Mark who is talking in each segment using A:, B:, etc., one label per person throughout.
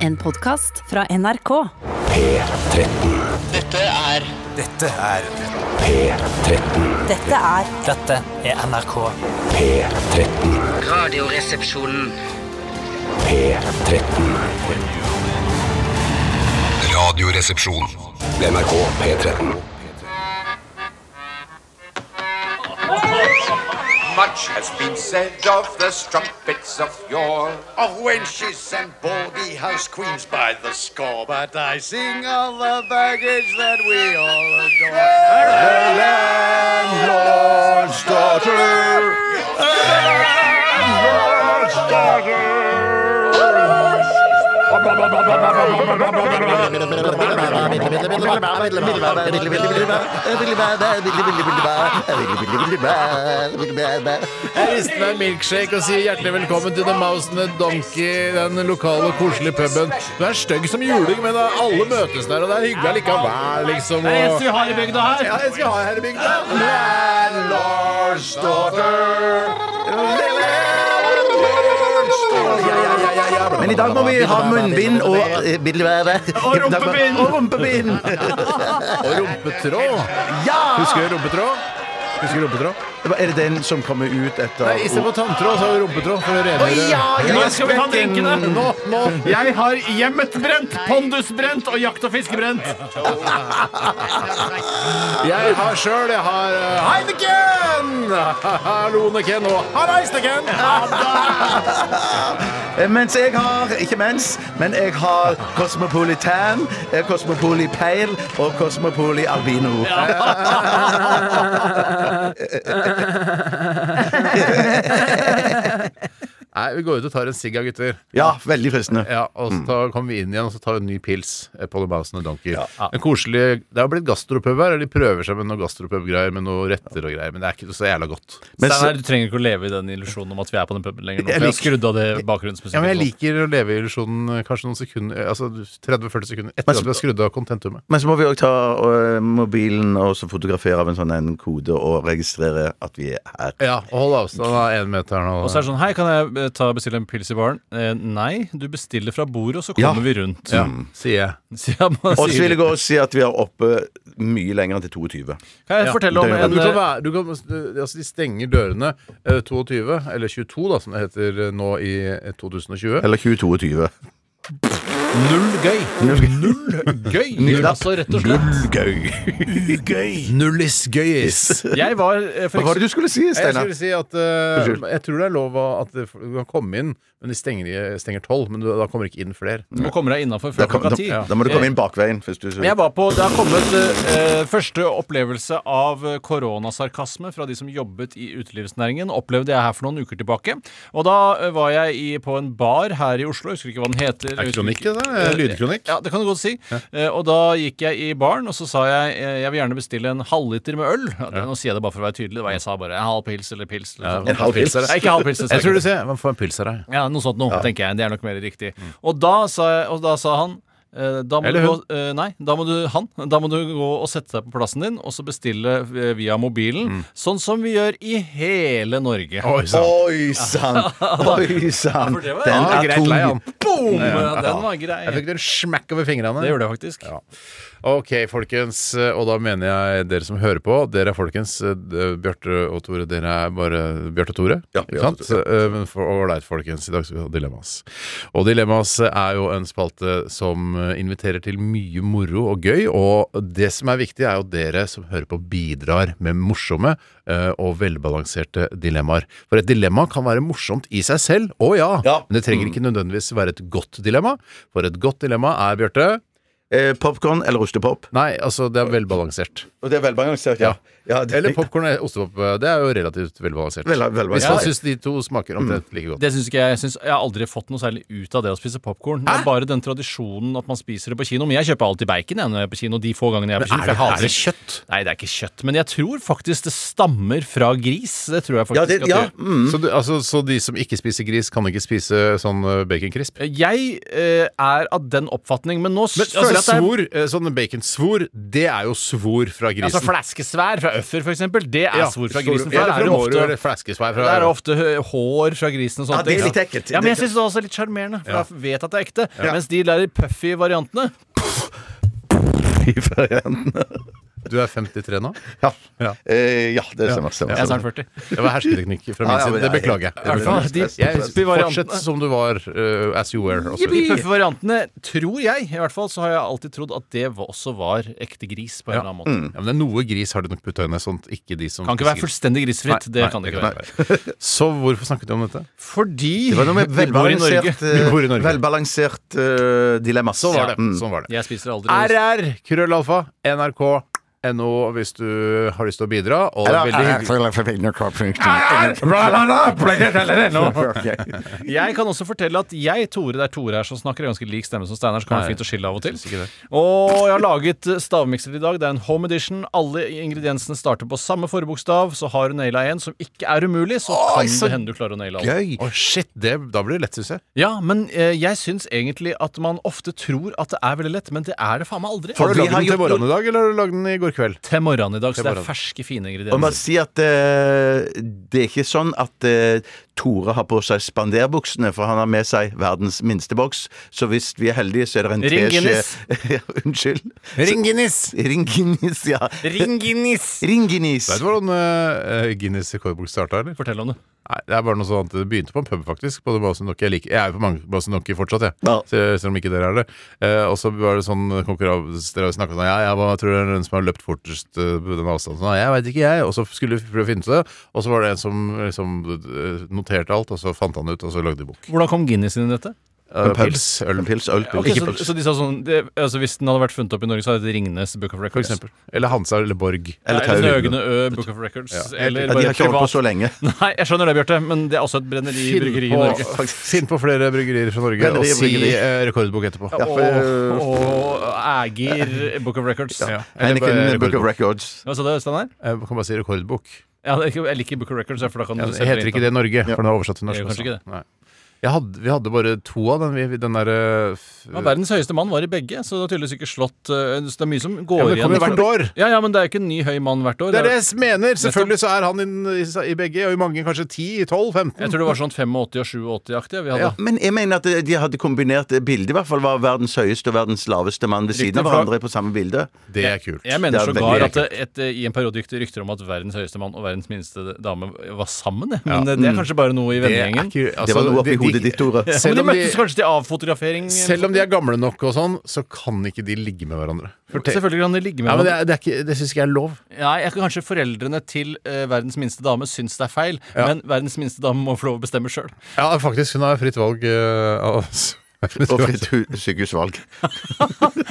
A: En podkast fra NRK.
B: Dette er
A: Dette er
B: Dette er NRK.
C: Radioresepsjonen.
D: Radioresepsjon. NRK P13.
E: Much has been said of the strumpets of yore, of wenches and baldy house queens by the score. But I sing of the baggage that we all adore. The landlord's daughter.
F: Jeg rister meg en milkshake og sier hjertelig velkommen til The Mouse and the Donkey, den lokale, koselige puben. Du er stygg som juling, men alle møtes der, og det er hyggelig likevel, liksom. Det er eneste vi har i bygda her. Ja, eneste vi har her i bygda.
E: Landlord's daughter. Landlord's daughter.
G: Men i dag må vi ha munnbind og bildevære. Og rumpebind! Og rumpebind!
F: Og rumpetråd.
G: Ja!
F: Husker du rumpetråd? Husker du rumpetråd?
G: Er det den som kommer ut etter
F: Nei, istedenfor tanntråd, så har vi rumpetråd for å rengjøre
G: Nå skal vi ta drinkene!
F: Nå, nå.
H: Jeg har hjemmetbrent, pondusbrent og jakt- og fiskebrent.
F: Jeg har sjøl, jeg har eh, Heineken! Hallo, Neken, og halleis, Neken!
G: Eh, Mens jeg har Ikke mens, men jeg har Cosmopolitan, eh, Cosmopoli Pale og Cosmopoli Albino.
F: Nei, vi går ut og tar en sigg, gutter.
G: Ja, veldig fristende.
F: Ja, og så ta- kommer vi inn igjen og så tar vi en ny pils eh, på The Mouse and the Donkey. En koselig, det har blitt gastropub her, og de prøver seg med noen gastropub-greier med noen retter og greier, men det er ikke så jævla godt.
G: Men så-
H: Steinar, du trenger ikke å leve i den illusjonen om at vi er på den puben lenger. nå for
G: Jeg
H: Jeg har
G: liker-
H: skrudd av det
F: Ja, men jeg
H: bakgrunnsmusikken.
F: liker å leve i illusjonen eh, kanskje noen sekunder, eh, altså 30-40 sekunder etter
G: Men så-
F: at vi har skrudd av kontentumet.
G: Men så må vi òg ta eh, mobilen og så fotografere av en sånn en kode og registrere at vi er her.
F: Ja, og hold avstand av én meter nå.
H: Og så er det sånn, hei, kan jeg eh, ta og bestille en pils i baren? Eh, nei, du bestiller fra bordet, og så
G: Ja.
H: kommer vi rundt.
F: ja, sier jeg.
H: Så jeg må
G: Og så
H: si-
G: vil jeg gå og si at vi er oppe mye lenger enn til 22.
H: Kan jeg fortelle om
G: døgnet.
F: Du
H: en
F: kan
H: eh,
F: være, du kan, altså de stenger dørene eh, 22, eller 22 da, som det heter eh, nå i eh, 2020.
G: Eller 22.
F: Null gøy! Null gøy! Null, altså, rett og slett.
G: Gøy.
F: Nullis gøyis.
H: Jeg var eh, for
G: Hva var det du skulle si,
F: Jeg
G: Steinar?
F: skulle si at eh,
G: Unnskyld.
F: Jeg tror det er lov at det- du kan komme inn, men de stenger, stenger 12. Men du, da kommer ikke inn flere.
H: Du må komme deg innafor
G: Da,
H: før
G: kom,
H: klokka
G: da,
H: ti. Eh,
G: da må du komme inn bakveien. Hvis du,
H: Men Jeg var på, Det har kommet eh, eh, første opplevelse av eh, koronasarkasme fra de som jobbet i utelivsnæringen. Opplevde jeg her for noen uker tilbake. Og Da eh, var jeg i, på en bar her i Oslo. Jeg husker ikke hva den heter. Jeg husker ikke-
F: Lydkronikk.
H: Eh, Ja, det kan du godt si. Eh, og da gikk jeg i baren, og så sa jeg eh, jeg vil gjerne bestille en halvliter med øl. Ja, det, Nå sier jeg det bare for å være tydelig. Det var jeg sa bare en halv pils eller pils. Eller sånn.
G: en halv pils.
H: Nei, ikke halv pils. det sa
F: Jeg tror
H: ikke.
F: du sier Man får en pils av deg.
H: Ja, noe sånt noe, tenker jeg. Det er nok mer riktig. Og, da sa jeg, og da sa han eh, da må
F: Eller
H: du
F: hun.
H: Gå, eh, nei, da må du, han. Da må du gå og sette deg på plassen din og så bestille eh, via mobilen. Sånn som vi gjør i hele Norge.
F: Oi sann.
G: Oi sann! Oi sann!
H: for det var-
G: Den
F: Ja,
G: er
F: greit,
G: tung.
F: lei han.
H: Boom! Den var grei.
F: Jeg fikk den smekk over fingrene.
H: Det gjorde jeg faktisk.
F: Ja. Ok, folkens. eh, Og da mener jeg dere som hører på. Dere er folkens. eh, Bjarte og Tore, dere er bare Bjarte og Tore.
G: Ja,
F: ikke
G: Bjarte og
F: sant? Eh, Men for ålreit, folkens. I dag skal vi ha Dilemmas. Og Dilemmas eh, er jo en spalte som eh, inviterer til mye moro og gøy. Og det som er viktig, er jo at dere som hører på, bidrar med morsomme eh, og velbalanserte dilemmaer. For et dilemma kan være morsomt i seg selv. Å ja!
G: Ja.
F: Men det trenger ikke nødvendigvis være et godt dilemma. For et godt dilemma er, Bjarte
G: Eh, popcorn eller ostepop?
F: Nei, altså det er velbalansert.
G: Og det er velbalansert, ja. ja det,
F: Eller popkorn og ostepop. eh, Det er jo relativt velbalansert. Mm.
G: Vel- velbalansert.
F: Hvis man
G: Ja.
F: syns de to smaker omtrent like godt.
H: Det syns ikke jeg. Jeg, syns, jeg har aldri fått noe særlig ut av det å spise popkorn. Det er bare den tradisjonen at man spiser det på kino. Men jeg kjøper alltid bacon jeg, når jeg er på kino. De få gangene jeg er på kino. for jeg hater
F: kjøtt?
H: Nei, det er ikke kjøtt. Men jeg tror faktisk det stammer fra gris. Det tror jeg faktisk
G: ja, det,
H: at det
G: ja.
H: gjør.
G: Mm.
F: Så, du, altså, så de som ikke spiser gris, kan ikke spise sånn eh, baconcrisp?
H: Jeg eh, er av den oppfatning, men nå s-
F: Men
H: føler jeg
F: altså,
H: at det er
F: svor, eh, sånn baconsvor, det er jo svor fra fra grisen.
H: Altså flaskesvær fra øffer, for eksempel. Det er svor fra grisen.
F: Ja,
H: For der er det
F: må du
H: ofte
F: gjøre flaskesvær
H: det
F: fra
H: er ofte hø- hår fra grisen og sånne
G: Ja, det er
H: ting.
G: litt ekkelt.
H: Ja, men jeg syns det er også litt sjarmerende, for
F: Ja.
H: jeg vet at det er ekte. Mens de der puffy variantene
F: Du er 53 nå?
G: Ja.
F: Ja.
G: Eh, ja, det stemmer. stemmer,
H: Jeg er
G: stemmer.
H: snart 40.
F: Det var hersketeknikk fra min
G: Ja, ja,
F: side.
G: men
F: Det
G: jeg-
F: beklager jeg.
G: jeg-
F: Det beklager jeg.
G: jeg- jeg- jeg-
H: de-
F: Fortsett som du var eh, as you were. Også.
H: De puffe variantene tror jeg, i hvert fall, så har jeg alltid trodd at det var- også var ekte gris på en
F: Ja.
H: eller annen måte.
G: Mm.
F: Ja, men det er noe gris har de nok putta inn der, sånt ikke de som
H: Kan ikke være fullstendig grisfritt.
F: Nei,
H: det
F: nei,
H: kan det
F: det
H: ikke
F: kan
H: være.
F: Så hvorfor snakket du om dette?
H: Fordi
G: Det var noe med
H: vi bor i Norge.
G: velbalansert, eh,
F: Vi bor i Norge.
G: velbalansert eh, dilemma.
F: Sånn var det.
G: Mm.
F: Sånn var det.
H: Jeg spiser aldri
F: RR, krøllalfa, nrk.no hvis du har lyst til å bidra. Og det er veldig hyggelig.
H: Jeg kan også fortelle at jeg, Tore, det er Tore her som snakker, jeg har ganske lik stemme som Steinar, så kan det være fint å skille av og til.
F: ikke det.
H: Og jeg har laget eh, stavmikser i dag. Det er en home edition. Alle ingrediensene starter på samme forbokstav, så har du naila en som ikke er umulig, så kan det hende du klarer å naile alle.
F: Gøy! Å, shit, det, da blir det lett, syns jeg.
H: Ja, men eh, jeg syns egentlig at man ofte tror at det er veldig lett, men det er det faen meg aldri.
F: Har du
G: vi
F: lagd
G: har
F: den til
G: gjort
F: morgenen i dag, eller har du lagd den i går kveld?
H: Til morgenen i dag, så
F: Til
H: det er
F: morgenen.
H: ferske, fine
G: Og man
H: ingredienser.
G: sier at eh, det er ikke sånn at eh, Tore har på seg spanderbuksene, for han har med seg verdens minste boks. Så hvis vi er heldige, så er det en teskje
H: Ring Guinness.
G: Ja, Unnskyld.
F: Ring Guinness!
G: Ring Guinness, ja.
H: Ringinis!
G: Ring Guinness.
F: Vet du hvordan eh, Guinness rekordbok starta, eller?
H: Fortell om det.
F: Nei, det er bare noe sånt. Det begynte på en pub, faktisk. På The Mouse Nokia. Jeg, liker. jeg er jo på mange Mouse Nokia fortsatt, jeg.
G: Ja.
F: Sel- Selv om ikke dere er det. Eh, og så var det sånn konkurranse Dere har jo snakket sånn Ja, jeg var, tror det er den som har løpt fortest eh, på den avstanden. Sånn, jeg veit ikke, jeg. Og så skulle vi prøve å finne ut det. Og så var det en som liksom, eh, noterte alt, og så fant han ut, og så lagde de bok.
H: Hvordan kom Guinness inn i dette?
F: Eh,
G: pub.
F: pils, øl,
G: En pils, øl, pils.
H: Ok,
G: Ikke
H: så,
G: pils.
H: så de sa sånn det, altså Hvis den hadde vært funnet opp i Norge, så hadde det Ringnes Book of
F: for
H: Records.
F: eksempel. Eller Hansa eller Borg.
G: Eller
H: Eller
G: Tau.
H: Nøgne Ø Book of Records. Eller
G: Ja, de har ikke holdt på så lenge.
H: Nei, jeg skjønner det, Bjarte, men det er også et brenneri i bryggeri i Norge.
F: finn på flere bryggerier fra Norge,
G: Bryggeri,
F: og si
G: bryggeri.
F: eh, rekordbok etterpå.
G: Ja, for,
H: Og, og Ægir Book of Records.
F: Ja. Eller bare
G: Heineken Book
F: rekordbok.
G: of Records.
H: Hva sa du, Steinar?
F: Jeg kan bare si rekordbok.
H: Ja, det er ikke- jeg liker Book of Records. for Da kan du
F: Ja,
H: sette
F: det heter
H: inn
F: ikke det i Norge, for den er oversatt til
H: Det
F: norsk.
H: gjør kanskje
F: også.
H: ikke det.
F: Nei. Jeg hadde, vi hadde bare to av den, vi- den eh, derre
H: Ja, verdens høyeste mann var i begge, så det har tydeligvis ikke slått eh, så Det er mye som går
F: Ja, men det
H: igjen.
F: kommer hvert år.
H: Ja, ja, men det er jo ikke en ny høy mann hvert år.
F: Det er det
H: Det er-
F: jeg mener! Selvfølgelig så er han inn, i, i begge, og i mange kanskje 10, 12, 15.
H: Jeg tror det var sånn 85- og 87-aktig. Vi hadde
F: Ja.
G: Men jeg mener at de hadde kombinert bildet, i hvert fall var verdens høyeste og verdens laveste mann ved siden av
H: Riktig, for-
G: hverandre på samme bilde.
F: Det er kult.
H: Jeg mener
G: Det er
H: sågar
G: veldig
H: at det, et, i en periode gikk det rykter om at verdens høyeste mann og verdens minste dame var sammen. jeg. Men eh, det er kanskje bare noe i
F: Mm. Det er
H: vennegjengen.
F: ikke- altså,
G: Det var noe
F: de-
G: oppi
F: de-
G: hodet ditt, Tore.
H: Ja,
F: Selv
H: men de
F: om de-
H: møttes kanskje til avfotografering. eller
F: Selv om
H: sånt.
F: de er gamle nok og sånn, så kan ikke de ligge med hverandre. Fortell-
H: Selvfølgelig kan de ligge med
F: Ja, men det
H: hverandre.
F: er, det, er ikke, det syns ikke jeg er lov.
H: Nei, jeg- Kanskje foreldrene til eh, verdens minste dame syns det er feil, men verdens minste dame må få lov å bestemme sjøl.
F: Ja, faktisk. Hun har fritt valg eh, av oss.
G: Og fritt hu- sykehusvalg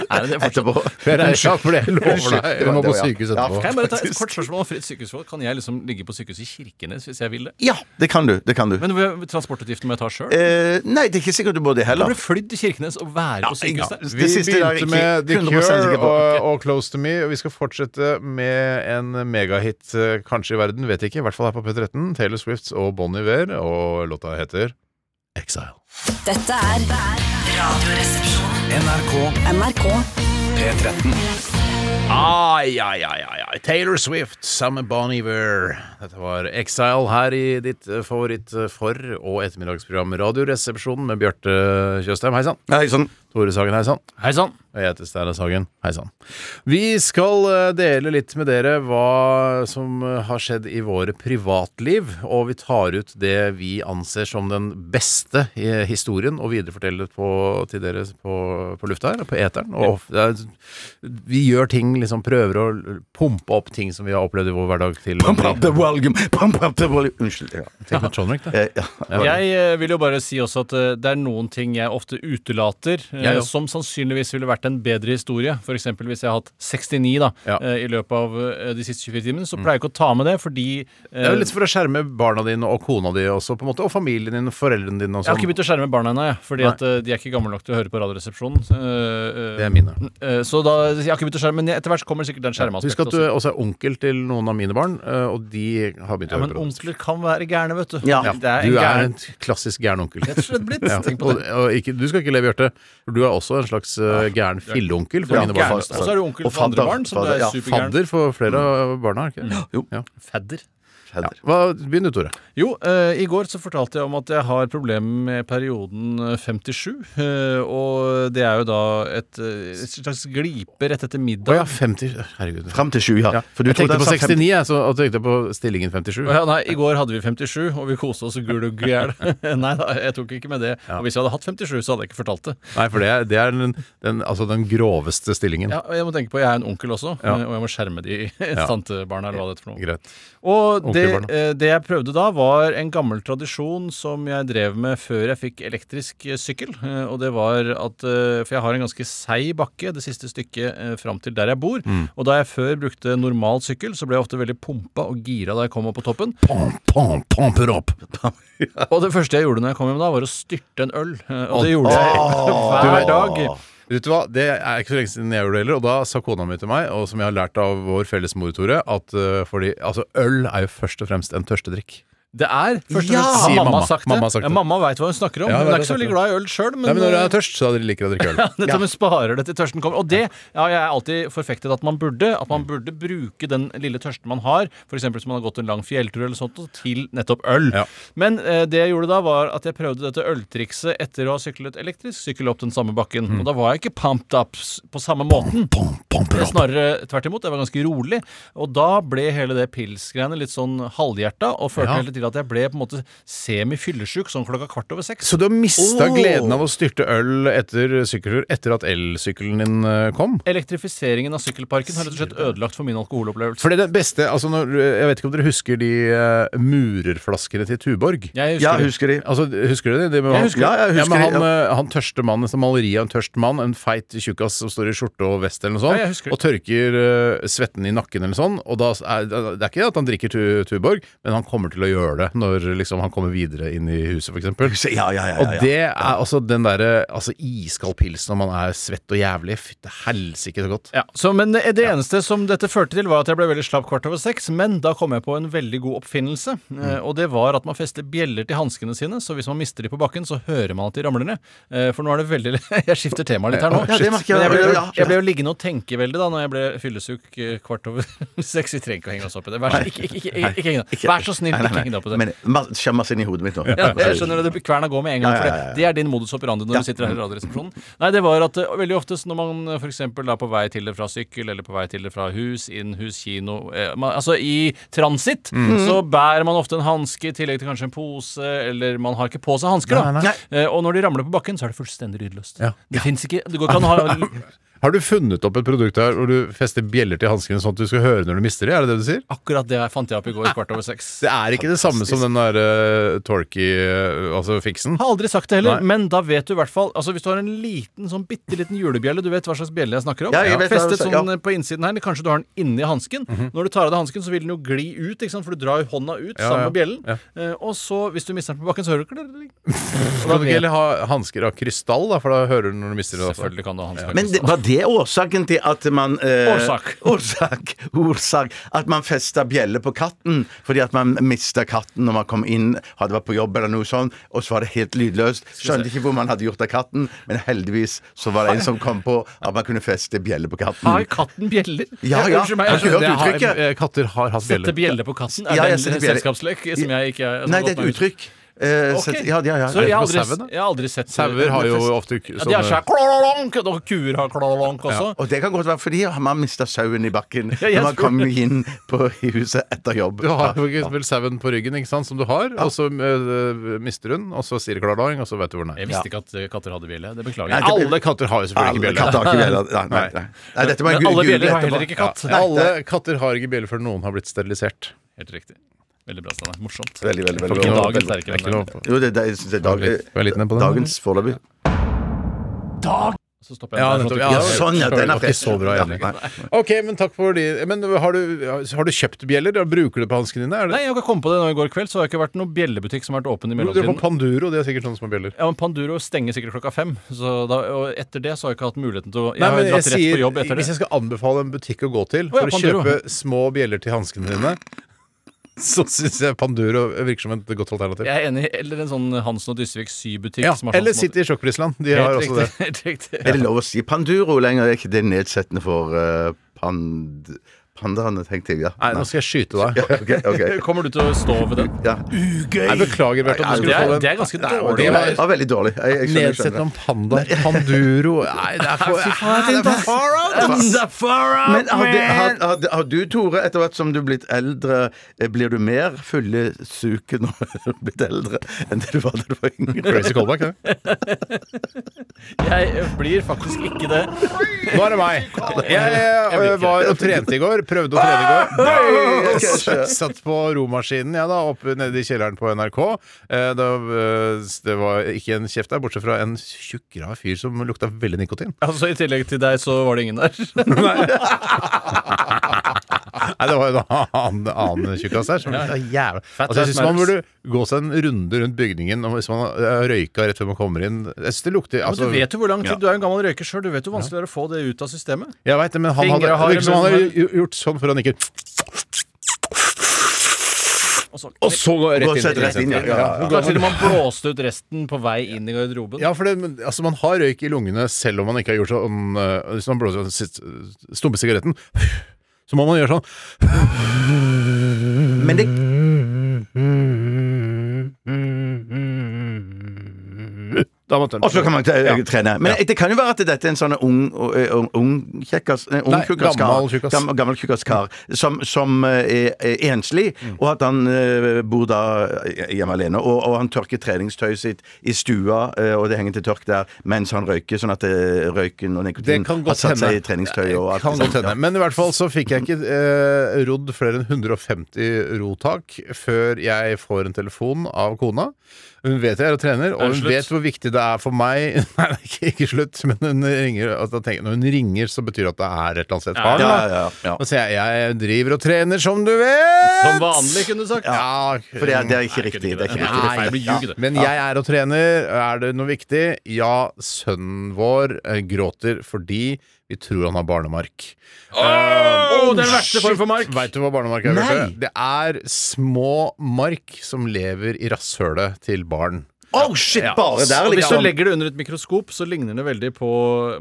G: etterpå.
F: Ja, for det lover
G: Unnskyld,
F: deg. Hun
G: det var-
F: må på
G: det var- ja.
F: sykehus
G: Ja,
F: etterpå.
H: Kan jeg bare ta et kort spørsmål om fritt sykehusvalg? Kan jeg liksom ligge på sykehuset i Kirkenes hvis jeg vil det?
G: Ja, det kan du. Det kan du.
H: Men hvor- transportutgiftene må jeg ta sjøl?
G: eh, nei, det er ikke sikkert du må det
H: Jeg
G: heller.
H: ble flydd til Kirkenes og være på sykehus der.
F: Vi
G: Det siste er
F: begynte
G: jeg ikke
F: med The
G: 100%
F: Cure
G: sikker på.
F: og, og Close to Me, og vi skal fortsette med en megahit eh, kanskje i verden, vet ikke, i hvert fall her på P13. Taylor Swift og Bon Iver, og låta heter Exile.
A: Dette er Radioresepsjonen. NRK. NRK.
F: Ai, ai, ai, ai, ai. Taylor Swift sammen med Bon Iver. Dette var Exile her i ditt eh, favoritt eh, for- og ettermiddagsprogram Radioresepsjonen med Bjarte Tjøstheim. Hei sann.
G: Nei, sånn.
F: Tore Sagen, hei sann.
H: Hei sann.
F: Og jeg heter Steinar Sagen. Hei sann. Vi skal eh, dele litt med dere hva som eh, har skjedd i våre privatliv, og vi tar ut det vi anser som den beste i historien, og videreforteller det på- til dere på, på lufta her, på eteren. Og det er, vi gjør ting, liksom prøver å l- pumpe opp ting som vi har opplevd i vår hverdag til
G: Pump up the volume! Pump up the volume! Unnskyld. Ja.
F: til Trondheim. da.
G: Eh, ja.
H: Jeg eh, vil jo bare si også at eh, det er noen ting jeg ofte utelater, eh,
F: Jeg òg.
H: som sannsynligvis ville vært en bedre historie. F.eks. hvis jeg har hatt 69 da,
F: Ja. Mm.
H: eh, i løpet av eh, de siste 24 timene, så pleier jeg ikke å ta med det, fordi eh,
F: Det er jo litt for å skjerme barna dine og kona di også, på en måte, og familien din og foreldrene dine og
H: jeg har ikke
F: sånn.
H: begynt å skjerme barna ennå, jeg, fordi
F: Nei.
H: at eh, de er ikke gamle nok til å høre på Radioresepsjonen. Eh, eh,
F: Det er mine.
H: eh, så da, jeg har ikke begynt å skjerme, men etter hvert så kommer sikkert den
F: Husk at
H: skjermaspektet
F: du
H: også.
F: også er onkel til noen av mine barn, eh, og de har begynt
H: Ja,
F: å
H: men
F: høre på det.
H: onkler kan være gærne, vet du.
G: Ja.
H: Det er
F: du
H: en
F: er
H: gæren
F: en klassisk gæren onkel.
H: Rett og slett blitt.
F: Ja.
H: Tenk på
F: Og,
H: det.
F: og ikke, du skal ikke leve i hjertet. for For du er også en slags eh, gæren filleonkel for
H: Ja,
F: dine
H: gæren.
F: barn.
H: Og så er du onkel
G: Og
H: for andre
G: fadder.
H: barn, som du
G: Fadder,
H: er Mm.
G: ja.
H: supergæren.
F: Fadder for flere av barna, er ikke det?
G: Jo.
F: Ja.
H: Fadder.
F: Ja. Hva, begynn du, Tore.
H: Jo, eh, i går så fortalte jeg om at jeg har problemer med perioden eh, 57. eh, og det er jo da et, eh, et slags glipe rett
F: Å
H: etter middag.
F: ja, 50 Herregud.
G: Fram til 7, ja. For du
F: jeg
G: trodde
F: tenkte på
G: han sa
F: 69, jeg, så og tenkte på stillingen 57.
H: Å ja, nei, I går hadde vi 57, og vi koste oss gul og gæl. nei da, jeg tok ikke med det. Og hvis jeg hadde hatt 57, så hadde jeg ikke fortalt det.
F: Nei, for det er, det er den, den, altså den groveste stillingen.
H: Ja, og Jeg må tenke på, jeg er en onkel også,
F: Ja.
H: eh, og jeg må skjerme de tantebarna, eller hva det heter for noe.
F: Greit.
H: Og det,
F: Onkelbarna.
H: eh, det jeg prøvde da, var en gammel tradisjon som jeg drev med før jeg fikk elektrisk eh, sykkel. Eh, Og det var at eh, For jeg har en ganske seig bakke det siste stykket eh, fram til der jeg bor.
F: Mm.
H: Og da jeg før brukte normal sykkel, så ble jeg ofte veldig pumpa og gira da jeg kom opp på toppen.
F: Pom, pom, pomper opp!
H: Og det første jeg gjorde når jeg kom hjem da, var å styrte en øl. Eh, Og det gjorde jeg hver dag.
F: Vet du hva, Det er ikke så lenge siden jeg gjorde det heller, og da sa kona mi til meg, og som jeg har lært av vår felles mor, Tore, at eh, fordi, altså, øl er jo først og fremst en tørstedrikk.
H: Det er først og
F: Ja!
H: fremst
F: Sier
H: mamma,
F: mamma.
H: har sagt det.
F: Mamma har sagt
H: ja,
F: det.
H: mamma veit hva hun snakker om.
F: Ja,
H: hun
F: det
H: er ikke så
F: har
H: veldig
F: hun
H: glad i øl sjøl, men,
F: Nei, men Når du
H: eh,
F: er tørst, så liker jeg å drikke øl.
H: Dette med sparer det til tørsten kommer. Og det har jeg alltid forfektet at man burde. At man burde bruke den lille tørsten man har, f.eks. hvis man har gått en lang fjelltur eller sånt, til nettopp øl.
F: Ja.
H: Men eh, det jeg gjorde da, var at jeg prøvde dette øltrikset etter å ha syklet elektrisk sykkel opp den samme bakken.
F: Mm.
H: Og da var jeg ikke pumped up s- på samme måten.
F: Pom, pomper opp!
H: Snarere tvert imot. Jeg var ganske rolig. Og da ble hele det pilsgreiene litt sånn halvhjerta, og førte
F: Ja.
H: helt til at jeg ble på en måte semi-fyllesjuk sånn klokka kvart over seks.
F: Så du har mista
H: Åh.
F: gleden av å styrte øl etter sykkeltur etter at elsykkelen din eh, kom?
H: Elektrifiseringen av sykkelparken har rett og slett ødelagt for min alkoholopplevelse.
F: For det er det beste altså når, Jeg vet ikke om dere husker de eh, murerflaskene til Tuborg?
H: Jeg
G: Ja,
H: husker det.
G: husker de.
F: Altså, Husker du det? det med
H: Jeg
F: han-
H: husker det.
G: Ja, jeg husker
F: men
G: det,
F: han, eh, han tørste mannen, som maleri av en tørst mann, en feit tjukkas som står i skjorte og vest eller noe
H: Ja, jeg
F: sånt,
H: husker det.
F: og tørker eh, svetten i nakken eller sånn, og da er det er ikke at han drikker tu, Tuborg, men han kommer til å gjøre det når liksom, han kommer videre inn i huset, for eksempel.
G: Se, Ja, ja, ja. ja,
F: Og
G: ja.
F: det er altså den derre altså, iskald pilsen når man er svett og jævlig. Fytte helsike så godt.
H: Ja, så, men det det eneste som dette førte til, var at jeg ble veldig slapp kvart over seks. Men da kom jeg på en veldig god oppfinnelse.
G: Mm.
H: eh, Og det var at man fester bjeller til hanskene sine, så hvis man mister de på bakken, så hører man at de ramler ned. Eh, For nå er det veldig Jeg skifter tema litt her nå.
G: Ja, det merker jeg.
H: Men jeg ble, jo,
G: Ja, ja.
H: jeg ble jo liggende og tenke veldig da når jeg ble fyllesyk eh, kvart over seks. Vi trenger ikke å henge oss opp i det. Vær så, ikke, ikke, ikke, ikke, ikke, henge deg. Vær så snill,
G: Nei, nei,
H: ikke
G: nei.
H: heng deg opp i det.
G: Men ma- Skjemmes inn i hodet mitt nå.
H: Ja, jeg skjønner det. Kverna går med en gang.
G: Ja, ja, ja, ja.
H: For det, det er din modus operandi når du sitter
F: Mm.
H: her i Radioresepsjonen. Nei, det var at eh, veldig ofte så når man f.eks. er på vei til det fra sykkel, eller på vei til det fra hus, inn hus, kino eh, man, Altså i transitt
F: Mm.
H: så bærer man ofte en hanske i tillegg til kanskje en pose, eller man har ikke på seg hansker, da.
F: Nei, nei,
H: Eh, Og når de ramler på bakken, så er det fullstendig lydløst.
F: Ja.
H: Det fins ikke Det går ikke an å ha
F: Har du funnet opp et produkt her hvor du fester bjeller til hanskene sånn at du skal høre når du mister de? Er det det du sier?
H: Akkurat det jeg fant jeg opp i går kvart over seks.
F: Det er ikke det samme som den der eh, torky, eh, altså fiksen.
H: Har aldri sagt det heller,
F: Nei.
H: men da vet du i hvert fall Altså Hvis du har en liten, sånn bitte liten julebjelle Du vet hva slags bjelle jeg snakker om?
G: Ja, jeg vet hva du Mhm.
H: Festet
G: sier,
H: sånn
G: ja.
H: eh, på innsiden her. eller Kanskje du har den inni hansken. Når du tar av deg hansken, så vil den jo gli ut, ikke sant? for du drar jo hånda ut
F: Ja,
H: sammen
F: ja,
H: med bjellen.
F: ja.
H: Eh, og så, hvis du mister den på bakken, så hører du ikke
F: Kan du ikke heller ha hansker av krystall, da, for da hører du når du mister det? altså.
H: Selvfølgelig kan du ha hansker.
G: Men det, var det årsaken til at man eh,
H: Årsak.
G: Årsak. Årsak. At man festa bjelle på katten fordi at man mista katten når man kom inn, hadde vært på jobb eller noe sånt, og så var det helt lydløst. Skjønte ikke hvor man hadde gjort av katten, men heldigvis så var det en som kom på at man kunne feste bjelle på
H: Har
G: katten.
H: katten bjeller?
G: Ja, ja.
H: Unnskyld meg.
G: Har ikke hørt
F: Det har-
G: uttrykket?
F: eh, Katter har hatt
H: Sette
F: bjeller.
H: bjelle på katten? Er
G: Ja, jeg
H: det en
G: setter bjelle.
H: selskapslek som jeg ikke er- som
G: Nei,
H: har
G: det er
H: gått meg
G: et
H: ut?
G: uttrykk. Eh,
H: Ok.
G: sett- ja, ja, ja.
H: Så jeg
F: Er det på
H: har aldri,
F: sauen, da?
H: jeg har aldri sett
F: Sauer har jo ofte
H: ja, De har
F: sånne
H: svær klalonk, og kuer har klalonk også.
G: Og det kan godt være fordi man mista sauen i bakken
H: jeg
G: når man
H: tror
G: kom inn på i huset etter jobb.
F: Du har for eksempel sauen på ryggen, ikke sant, som du har, og så eh, mister hun, og så sier det klardagen, og så vet du hvor den er.
H: Jeg visste ikke at eh, katter hadde bjelle. Det beklager
G: Nei,
H: jeg.
G: det-
F: Alle katter har jo selvfølgelig ikke
G: Alle
F: bjeller.
G: katter har ikke bjeller. Nei, nei, nei. nei, dette var en
H: Men alle
G: gu- gul-
H: bjeller
G: etterpå.
H: har heller ikke katt.
F: Ja. Alle katter har ikke bjeller før noen har blitt sterilisert.
H: Helt riktig. Veldig bra, Steinar. Morsomt.
G: Veldig, veldig, veldig
H: Ikke
G: bra.
H: dagens
G: Veldig-
H: sterke,
F: Det er ikke
H: men-
F: noe-
G: Jo, det, det, jeg synes det er dag,
F: Var litt- var litt ned på den,
G: dagens foreløpig.
H: Så stopper jeg. der, sånn at du
F: nettopp.
H: ikke-
G: Ja, sånn, ja, den er
F: Det var ikke så bra,
G: Ja,
F: Henrik.
G: nei.
F: Ok, men takk for de Men har du, har du kjøpt bjeller? Da Bruker du på hanskene dine? Er det,
H: Nei, jeg kan komme på det nå i går kveld, så har det ikke vært noen bjellebutikk som har vært åpen i
F: Jo, det er på
H: mellomtiden.
F: Panduro, det er sikkert sånne små bjeller.
H: Ja, men Panduro stenger sikkert klokka fem, så da, og etter det så har jeg ikke hatt muligheten til å Jeg
F: Nei,
H: har
F: men
H: jo
F: jeg
H: dratt rett på
F: sier,
H: jobb etter
F: Hvis
H: det.
F: jeg skal anbefale en butikk å gå til
H: Å, ja,
F: for å
H: Panduro.
F: kjøpe små bjeller til hanskene dine så syns jeg Panduro virker som et godt alternativ.
H: Jeg er enig. Eller en sånn Hansen og Dysvik sybutikk.
F: Ja,
H: som har sånn
F: eller
H: som-
F: City i sjokkprisland. De har
H: Helt
F: også det.
H: riktig. Helt riktig.
G: Er det lov å si panduro lenger? Er ikke det nedsettende for eh, pand... Pandaene, tenkte jeg. ja
F: Nei, nå skal jeg skyte deg.
G: Ok, ok.
H: Kommer du til å stå ved den? Altså,
G: Ja.
F: Nei, beklager, Bjarte. om du
H: Det
F: skulle få
H: er,
F: den.
H: det er ganske
F: Nei,
H: dårlig.
F: det
G: Det
F: var-
G: var veldig dårlig. Jeg, jeg skjønner, jeg
F: Nedsettende
G: skjønner.
F: om panda, panduro Nei, det er for Nei, det er for far out! ass.
G: Men har, det, har, har, det- har du, Tore, etter hvert som du er blitt eldre, eh, blir du mer fyllesuken når du er blitt eldre enn det du var da du var yngre?
F: Crazy callback, det.
H: Jeg blir faktisk ikke det.
F: Nå er det meg. Jeg,
H: blir
F: eh,
H: ikke
F: var og trente i går. Prøvde å trene i går.
G: Jeg skjønner.
F: Satt på romaskinen ja da, oppe nede i kjelleren på NRK. Eh, da, eh, det var ikke en kjeft der, bortsett fra en tjukk, rar fyr som lukta veldig nikotin.
H: Altså, I tillegg til deg, så var det ingen der.
F: Nei, det var jo en annen, annen tjukkas der som lukta jævla altså, Jeg syns man burde gå seg en runde rundt bygningen og hvis man har eh, røyka rett før man kommer inn. Jeg synes det lukter
H: Men
F: altså,
H: du vet jo hvor lang tid
F: Ja.
H: du er en gammel røyker sjøl. Du vet jo hvor vanskelig det er å få det ut av systemet.
F: Jeg vet det, men han
H: Fingre
F: hadde,
H: har
F: det virker som han
H: i
F: hadde
H: munnen.
F: gj- gjort sånn før han ikke
H: Og så,
F: Og så går
G: Gå sett rett inn, ja.
H: Det er klart til og med han blåste ut resten på vei inn i garderoben.
F: Ja, for det, men, altså, man har røyk i lungene selv om man ikke har gjort sånn øh, Hvis man blåser sitt- stumper sigaretten, så må man gjøre sånn.
G: Men det,
F: Da må man tømme.
G: og så kan man tre- trene. Men det kan jo være at dette er en sånn ung, ung, ung kjekkas nei, ung
F: Nei,
G: tjukkas kar.
F: gammel tjukkas.
G: Gam- gammel tjukkas kar som, som eh, er, er enslig,
F: Mm.
G: og at han eh, bor da hjemme alene. Og, og han tørker treningstøyet sitt i stua, eh, og det henger til tørk der, mens han røyker, sånn at eh, røyken og
F: Det
G: nikotinen
F: kan
G: har
F: godt
G: satt
F: hende.
G: seg i treningstøyet. og alt
F: Kan
G: det
F: godt
G: sånn.
F: hende. Men i hvert fall så fikk jeg ikke eh, rodd flere enn 150 rotak før jeg får en telefon av kona. Hun vet jeg er og trener,
H: Er
F: og
H: det
F: hun
H: slutt?
F: vet hvor viktig det er for meg Nei, det er ikke, ikke slutt, men hun ringer, og da tenker, jeg, når hun ringer, så betyr det at det er et eller annet sted faren.
G: Ja,
F: da.
G: ja, ja.
F: Og så sier jeg jeg driver og trener, som du vet!
H: Som vanlig, kunne du sagt.
F: Ja,
G: For det er, det er ikke riktig. Det er ikke riktig.
H: Nei, feil, det blir ljug, det.
F: Men jeg er og trener. Er det noe viktig? Ja, sønnen vår eh, gråter fordi vi tror han har barnemark.
H: Å, det er den verste form for mark.
F: Veit du hva barnemark er?
G: Nei.
F: Bjarte? Det er små mark som lever i rasshølet til barn.
G: Oh shit, bare der,
H: Og hvis du
G: liksom.
H: legger det under et mikroskop, så ligner det veldig på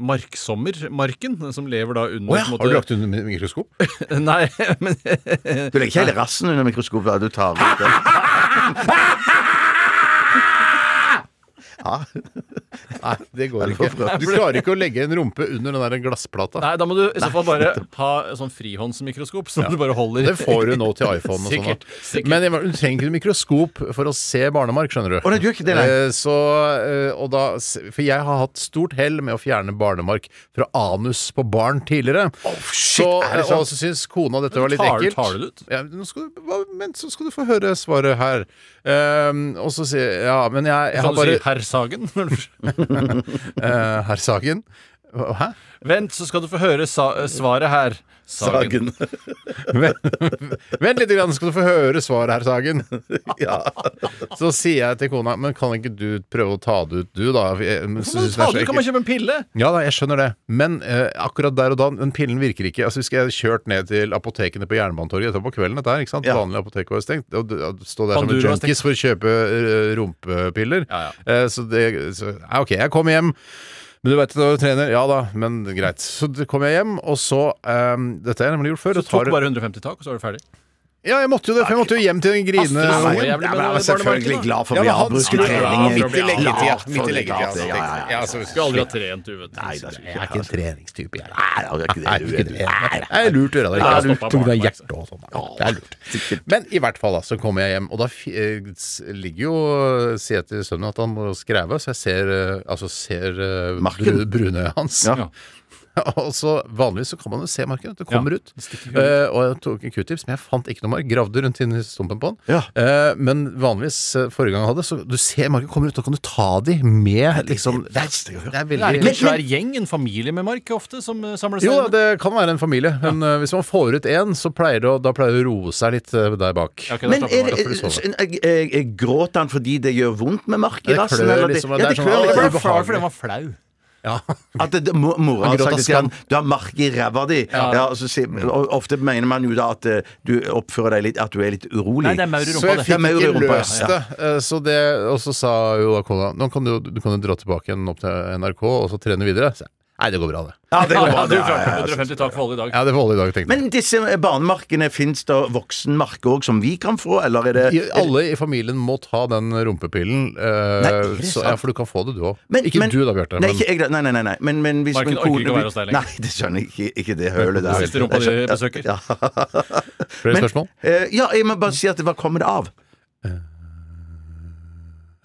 H: marksommermarken, som lever da under på en måte-
F: Har du lagt under mi- mikroskop?
H: Nei, men
G: Du legger ikke hele rassen under mikroskopet. da, Du tar ut den.
F: Nei, det går
G: for
F: ikke. Du klarer ikke å legge en rumpe under den der glassplata.
H: Nei, da må du i så fall bare ha sånn frihåndsmikroskop, som du bare holder
F: Det får du nå til iPhone og sånn.
H: Sikkert,
F: da.
H: sikkert.
F: Men jeg- du trenger ikke mikroskop for å se barnemark, skjønner du.
G: Å, nei, du gjør ikke det, nei.
F: Eh, Så, eh, og da, s- for jeg har hatt stort hell med å fjerne barnemark fra anus på barn tidligere. så, eh,
G: er det
F: Og så syns kona dette var litt
H: tar-
F: ekkelt.
H: tar du det ut?
F: Ja, nå skal du, hva- men så skal du få høre svaret her. Ehm, og så sier jeg Ja, men jeg, jeg har
H: Kan du si
F: bare
H: herr Sagen?
F: eh, Herr Sagen. Hva- Hæ?
H: Vent, så skal du få høre sa svaret her. Sagen.
G: Dagen.
F: Vent, vent litt, grann, så skal du få høre svaret, herr Sagen.
G: Ja.
F: Så sier jeg til kona Men kan ikke du prøve å ta det ut, du, da?
H: Men
F: Hvorfor
H: fader, kan man kjøpe en pille?
F: Ja da, jeg skjønner det. Men eh, akkurat der og da, den pillen virker ikke. Altså, Husker jeg kjørt ned til apotekene på Jernbanetorget etterpå på kvelden. Dette her, ikke sant?
G: Ja.
F: Vanlige apotek var jo stengt. Og du- og stå der som en
H: Panduro var stengt.
F: junkies for å kjøpe eh, rumpepiller.
H: Ja,
F: Eh, så det så, ja, OK, jeg kom hjem. Men du vet at du var trener? Ja da, men greit. Så d- kom jeg hjem, og så eh, Dette har jeg nemlig gjort før.
H: Du
F: det tar-
H: tok bare 150 tak, og så var du ferdig.
F: Ja, jeg måtte jo det, for jeg måtte jo hjem til den grinende
H: Astrid Sandberg.
F: ungen.
G: Ja, men han var selvfølgelig glad for
F: Ja,
G: at
F: men
G: vi
F: han
G: avbrutte
F: skulle
H: være
G: treningen.
H: glad for å bli
G: Glad
F: avbrutt. Midt i leggetida,
G: for det, glad for det,
F: midt i
G: ja, ja,
F: leggetida,
G: ja.
F: altså, hvis-
H: Du har aldri hatt trent, du, vet du.
G: Nei, det er
F: Jeg er ikke en treningstype, jeg.
G: Nei, det er ikke
F: Nei, altså.
G: det.
F: det er ikke
G: du er det.
F: det. Det er lurt å gjøre det.
H: Nei,
F: Det er
H: det
F: lurt på grunn
H: stopper
F: av
H: barnevernet.
F: hjertet og sånn. da. Det er lurt. Men i hvert fall, da, så kommer jeg hjem, og da fi- eh, s- ligger jo eh, Sier jeg til sønnen at han må skreve, så jeg ser, eh, altså, ser eh, bru,
G: Marken.
F: brunøyet hans.
G: Ja.
F: Og så Vanligvis så kan man jo se marken. Det kommer
H: Ja,
F: ut. Eh, og jeg tok en q-tips, men jeg fant ikke noe mark. Gravde rundt inni stumpen på den.
G: Ja.
F: Eh, men vanligvis, eh, forrige gang jeg hadde, så du ser marken kommer ut, da kan du ta de med liksom Det er, det er
H: Det er
F: veldig
H: ikke en svær gjeng, en familie med mark ofte, som eh, samler seg
F: jo,
H: inn?
F: det kan være en familie. Men eh, hvis man får ut én, så pleier det å, da pleier det å roe seg litt eh, der bak.
H: Ja, ok, da
G: Men
H: slapper
G: er
H: jeg av.
G: det,
F: for du sover.
G: en- jeg- jeg- jeg gråter han fordi det gjør vondt med mark i
F: Det
G: rassen?
F: klør
G: eller det-
F: liksom, og det
G: Ja, det
F: er sånn-
G: klør
H: Jeg
F: det
H: ble
F: er
G: litt.
H: flau
F: ubehagelig.
H: fordi den var flau.
F: Ja.
G: At det, det- mo- mora har
F: gråter
G: sagt til han
F: skam.
G: du har mark i ræva di. Ja. og så sier- og ofte mener man jo da at eh, du oppfører deg litt At du er litt urolig.
H: Nei, det er maur i
F: Så jeg
H: rumpa, det.
G: Ja,
F: fikk
G: maur i
F: ikke
G: rumpa, ja.
F: løst det. Eh, Så det og så sa jo da kona Nå kan du, du kan jo dra tilbake igjen opp til NRK og så trene videre. Så, jeg, Nei, det går bra, det.
G: Ja, det
H: Ja,
G: går
H: ja,
G: bra,
H: du
G: det, ja,
H: klarte
G: ja, ja.
H: 150 tak for alle i dag.
F: Ja, det får holde i dag, tenkte jeg.
G: Men disse eh, barnemarkene, fins det voksenmarker òg som vi kan få, eller er det
F: I- Alle i familien må ta den rumpepillen. eh,
G: Nei, er det
F: så,
G: sant?
F: ja, for du kan få det, du òg.
G: Men-
F: Ikke
G: men-
F: du da, Bjarte.
G: Nei,
F: men-
G: ikke jeg, da. nei, nei, nei, nei. Men, men hvis
H: Marken
G: min
H: orker ikke
G: kone
H: å
G: blir-
H: være hos deg lenger.
G: Nei, det skjønner jeg ikke. Ikke det hølet der.
H: Siste
G: Jeg
H: rumpa
G: skjønner-
H: du besøker.
G: Ja.
F: Flere spørsmål?
G: eh, ja, jeg må bare si at hva kommer det av?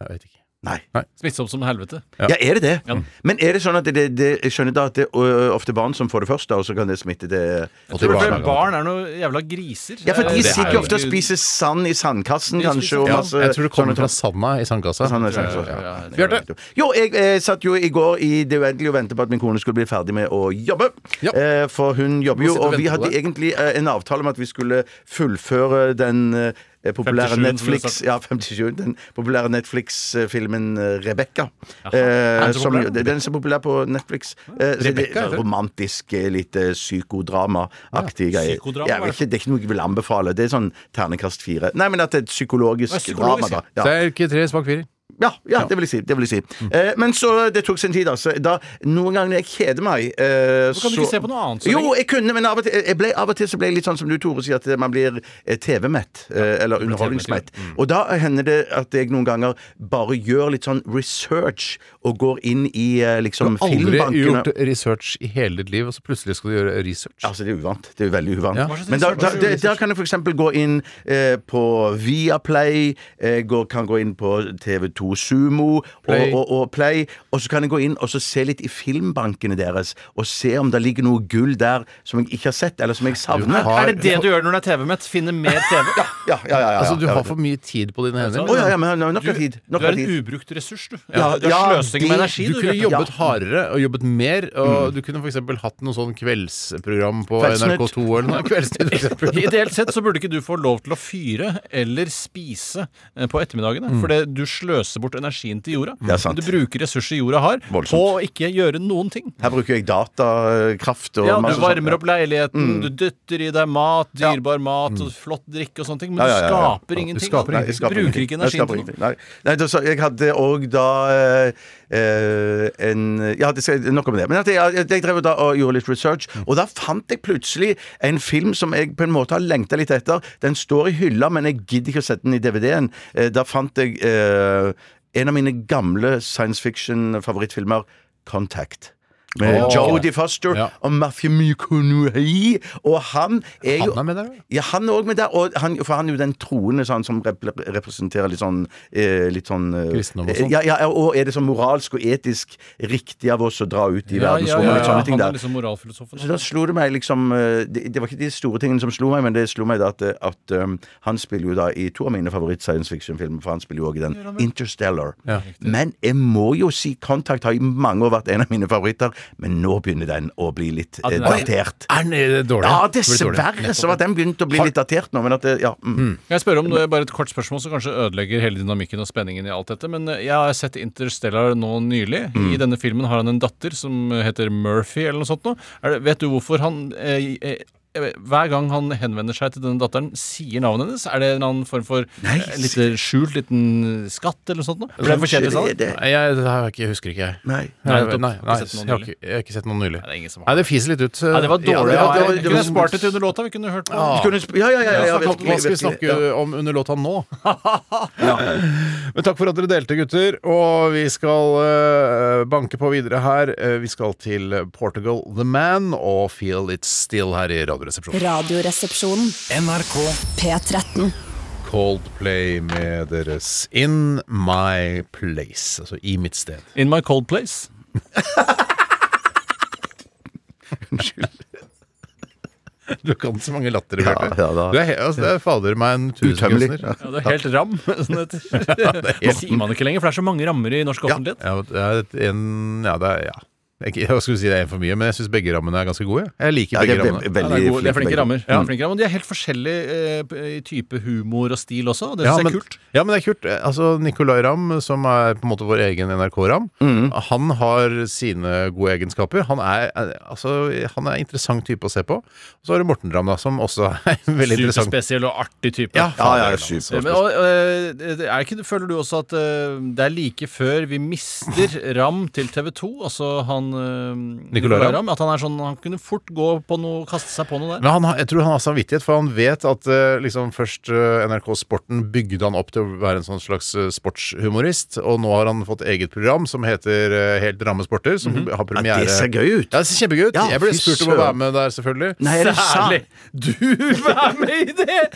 F: Jeg vet ikke.
G: Nei.
H: Smittsomt som helvete.
G: Ja, er det det? Men er det sånn at det, det, jeg skjønner da at det er ofte barn som får det først, da, og så kan det smitte det
F: Og
H: Tror du
F: tilbake.
H: ikke barn er noe jævla griser?
G: Ja, for de
H: Det er
G: sitter jo ofte og
H: egentlig-
G: spiser sand i sandkassen,
H: De spiser
G: kanskje, og
F: Ja,
G: masse
F: jeg tror det
G: sånne
F: kommer
G: ting.
F: fra sanda i sandkassa.
G: Sånn er det,
H: Ja,
G: sånn,
H: ja,
G: sånn.
H: ja.
F: Bjarte!
G: Jo, jeg eh, satt jo i går i det uendelige og ventet på at min kone skulle bli ferdig med å jobbe.
F: Ja.
G: Eh, for hun jobber jo,
F: sitter og
G: og vi
F: venter på
G: hadde
F: det.
G: egentlig eh, en avtale om at vi skulle fullføre den eh, populære
H: 57,
G: Netflix
H: som
G: Ja, 57. Den populære Netflix-filmen eh, 'Rebekka'.
H: Jaha.
G: Eh,
H: Er den så
G: som,
H: populær?
G: jo- den er så populær på Netflix. Eh, så det-
F: Rebecca, eller?
G: romantisk, eh, litt eh, psykodrama-aktig greier.
H: psykodrama,
G: Jeg vet ikke, det er ikke noe jeg vil anbefale. Det er sånn ternekast fire. Nei, men at det er et psykologisk,
H: Ja, psykologisk,
G: drama,
F: Ja.
G: da. Ja.
F: Sterke tre, svak firer.
G: Ja, ja, det vil jeg si. Det vil jeg si. Eh, men så det tok sin tid, altså. Da, noen ganger når jeg kjeder meg eh,
H: Hvorfor kan du ikke se på noe annet så
G: Jo,
H: lenge?
G: jeg kunne, men av og til, jeg ble, av og til så ble jeg litt sånn som du, Tore, sier, at man blir eh, TV-mett. Eh, eller underholdningsmett.
H: Mm.
G: Og da hender det at jeg noen ganger bare gjør litt sånn research og går inn i eh, liksom
F: Aldri
G: filmbankene.
F: gjort research i hele ditt liv, og så plutselig skal du gjøre research.
G: Altså, det er uvant. Det er veldig uvant.
F: Ja.
H: slags
G: Men da, da,
H: research?
G: der, der kan du f.eks. gå inn eh, på Viaplay, eh, går, kan gå inn på TV2 Sumo
F: Play.
G: Og, og, og Play, og så kan jeg gå inn og så se litt i filmbankene deres, og se om det ligger noe gull der som jeg ikke har sett, eller som jeg savner.
F: har-
H: Er det det du gjør når du er TV-mett? Finne mer TV?
G: Ja, ja, ja, ja, ja.
F: Altså, du
G: Ja,
F: har for mye tid på dine hender.
G: Å ja, ja, men nok av tid.
H: Du
G: Nok
H: er
G: av
H: en
G: tid.
H: ubrukt ressurs, du.
G: Ja,
H: du er
G: ja,
H: sløsing med
G: det-
H: energi.
F: Du
H: Du,
F: kunne
H: Bjarte.
F: jobbet hardere og jobbet mer, og du kunne f.eks. hatt noe sånn kveldsprogram på
G: Mm. Kveldsnytt.
F: NRK2 eller noe. Kveldsnytt, for eksempel.
H: Ideelt sett så burde ikke du få lov til å fyre eller spise eh, på ettermiddagene. For det- du sløser bort energien til jorda.
G: Mm. Det er sant.
H: Du bruker ressurser jorda har, på å ikke gjøre noen ting.
G: Her bruker jeg datakraft og
H: Ja,
G: masse sånn, Mm.
H: Du
G: sånt.
H: varmer opp leiligheten, du dytter i deg mat, dyrebar mat og flott drikke og sånne ting, men
G: Mm. Ja, ja,
H: du
G: ja, ja.
H: skaper ingenting.
F: skaper
H: da.
G: Nei, jeg skaper
H: bruker
G: ingenting.
H: ikke
G: Nei, jeg
H: energien
G: skaper
H: til noe.
G: ingenting. Nei. Nei, da, så, jeg hadde òg da eh, eh, en Ja, det skal, nok om det. Men at jeg, jeg, jeg drev jo da og gjorde litt research,
F: Mm.
G: og da fant jeg plutselig en film som jeg på en måte har lengta litt etter. Den står i hylla, men jeg gidder ikke å sette den i DVD-en. Eh, da fant jeg eh, en av mine gamle science fiction-favorittfilmer, Contact. Med
F: Åh.
G: Jodie Foster
F: Ja.
G: og Matthew McConaughey. Og han er jo
F: Han er med der, ja.
G: ja, han er òg med der. Og han, for han er jo den troende sånn, som rep representerer litt sånn, eh, litt sånn eh,
F: Kristendom og sånn.
G: Ja, ja, og er det sånn moralsk og etisk riktig av oss å dra ut i
H: Ja, ja,
G: verdensrommet?
H: ja,
G: Litt
H: ja.
G: sånne ting
H: Han er
G: der.
H: liksom moralfilosofen.
G: Så da slo det meg liksom eh, det, det var ikke de store tingene som slo meg, men det slo meg da at, at um, han spiller jo da i to av mine favoritt-science fiction-filmer, for han spiller jo òg i den Interstellar.
F: Ja.
G: Men jeg må jo si Contact har i mange år vært en av mine favoritter, men nå begynner den å bli litt eh,
H: den er-
G: datert.
F: Er den er det dårlig?
G: Ja,
F: Blir det dårlig?
G: dessverre så var den begynt å bli litt datert nå, men at det, ja. Mm.
H: Kan jeg spørre om det er bare et kort spørsmål som kanskje ødelegger hele dynamikken og spenningen i alt dette, men eh, jeg har sett Interstellar nå nylig. I denne filmen har han en datter som heter Murphy eller noe sånt nå. Er det, vet du hvorfor han eh, eh, hver gang han henvender seg til denne datteren, sier navnet hennes? Er det en annen form for
G: Nei,
H: eh, litt skjult liten skatt eller noe sånt? nå? Ble jeg for kjedelig sånn?
G: Det- det-
F: Nei, jeg, det har jeg ikke, husker ikke jeg.
G: Nei.
F: Nei,
H: nettopp.
F: nei,
H: Har
F: nei,
H: ikke sett noen
F: jeg, har
H: nylig.
F: ikke, jeg har ikke sett noen nylig.
H: Nei, det er ingen som har
F: Nei, det fiser litt ut.
H: Nei, det var
F: Ja,
H: dårlig.
F: det var-
H: Ja,
G: det var-
H: jeg
G: det
H: kunne
G: var- Ah.
H: spart det til under låta. Vi kunne hørt på.
G: Vi kunne sp- Ja, ja, ja, ja, ja,
F: Snakk om- Hva skal vi
G: virkelig, virkelig.
F: snakke
G: Ja.
F: om under låta nå? Men takk for at dere delte, gutter. Og vi skal eh, banke på videre her. Eh, vi skal til Portugal The Man og Feel It Still her i Radioresepsjonen.
A: Radioresepsjonen. NRK P13.
F: Coldplay med deres In My Place, altså i mitt sted.
H: In my cold place.
F: Du kan så mange latter, Bjarte.
G: ja, da-
F: du er, he- altså, det er fader meg en
G: Utømmelig.
F: tusenkroner.
H: Ja, det er helt ram. Sånn heter det. Nå sier man det ikke lenger, for det er så mange rammer i norsk
F: Ja.
H: offentlighet.
F: Ja, det er en, ja, det er, ja. Jeg, jeg skulle si det er en for mye, men jeg syns begge rammene er ganske gode. Jeg liker
G: Ja,
F: begge
G: det er ve-
F: rammene.
H: Ja, det, er
G: veldig
H: gode, det er flinke
G: begge.
H: rammer. Ja,
G: Mm.
H: flinke rammer. De er helt forskjellige eh, p- i type humor og stil også, og det
F: Ja
H: syns jeg
F: men,
H: er kult.
F: ja, men det er kult. Altså, Nicolay Ramm, som er på en måte vår egen NRK-Ramm,
G: Mm.
F: han har sine gode egenskaper. Han er, eh, altså, han er en interessant type å se på. Og så har du Morten Ramm, da, som også er en veldig interessant.
H: Superspesiell og artig type.
F: Ja,
G: Ja, ja,
H: Ja,
F: altså-
G: super.
H: Men, og, øh, det er ikke, føler du også at øh, det er like før vi mister Ram til TV 2, altså han øh, Nicolai
F: Ramm?
H: Ramm, At han er sånn, han kunne fort gå på noe, kaste seg på noe der.
F: Men han, har- jeg tror han har samvittighet, for han vet at eh, liksom, først eh, NRK Sporten bygde han opp til å være en sånn slags eh, sportshumorist, og nå har han fått eget program som heter eh, Helt ramme sporter, som har premiere
G: Mhm. Ja, det ser gøy ut.
F: Ja, det ser kjempegøy ut.
G: Ja,
F: jeg ble
G: fy
F: spurt om å
G: søren.
F: være med der, selvfølgelig.
G: Nei, er det sant?
H: Du er med i det!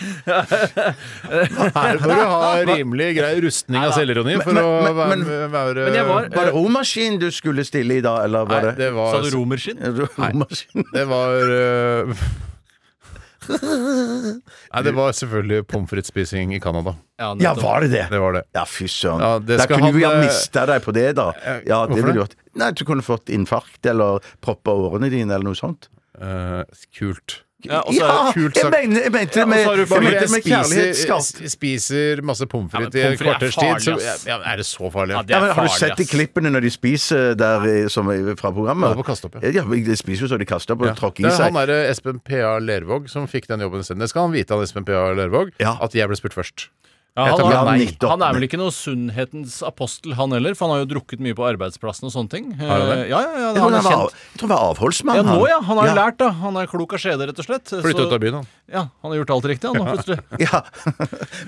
F: Her bør du ha rimelig grei rustning av selvironi for
G: Men-
F: å
G: men-
F: være,
G: men-
F: være
H: Men jeg var- eh,
G: Var det romaskin du skulle stille i da, eller var
F: Nei,
G: det
F: det
H: Sa
F: var
H: du romerskinn?
G: Romaskin?
F: Det var øh, Nei, det var selvfølgelig pommes frites-spising i Canada.
G: Ja, var det det?
F: Det var det.
G: Ja, fy søren.
F: Ja, det
G: da
F: skal
G: kunne
F: han,
G: vi ha
F: eh,
G: mista deg på det, da. Ja,
F: hvorfor
G: det ville
F: det?
G: du hatt. Nei, du kunne fått infarkt eller proppa årene dine eller noe sånt.
F: Eh, kult.
H: Ja, og så er det kult
G: jeg
H: sagt.
G: mener, jeg mente det
H: og
G: med,
H: så har du
G: jeg
H: fått-
G: mente
F: jeg
G: det med
F: spiser,
G: kjærlighetsskatt.
F: spiser masse pommes
H: Ja, men
F: frites i et
H: pommes
F: kvarters
H: frites er
F: tid, så
H: farlig, ass.
F: ja, Er det så farlig?
H: Ja, det
G: Ja,
H: er
G: men Har du
H: farlig,
G: sett de
H: ass.
G: klippene når de spiser der, eh, som, er fra
F: Ja,
G: programmet?
F: på Kast opp, ja.
G: ja. De spiser jo så de kaster opp og
F: Ja.
G: tråkker
F: Det
G: i
F: er
G: seg.
F: han derre Espen PA Lervåg som fikk den jobben isteden. Det skal han vite, han Espen PA Lervåg,
G: Ja.
F: at jeg ble spurt først.
H: Ja,
F: Jeg
H: han,
F: tar
H: er-
F: ja,
H: han,
G: nettopp.
H: er vel ikke noe sunnhetens apostel, han heller, for han har jo drukket mye på arbeidsplassen og sånne ting.
F: Har han det?
H: Eh, Ja, ja, ja,
G: Jeg tror han
H: han er
G: var,
H: kjent.
G: jeg tror han var avholdsmann,
H: Ja, nå ja. Han har jo
G: Ja.
H: lært, da. Han er klok av skjede, rett og slett.
F: Flyttet
H: Så-
F: ut av byen, han.
H: Ja, han har gjort alt riktig, han nå, plutselig.
G: Ja.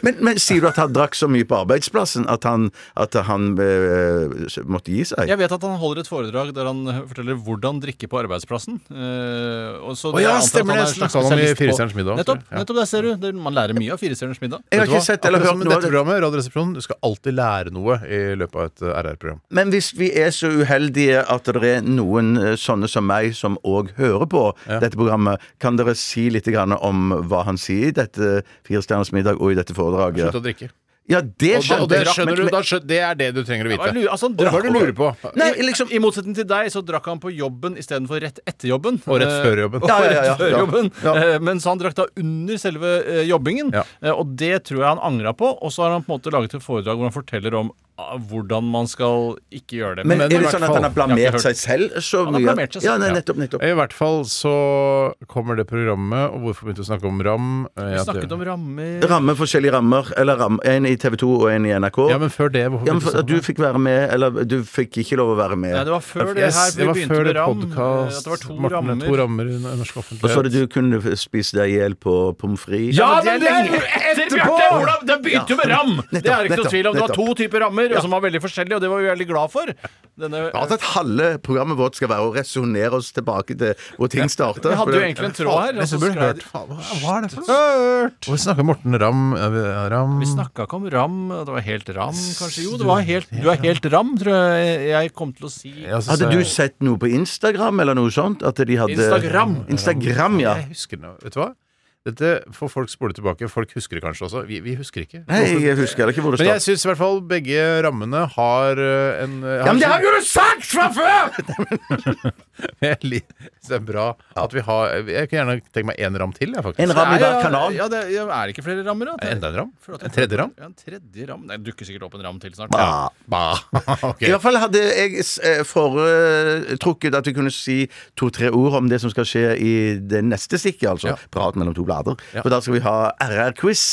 G: Men, men sier du at han drakk så mye på arbeidsplassen at han, at han eh, måtte gi seg?
H: Jeg vet at han holder et foredrag der han eh, forteller hvordan drikke på arbeidsplassen. Eh, og så
F: Å ja,
H: jeg antar at
F: stemmer det.
H: han er en slags
F: Snakket han om i
H: spesialist på-
F: Firestjerners middag, tror
H: Nettopp,
F: jeg. Ja.
H: nettopp der ser du. Det, man lærer mye av Firestjerners middag.
G: Jeg har
F: Vet du
G: ikke
F: hva?
G: sett eller
F: Akkurat
G: hørt
F: som
G: noe
F: dette
G: av det.
F: programmet, Radioresepsjonen, du skal alltid lære noe i løpet av et eh, RR-program.
G: Men hvis vi er så uheldige at det er noen eh, sånne som meg som òg hører på dette programmet, kan dere si litt grann om hva han sier i dette Firestjerners middag og i dette foredraget?
F: Slutt å drikke.
G: Ja, det
F: Og, da, og det
G: skjønte
F: skjønner
G: jeg.
F: du,
G: Men-
F: da skjø- det er det du trenger å
H: Hva
F: vite.
H: er det du- altså, han
F: Og Hva er det du
H: drakk-
F: lurer på?
G: Nei, liksom
H: I motsetning til deg så drakk han på jobben istedenfor rett etter jobben.
F: Og rett
H: Eh,
F: før jobben.
H: Og
G: Ja, ja, ja, ja.
H: rett før
G: Ja.
H: jobben.
G: Ja.
H: Eh, Mens han drakk da under selve eh, jobbingen.
F: Ja.
H: Eh, Og det tror jeg han angra på. Og så har han på en måte laget et foredrag hvor han forteller om ah, hvordan man skal ikke gjøre det.
G: Men er
F: i
G: det
F: hvert
G: sånn at han har
F: fall-
H: Jeg
G: blamert
H: har ikke hørt.
G: seg selv så
H: Han har
G: mye?
H: blamert seg selv. Eh,
G: Ja, nei, nettopp, nettopp.
F: I hvert fall så kommer det programmet, og hvorfor begynte vi å snakke om RAM? Eh,
H: vi
F: at det-
H: snakket om rammer
G: Ramme forskjellige rammer, eller ram, en i TV 2 og en i NRK.
F: Ja, men før det, hvorfor
G: Ja, men
F: begynte
G: for,
F: vi å
G: at du
F: snakke om
G: fikk være med, eller du fikk ikke lov å være med.
H: Nei, det var før det
F: Yes,
H: her.
F: det
H: Vi
F: var
H: begynte
F: før
H: med
F: det
H: ram. eh,
F: podcast,
H: At det var to
F: Morten,
H: rammer.
F: To rammer i norsk
G: Og så var
F: offentlighet.
G: det du kunne spise deg i hjel på pommes frites.
H: etterpå! Det begynte jo med ram!
G: nettopp,
H: det er ikke
G: nettopp,
H: noe tvil om. Det var to
G: nettopp.
H: typer rammer og som var veldig forskjellige, og det var vi veldig glad for. Denne,
G: Rart at halve programmet vårt skal være å resonnere oss tilbake til hvor ting starter.
H: vi hadde
G: For
H: jo
G: det-
H: egentlig en tråd her. altså, og så
F: Dette burde du
H: skrei-
F: hørt. Faen, Hva hva er det for noe? Hvorfor snakker Morten Ram, eh, Ram
H: Vi snakka ikke om ram. og Det var helt ram, kanskje? Jo, det var helt, du er helt ram, tror jeg jeg kom til å si.
F: Ja, så-
G: Hadde
F: så-
G: du sett noe på Instagram eller noe sånt? At de hadde
H: Instagram.
G: Instagram, ja.
F: Jeg husker det. Vet du hva? Dette får folk spole tilbake. Folk husker det kanskje også. Vi, vi husker ikke.
G: Nei, jeg husker heller ikke hvor det
F: Men jeg
G: startet.
F: syns i hvert fall begge rammene har eh, en eh,
G: Ja, men det
F: har-
G: har jo du sagt fra før!
F: Jeg lik- synes det er bra at vi har Jeg kunne gjerne tenkt meg én ram til, jeg, faktisk.
G: En ram i hver kanal.
H: Ja, det, ja, er det ikke flere rammer? Da?
F: Enda en ram?
H: Føler at jeg-
F: En tredje ram?
H: Ja, en tredje ram. Nei, Det dukker sikkert opp en ram til snart.
G: Bah.
F: Bah. Ok.
G: I hvert fall hadde jeg eh, foretrukket at vi kunne si to-tre ord om det som skal skje i det neste stikket, altså prat mellom to blader. For da skal vi ha RR-quiz,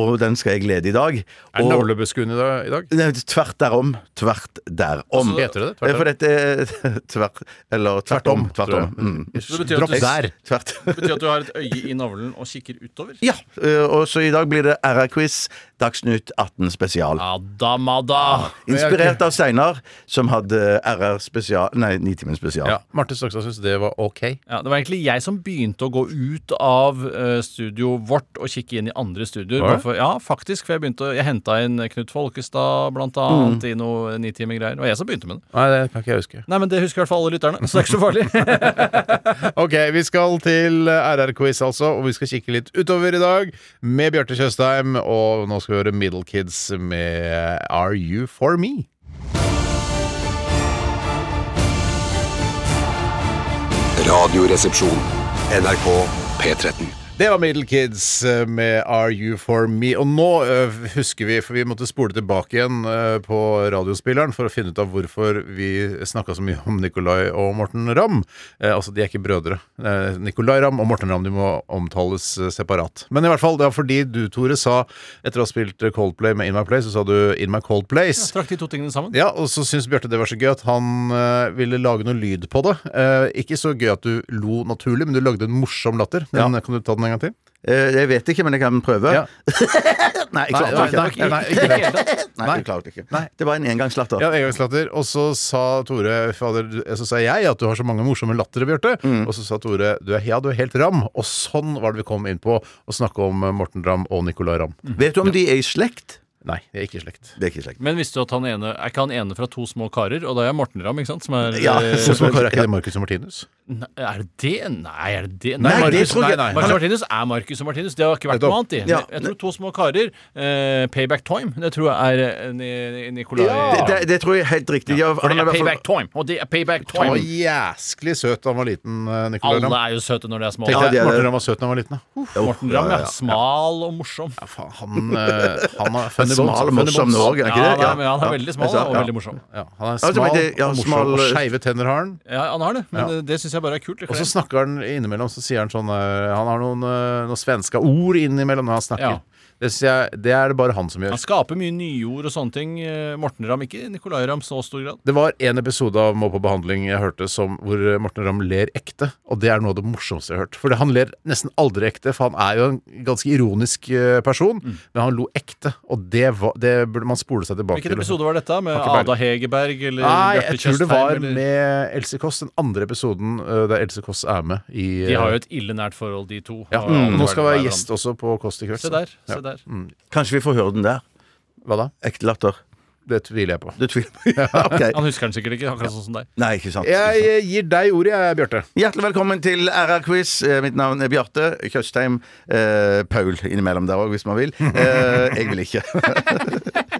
G: og den skal jeg lede i dag.
F: Mm. Er det
G: Og-
F: navlebuskuen i dag? i dag?
G: Nei, Tvert derom. Tvert derom.
F: Altså, Heter det det? Tvert
G: Eh, For dette er tvert Eller tvert om. Tvert
F: tror jeg.
G: om. Mm.
H: Så det betyr at
F: Dropp
H: du-
F: der.
G: Tvert.
H: Det betyr at du har et øye i navlen og kikker utover?
G: Ja, eh, og så i dag blir det RR-quiz Dagsnytt 18 spesial.
H: Adamada!
G: Inspirert av Steinar, som hadde RR spesial Nei, Nitimen spesial.
F: Ja. Marte Stokstad syns det var ok.
H: Ja, det var egentlig jeg som begynte å gå ut av eh, studio vårt og kikke inn i andre studioer.
F: Var det?
H: bare For, ja, faktisk. For jeg begynte å, jeg henta inn Knut Folkestad, blant annet, i noe nitimergreier. Det var jeg som begynte med det.
F: Nei, det kan ikke jeg huske.
H: Nei, men det husker i hvert fall alle lytterne, så det er ikke så farlig.
F: Ok, vi skal til RR-quiz, altså, og vi skal kikke litt utover i dag med Bjarte Tjøstheim. Og nå skal vi høre Middle Kids med Are You For Me?
D: Radioresepsjon. NRK P13.
F: Det var Middle Kids eh, med Are You For Me. Og nå eh, husker vi, for vi måtte spole tilbake igjen eh, på radiospilleren for å finne ut av hvorfor vi snakka så mye om Nicolay og Morten Ramm. Eh, altså, de er ikke brødre. Eh, Nicolay Ramm og Morten Ramm de må omtales eh, separat. Men i hvert fall, det var fordi du, Tore, sa etter å ha spilt eh, Coldplay med In My Place, så sa du In My Cold Place.
H: Strakk de to tingene sammen?
F: Ja, og så syntes Bjarte det var så gøy at han eh, ville lage noe lyd på det. Eh, ikke så gøy at du lo naturlig, men du lagde en morsom latter. Den, Kan du ta den en gang til?
G: Eh, Jeg vet ikke, men jeg kan prøve.
F: Ja.
G: Nei, jeg klarte
F: nei,
G: ikke.
F: nei, ikke det.
G: Nei, jeg klarte ikke. Det var en engangslatter.
F: Ja, engangslatter. Og så sa Tore fader, Så sa jeg at du har så mange morsomme lattere, Bjarte. Og så sa Tore du er, ja, du er helt ram. Og sånn var det vi kom inn på å snakke om eh, Morten Ramm og Nicolay Ramm.
G: Vet du om de er i slekt?
F: Nei, det er ikke i slekt.
G: Det er ikke i slekt.
H: Men visste du at han ene, er ikke han ene fra to små karer? Og da er Morten Ramm, ikke sant? Som er,
G: Ja.
H: eh,
F: Så er ikke det Marcus og Martinus?
H: Nei, er det det? Nei, er det det?
G: Nei, det
H: Marcus-
G: tror jeg-
H: nei, nei. Marcus og Martinus er Marcus og Martinus. Det har ikke vært noe annet, de.
G: Ja.
H: Jeg tror To små karer, eh, Payback Time, det tror jeg er eh, Ni- Nicolai
G: Det, det, det tror jeg er helt riktig. Ja,
H: For
G: han har
H: det er
G: i hvert fall-
H: Payback Time, og det er Payback
F: Han var
H: Time.
F: jæsklig søt da han var liten, eh, Nicolay
H: Alle
F: Ramm.
H: er jo søte når de er små.
G: Ja, de er det.
F: Morten Ramm var søt da han var liten, da.
H: Morten Ramm, ja. Smal og morsom.
F: Ja, faen, han, eh, han er funny
G: Smal og
F: funny
G: morsom nå
F: bones.
G: òg, er han
H: Ja,
G: ikke det?
H: nei, men han er veldig smal
G: Ja.
H: og veldig morsom.
F: Ja, han er
G: Ja,
F: smal
G: det var det- ja,
F: og morsom.
G: smal-
F: og Skeive tenner har han.
H: Ja, han har det, men eh, det syns jeg bare er kult. det
F: Og
H: kan
F: så
H: jeg-
F: snakker han innimellom, så sier han sånn eh, Han har noen, eh, noen svenske ord innimellom når han snakker.
H: Ja.
F: Det, synes jeg, det er det bare han som
H: Han
F: gjør.
H: skaper mye nyord og sånne ting. eh, Morten Ramm, ikke Nicolai Ramm så stor grad.
F: Det var en episode av Må på behandling jeg hørte som, hvor eh, Morten Ramm ler ekte, og det er noe av det morsomste jeg har hørt. For det- han ler nesten aldri ekte, for han er jo en ganske ironisk eh, person,
H: Mm.
F: men han lo ekte, og det, var, det burde man spole seg tilbake
H: Hvilken
F: til.
H: episode liksom- var dette? Med
F: Har ikke peiling.
H: Ada Hegerberg eller
F: Nei,
H: Bjarte
F: jeg tror det
H: Tjøstheim,
F: var
H: eller-
F: med Else Kåss, den andre episoden eh, der Else Kåss er med i eh,
H: De har jo et ille nært forhold, de to.
F: ja,
H: Har aldri
F: Nå skal
H: vært
F: være
H: med
F: gjest også på Kåss til
H: hverandre.
F: kveld.
H: Se
F: så.
H: der. se der
G: Kanskje vi får høre den der.
F: Hva da?
G: Ekte latter.
F: Det tviler jeg på.
G: Du tviler på
H: Han
G: Ok.
H: husker den sikkert ikke, akkurat sånn som deg.
G: Nei, ikke sant.
F: Jeg eh, gir deg ordet, jeg, Bjarte.
G: Hjertelig velkommen til RR-quiz. Eh, Mitt navn er Bjarte Tjøstheim. Eh, Paul innimellom der òg, hvis man vil. Eh, jeg vil ikke.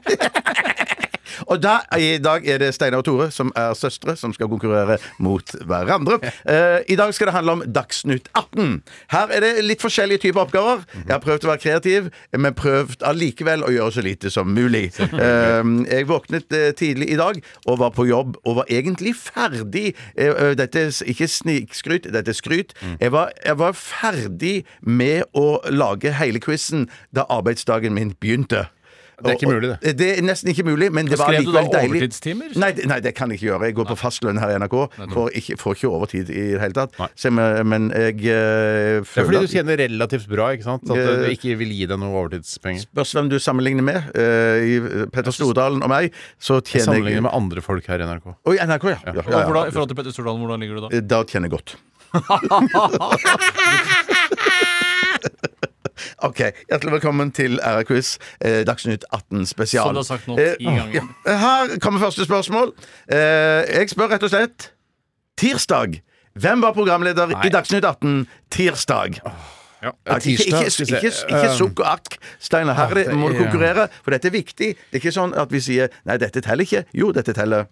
G: Og da, I dag er det Steinar og Tore, som er søstre, som skal konkurrere mot hverandre. Eh, I dag skal det handle om Dagsnytt 18. Her er det litt forskjellige typer oppgaver. Jeg har prøvd å være kreativ, men prøvd allikevel å gjøre så lite som mulig. Eh, jeg våknet eh, tidlig i dag og var på jobb og var egentlig ferdig. Eh, eh, dette er s- ikke snikskryt, dette er skryt.
F: Mm.
G: Jeg, var, jeg var ferdig med å lage hele quizen da arbeidsdagen min begynte. Eh,
F: Det er ikke mulig, det.
G: Det er nesten ikke mulig, men det var
H: Skrev du da
G: likevel deilig.
H: overtidstimer?
G: Nei, det- nei, det kan jeg ikke gjøre. Jeg går på fastlønn her i NRK. Får ikke, får ikke overtid i det hele tatt. Så, men men jeg
F: Det
G: eh,
F: er
G: føler
F: fordi du tjener relativt bra, ikke sant? At eh, du ikke vil gi deg noe overtidspenger.
G: Spørs hvem du sammenligner med. Eh, i Petter Stordalen og meg, så
F: Jeg
G: tjener jeg
F: sammenligner med andre folk her i NRK.
G: Oi, NRK, ja. ja,
H: Og
G: ja,
H: hvordan,
G: ja.
H: I forhold til Petter Stordalen, hvordan ligger du da?
G: Eh, Da tjener jeg godt. OK. Hjertelig velkommen til RR-quiz, eh, Dagsnytt 18 spesial.
H: Som du har sagt nå
G: Eh,
H: ti ganger.
G: ja. Her kommer første spørsmål. Eh, jeg spør rett og slett Tirsdag. Hvem var programleder i Dagsnytt 18 tirsdag? Ja, ikke,
F: Eh, tirsdag,
G: ikke, ikke,
F: skal vi se. Eh.
G: ikke, ikke sukk og akk, Steinar. Her er det,
F: Ja,
G: må du
F: det er-
G: konkurrere, for dette er viktig. Det er ikke sånn at vi sier 'nei, dette teller ikke'. Jo, dette teller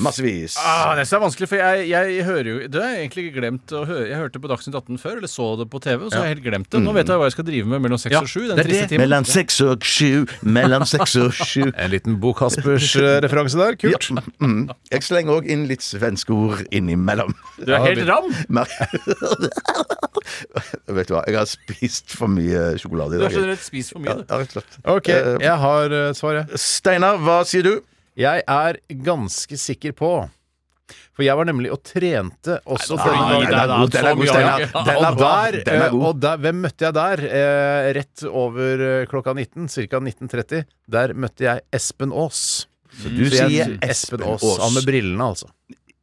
G: massevis.
H: Ah, det synes jeg er vanskelig, for jeg, jeg hører jo Det har jeg egentlig ikke glemt å høre. Jeg hørte på Dagsnytt 18 før, eller så det på TV, og så har jeg helt glemt det. Nå vet jeg hva jeg skal drive med mellom seks
F: Ja,
H: og sju. Den
F: det er
H: triste
F: det.
H: timen.
G: Mellom seks og sju, mellom seks og sju.
F: Eh, En liten Bo Caspers-referanse der.
G: Ja,
F: Kult.
G: mm. Jeg slenger òg inn litt svenske ord innimellom.
H: Du er helt ram!
G: Mer- Vet du hva, jeg har spist for mye sjokolade i
H: Du
G: dag.
H: har generelt spist for
G: Ja,
H: mye. du.
G: rett og slett.
F: Ok,
G: Eh,
F: jeg har eh, svar, jeg.
G: Steinar, hva sier du?
F: Jeg er ganske sikker på For jeg var nemlig og trente også
H: nei,
F: denne
H: nei,
F: gangen.
H: nei, nei,
G: den er god,
H: så mye
G: Steinar.
H: har jeg ikke.
G: Den er
F: og,
G: bra.
F: der,
G: Den er
F: eh,
G: god.
F: og der, hvem møtte jeg der? Eh, rett over eh, klokka 19, ca. 19.30. Der møtte jeg Espen Aas. Så
G: du
F: jeg-
G: sier Espen
F: Espen Aas.
G: Aas.
F: Han med brillene, altså.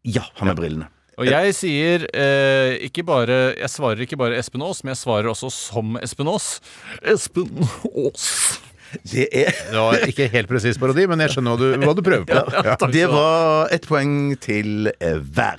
G: Ja, han med brillene.
H: Og jeg sier eh, ikke bare Jeg svarer ikke bare Espen Aas, men jeg svarer også som Espen Aas. Espen Aas.
G: Det er
F: Det var ikke helt presis parodi, men jeg skjønner hva du, hva du prøver på. Ja.
G: Det var et poeng til eh, hver.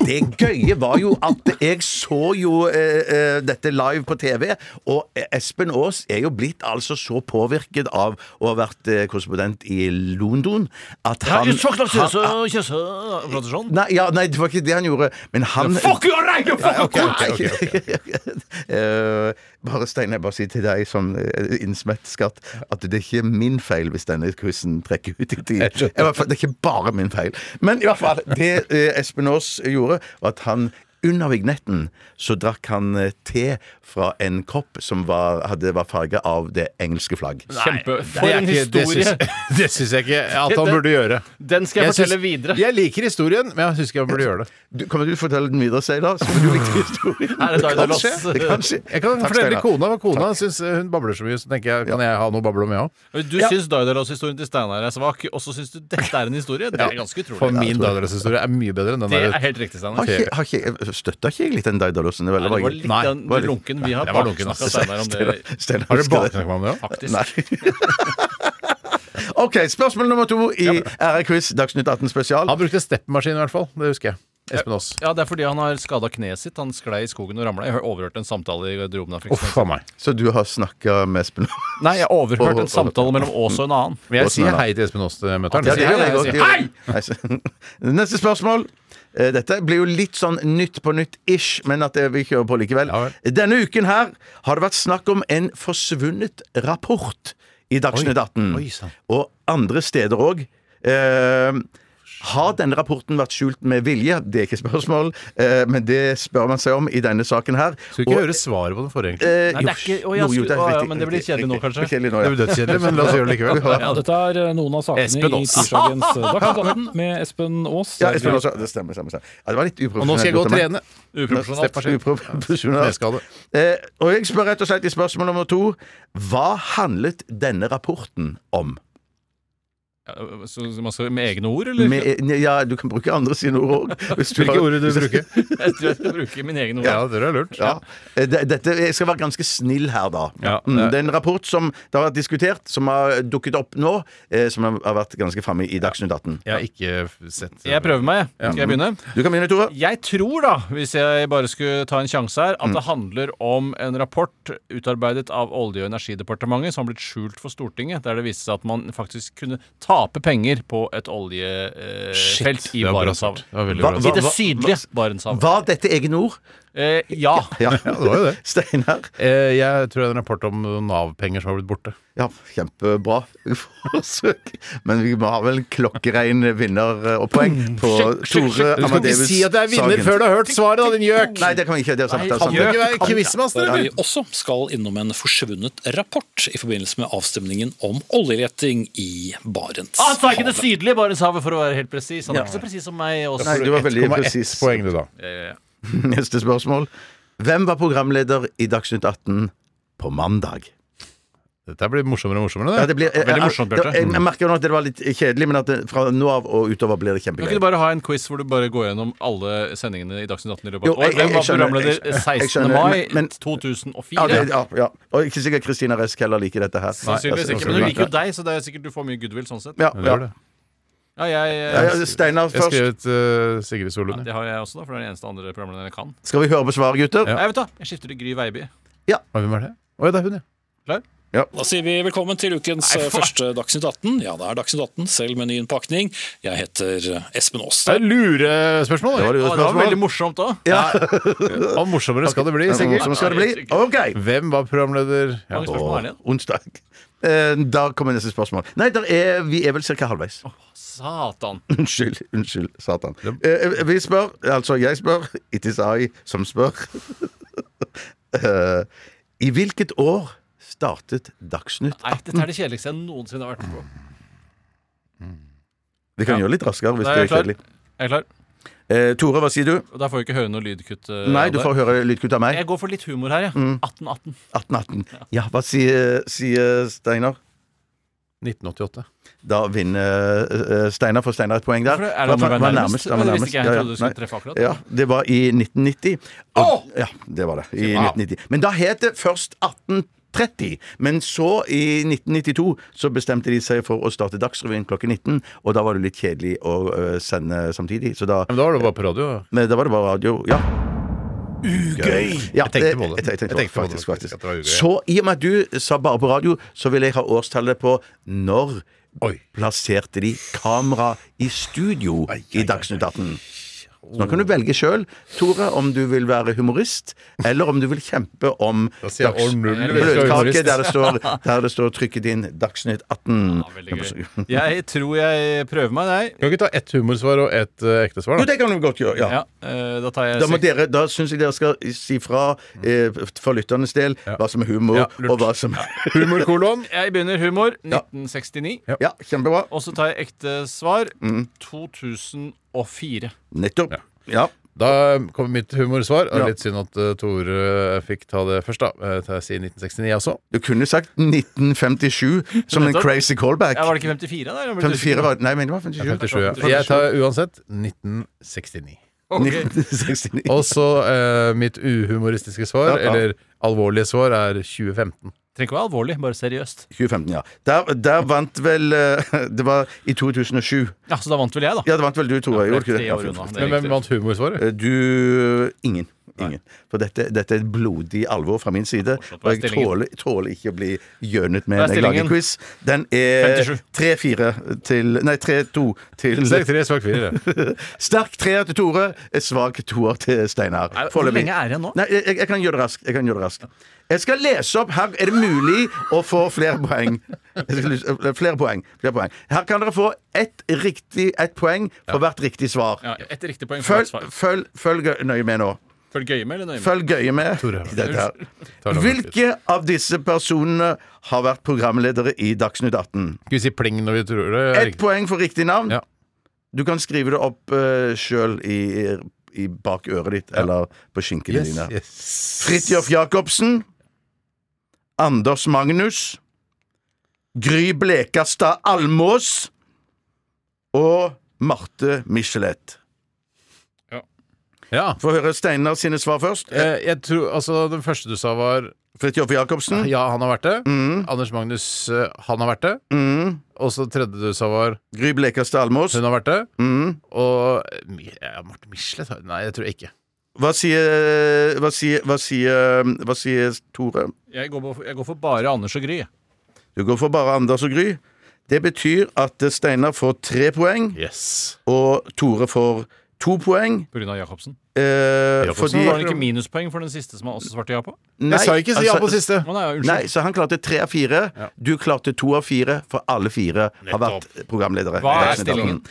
G: Det gøye var jo at jeg så jo eh, eh, dette live på TV, og Espen Aas er jo blitt altså så påvirket av å ha vært eh, korrespondent i London at han, han
H: sånn.
G: Nei, ja, nei, det var ikke det han gjorde, men han
H: Fuck you, right, you fucking
F: ok, ok, ok, ok.
G: Eh, bare Stein, jeg bare sier til deg som eh, innsmett skatt at det er ikke min feil hvis denne quizen trekker ut i tid. I
F: skjønner.
G: hvert fall, det er ikke bare min feil. Men i hvert fall, det eh, Espen Aas gjorde, var at han under vignetten så drakk han eh, te fra en kopp som var, hadde, var farga av det engelske flagg.
H: Kjempe.
F: Det
H: For
F: er
H: en
F: ikke- det
H: historie!
F: syns- Det syns jeg ikke at han burde gjøre.
H: Den skal jeg fortelle
F: syns-
H: videre.
F: Jeg liker historien, men jeg syns ikke han burde gjøre det.
G: Du, kommer du til å fortelle den videre, Steinar? Så får du likte historien.
H: Her er
G: kan
H: Daidalos.
G: skje. Det kan skje.
F: Jeg kan
G: Takk,
F: fortelle
G: Steinar.
F: kona hva kona syns eh, hun babler så mye, så tenker jeg kan jeg ha noe å bable om, jeg òg.
H: Du syns Daidalos-historien til Steinar er svak, og så syns du dette er en historie? Det er ganske
F: For
H: utrolig.
F: min daddelshistorie er mye bedre enn den
H: Det er
F: der.
H: helt riktig, Steinar.
G: Har ikke, har ikke, støtta ikke jeg litt den Daidalosen? Det var-
H: Nei, det var litt
F: Nei,
H: den-
G: var
H: du
G: litt-
H: lunken. Vi har
F: jeg var lunken,
H: baksnakka
F: ass.
H: Steinar om det.
G: Steinar
F: Har dere
G: husker det.
F: baksnakka om det òg?
H: Faktisk.
G: OK, spørsmål nummer to i RR-quiz Dagsnytt 18 spesial.
F: Han brukte steppemaskin i hvert fall, det husker jeg. Espen Aas.
H: Ja, det er fordi han har skada kneet sitt. Han sklei i skogen og ramla. Jeg har overhørt en samtale i garderoben. her, for
F: Uff
H: eksempel.
F: faen meg.
G: Så du har snakka med Espen
H: Nei, jeg har overhørt
G: Overhørt.
H: en samtale mellom Ås og en annen.
F: Men jeg
G: Åsen er
F: sier
G: da.
F: hei til Espen Aas eh, til møteren.
G: Ja, det gjør
H: Hei,
G: jeg
H: hei,
G: godt.
H: sier
G: det gjør jeg. Nei, så- Neste spørsmål. Eh, Dette blir jo litt sånn Nytt på nytt-ish, men at det- vi kjører på likevel.
F: Ja
G: Denne uken her har det vært snakk om en forsvunnet rapport i Dagsnytt 18.
F: Oi, sant.
G: Og andre steder òg. Eh, har denne rapporten vært skjult med vilje? Det er ikke spørsmål, eh, men det spør man seg om i denne saken her.
F: Skulle ikke høre svaret på den forrige, egentlig.
G: Eh,
H: Nei, det er ikke- å, ja,
G: jo, jo, det er
H: skulle- å, ja,
G: riktig,
H: men det blir
G: riktig,
H: kjedelig nå,
G: riktig.
H: kanskje?
G: Kjedelig nå,
F: Det
G: ja.
F: blir dødskjedelig, men la oss gjøre det likevel.
C: Ja, dette er eh, noen av sakene
H: Espen
C: i
H: Aas.
C: tirsdagens eh, Dagsnytt 18 med Espen Aas.
G: Ja, jeg spør også. Det stemmer. stemmer, stemmer. Ja, det var litt
F: Og
G: uprofesjonelt.
F: nå skal jeg gå og
G: gjort av meg.
F: trene.
H: Uprofesjonalt.
G: Uprofesjonelt.
F: Kneskade.
G: Eh, og jeg spør rett og slett i spørsmål nummer to Hva handlet denne rapporten om?
H: Ja, Eh, Så så man skal, med egne ord, eller?
G: Med, eh, ja, du kan bruke andre sine ord òg.
F: Hvilke ord du bruker?
H: Jeg tror jeg skal bruke mine egne ord.
F: Ja, det er lurt.
G: Ja. Eh, det- Dette, jeg skal være ganske snill her, da.
F: Ja.
G: Mm, det er en rapport som det har vært diskutert, som har dukket opp nå, eh, som har har vært ganske framme i Dagsnytt 18.
F: Jeg har ikke sett
H: Jeg prøver meg. Skal jeg begynne?
G: Du kan begynne, Tore.
H: Jeg tror, da, hvis jeg bare skulle ta en sjanse her, at det handler om en rapport utarbeidet av Olje- og energidepartementet som har blitt skjult for Stortinget, der det viste seg at man faktisk kunne tape penger på et
F: Shit,
H: oljefelt i
F: det var bra
H: Barentshavet.
F: svart. Det var veldig
G: Hva-
F: bra
H: I
F: svart.
H: det sydlige Barentshavet.
G: Var dette egne ord?
H: Eh, ja.
G: Ja,
F: Ja, det var jo det.
G: Steinar.
F: Eh, Jeg tror det er en rapport om noen Nav-penger som har blitt borte.
G: Ja, kjempebra forsøk. Men vi må ha vel en klokkerein vinner eh, og poeng på Tore
F: Du skal ikke
G: Amadeus
F: si at det er vinner
G: Sagen.
F: før du har hørt svaret, da, din gjøk!
G: Nei, det kan vi ikke. Det er sant. Det er
F: Kan du
G: sant.
F: ikke være quizmaster,
C: Der
F: eller?
C: vi også skal innom en forsvunnet rapport i forbindelse med avstemningen om oljeleting i Barents.
H: Han sa Ah, ikke det sydlige Barentshavet, for å være helt presis. Han er ikke så presis som meg. Også.
G: Nei, du var veldig
F: 1,1
G: presis.
F: poeng, du, da.
G: Neste spørsmål. Hvem var programleder i Dagsnytt 18 på mandag?
F: Dette blir morsommere og morsommere. Det.
G: Ja,
F: Mm.
G: det blir, eh,
H: Veldig morsomt,
G: eh,
H: Bjarte.
G: Jeg, jeg merker jo nå at det var litt kjedelig, men at det, fra nå av og utover blir det
H: Kan ikke
G: kjempegøy.
H: du bare ha en quiz hvor du bare går gjennom alle sendingene i Dagsnytt 18 i løpet
G: Jo,
H: av et år?
G: jeg- jeg-
H: Hvem var
G: jeg skjønner,
H: programleder
G: jeg- jeg
H: 16.
G: skjønner,
H: mai
G: men-
H: 2004?
G: Ja, det, ja, altså, ja. Og ikke sikkert Kristina Resk heller liker dette her. altså,
H: Sannsynligvis ikke. Men hun liker jo deg, så det er sikkert du får mye goodwill sånn sett.
G: Ja,
F: Hun
G: ja.
F: gjør det.
H: Ja, jeg, eh,
G: Ja, ja, Steinar
F: Jeg har
G: først.
F: skrevet eh, Sigrid Solund.
H: Det har jeg også, da, for det er den eneste andre programlederen jeg kan.
G: Skal vi høre på svaret, gutter?
F: Ja.
H: Nei, vet du, hva, jeg skifter til Gry Veiby.
F: Å, Hvem er det? Å ja, det er hun, ja.
C: Da sier vi velkommen til ukens eh, første Dagsnytt 18. Ja, det er Dagsnytt 18, selv med ny innpakning. Jeg heter eh, Espen Aas.
F: Det er lurespørsmål.
G: Det var
H: Å,
G: lure
H: det var veldig
G: spørsmål.
H: morsomt òg.
F: Og morsommere skal det bli, Sigrid.
G: Som Sånn skal det bli? OK.
F: Hvem var programleder? Ja.
H: Mange spørsmål er det igjen.
G: Onsdag. Eh, Da kommer neste spørsmål. Nei, der er, vi er vel ca. halvveis.
H: Satan.
G: Unnskyld, unnskyld, satan. Eh, Vi spør, altså jeg spør, it is I som spør Eh, I hvilket år startet Dagsnytt?
H: Nei, dette er det kjedeligste jeg noensinne har vært med på.
G: Vi kan gjøre litt raskere hvis
H: Da
G: det
H: er
G: er
H: jeg klar.
G: kjedelig.
H: Jeg er klar.
G: Eh, Tore, hva sier du?
H: Og Da får jeg ikke høre noe lydkutt. eh,
G: Nei,
H: av
G: du
H: det.
G: får Mm. høre lydkutt av meg.
H: Jeg går for litt humor her, jeg. 1818.
G: 1818. Ja, hva sier, sier Steinar?
F: 1988.
G: Da vinner eh, Steinar, får Steinar et poeng der.
H: Hvorfor det? Er det om
G: Hva-
H: du er
G: hva er
H: nærmest?
G: Han var
H: Det visste ikke jeg. Jeg
G: Ja, ja.
H: trodde du skulle
G: Nei.
H: treffe akkurat.
G: Ja, det var i 1990. Og, Ja, det var det. I 1990. Men da het det først 18 30. Men så, i 1992, så bestemte de seg for å starte Dagsrevyen klokken 19, og da var det litt kjedelig å øh, sende samtidig, så da
F: Men da var det bare på radio. da.
G: men da var det bare radio. Ja.
F: Ugøy!
G: ja
F: Jeg tenkte på det.
G: Jeg, jeg tenkte på det, faktisk, faktisk.
F: at det var ugøy.
G: Så i og med at du sa bare på radio, så vil jeg ha årstallet på når
F: Oi.
G: plasserte de kamera i studio
F: ai,
G: i Dagsnytt 18. Så nå kan du velge sjøl, Tore, om du vil være humorist, eller om du vil kjempe om
F: Da sier jeg
G: dags-
F: år null, hvis jeg er
G: bløtkake
F: humorist.
G: der det står, der det står 'trykket inn Dagsnytt 18'.
H: Veldig gøy. Jeg tror jeg prøver meg, jeg.
F: Kan vi ikke ta ett humorsvar og ett eh, ekte svar? Da?
G: Jo, det kan du godt gjøre. ja
H: Ja, eh, da tar jeg
G: Da, må
H: sek-
G: dere, da syns jeg dere skal si fra eh, for lytternes del hva som er humor,
F: Ja, lurt.
G: og hva som
F: Humor kolon.
H: Jeg begynner humor 1969.
G: Ja, kjempebra.
H: Og så tar jeg ekte svar
G: Mm.
H: 2004.
G: Nettopp. Ja.
F: Da eh, kommer mitt humorsvar. Det
G: Ja.
F: er Litt synd at eh, Tore fikk ta det først, da. Eh, tar jeg si altså. 1969 også.
G: Du kunne sagt 1957 som en
H: Nettopp.
G: crazy callback.
H: Ja, var det ikke 54, da? Jeg ble
G: 54
H: usikker.
G: var Nei, men det var 57.
F: 57, ja. Jeg tar uansett 1969.
H: Ok.
G: 1969.
F: Og så eh, mitt uhumoristiske svar,
G: Ja, ja.
F: eller alvorlige svar, er 2015.
H: Trenger ikke å være alvorlig, bare seriøst.
G: 2015, ja. Der, der vant vel eh, Det var i 2007.
H: Ja, Så da vant vel jeg, da.
G: Ja, det vant vel du, Tore.
H: Ja,
G: Gjorde ikke det?
H: tre
G: Ja,
H: år
G: fint,
H: unna.
G: fint.
H: Det er
F: Men hvem
H: riktig.
F: vant humorsvaret?
G: Eh, Du Ingen. Ingen. For dette, dette er blodig alvor fra min side. Og
H: Fortsatt, hva er
G: jeg
H: stillingen?
G: tåler, tåler ikke å bli gjønet med
H: Hva er
G: når jeg lager
H: stillingen?
G: quiz. Den er
H: 57.
G: 3-4 til Nei, 3-2 til
F: Sterk tre, svak fire.
G: Sterk treer til Tore, svak toer til Steinar.
H: Nei, hvor
G: Foreløpig.
H: lenge er det igjen nå?
G: Nei, jeg, jeg- jeg kan gjøre det raskt. Jeg kan gjøre det raskt. Jeg skal lese opp. Her er det mulig å få flere poeng. Jeg skal lyse- Flere poeng. Flere poeng. Her kan dere få ett riktig, ett poeng for hvert riktig svar.
H: Ja, Ett riktig poeng for
G: Følg,
H: hvert svar.
G: følg, følg nøye med nå.
H: Følg gøye med, eller nøye med?
G: Følg gøye med i dette her. Hvilke av disse personene har vært programledere i Dagsnytt 18?
F: Skal vi si pling når vi tror det? er
G: Ett
F: riktig?
G: poeng for riktig navn.
F: Ja.
G: Du kan skrive det opp uh, sjøl i, i bak øret ditt, eller på skinkene
F: Yes,
G: dine.
F: yes.
G: Fridtjof Jacobsen. Anders Magnus. Gry Blekastad Almås. Og Marte Michelet.
F: Ja.
G: Få høre Steinar sine svar først.
F: Eh, Jeg tror, altså, den første du sa, var
G: Fridtjof Jacobsen.
F: ja, han har vært det. Anders Magnus, eh, han har vært det. Og så tredje du sa, var
G: Mm. Gry Blekastad Almås.
F: hun har vært det. Og eh, Mi- ja, Marte Michelet? Nei, jeg tror ikke.
G: Hva sier Hva sier, hva sier, hva sier Tore?
H: Jeg går, på, jeg går for bare Anders og Gry. jeg.
G: Du går for bare Anders og Gry. Det betyr at eh, Steinar får tre poeng,
F: Yes.
G: og Tore får to poeng.
H: På grunn av Jacobsen.
G: Eh,
F: Jacobsen
G: fordi
H: Var det ikke minuspoeng for den siste som han også svarte ja på?
G: Nei,
F: jeg sa ikke si ja
G: altså-
F: på siste.
H: Å, nei, ja, unnskyld.
G: Nei, så han klarte tre av fire. Du klarte to av fire, for alle fire har vært programledere.
H: Hva
G: i
H: er
G: Dagsnytt 18.
H: stillingen?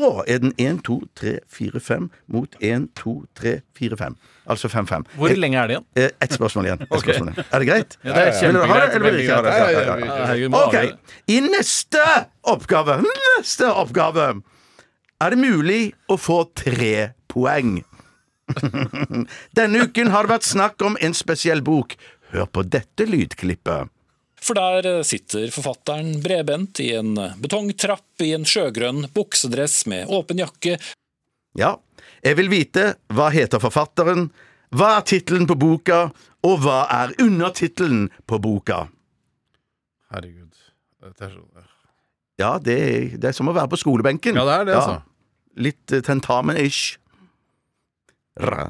G: Nå er den 1, 2, 3, 4, 5 mot 1, 2, 3, 4, 5. Altså 5-5.
H: Hvor lenge er det igjen?
G: Eh, Ett spørsmål igjen. Et
H: Ok.
G: spørsmål igjen. Er det greit?
H: Ja, det
G: Vil
H: er
G: dere ha det,
H: kjempegreit.
G: eller vil dere ikke ha det?
F: Ja, ja, ja,
H: Ja,
F: ja.
H: herregud, må
G: Ok,
H: avgjøre det.
G: i neste oppgave Neste oppgave Er det mulig å få tre poeng Denne uken har det vært snakk om en spesiell bok Hør på dette lydklippet
C: For der eh, sitter forfatteren bredbent i en betongtrapp i en sjøgrønn buksedress med åpen jakke.
G: Ja, jeg vil vite Hva heter forfatteren Hva er titlen på boka Og hva er undertitlen på boka
F: Herregud. Dette er så-
G: Ja, det er, det er som å være på skolebenken
F: Ja, det er det,
G: Ja.
F: altså.
G: Litt eh, tentamen-ish. Ra.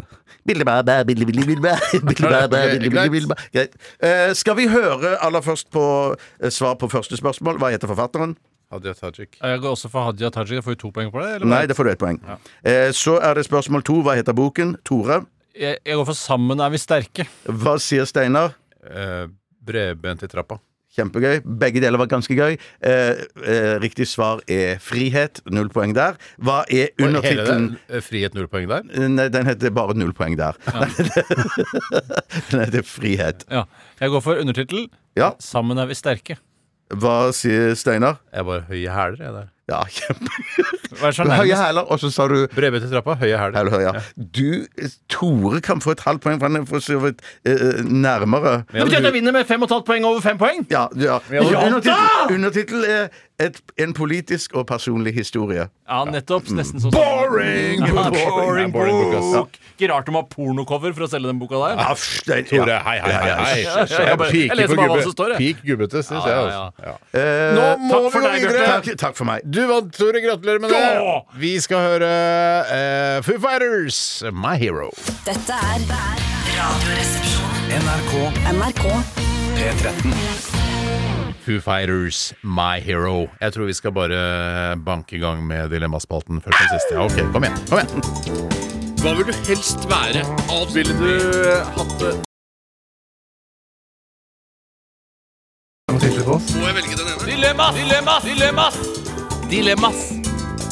G: Billebaba, billebillebilleba, billebaba,
F: Ok,
G: billebillebilleba. Greit. Eh, Skal vi høre aller først på eh, svar på første spørsmål? Hva heter forfatteren?
F: Hadia Tajik.
H: Jeg går også for Hadia Tajik. Jeg får jo to poeng for det. eller?
G: Nei, det får du ett poeng. Eh, Så er det spørsmål to. Hva heter boken? Tore.
H: Jeg, jeg går for Sammen er vi sterke.
G: Hva sier Steinar?
F: Eh, Bredbent i trappa.
G: Kjempegøy. Begge deler var ganske gøy. Eh, eh, Riktig svar er frihet. Null poeng der. Hva er
F: Hele
G: undertittelen?
F: det, eh, frihet null poeng der.
G: Nei, den heter bare null poeng der. den heter frihet.
H: Ja. Jeg går for undertittel
G: Ja.
H: Sammen er vi sterke.
G: Hva sier Steinar?
F: Jeg er bare høy i hæler, jeg der.
G: Ja, kjempe.
H: Hva er så
G: Høye
H: nærmest?
G: hæler, og så sa du
F: Breve til trappa, høye hæler.
G: Hæler, ja. Du, Tore, kan få et halvt poeng, for han er for så vidt eh, eh, nærmere.
H: Det betyr at jeg vinner med 5,5 poeng over 5 poeng!
G: Ja, ja.
H: Ja, da!
G: Undertittel undertittel er et, en politisk og personlig historie.
H: Ja, nettopp. Nesten sånn
F: Boring!
H: Ja,
F: book. Ja, boring
H: boring
F: book, ass.
H: bok! Ikke rart de har pornocover for å selge den boka der.
G: Aff, det, ja.
F: Tore, hei, hei, hei. hei.
H: ja, ja, ja, bare- jeg
F: Pike
H: leser
F: på
H: bare hva
F: gubbe-
H: som står, jeg.
F: Peak gubbete, syns
H: Ja,
F: jeg.
H: ja,
F: Altså. Ja.
G: Eh,
F: Nå må
H: takk
F: vi
H: for
F: gå
H: deg,
F: videre!
G: Takk, takk for meg.
F: Du vant, Tore. Gratulerer med
H: Ja!
F: det. Vi skal høre eh, Foo Fighters, My Hero.
A: Dette er Radioresepsjonen. NRK. NRK.
F: Foo Fighters, My Hero. Jeg tror vi skal bare banke i gang med Dilemmaspalten først og sist. Ja, ok, kom igjen. kom igjen
I: Hva vil du helst være? Ville du Må jeg velge den ene?
H: Dilemmas! Dilemmas! Dilemmas! Dilemmas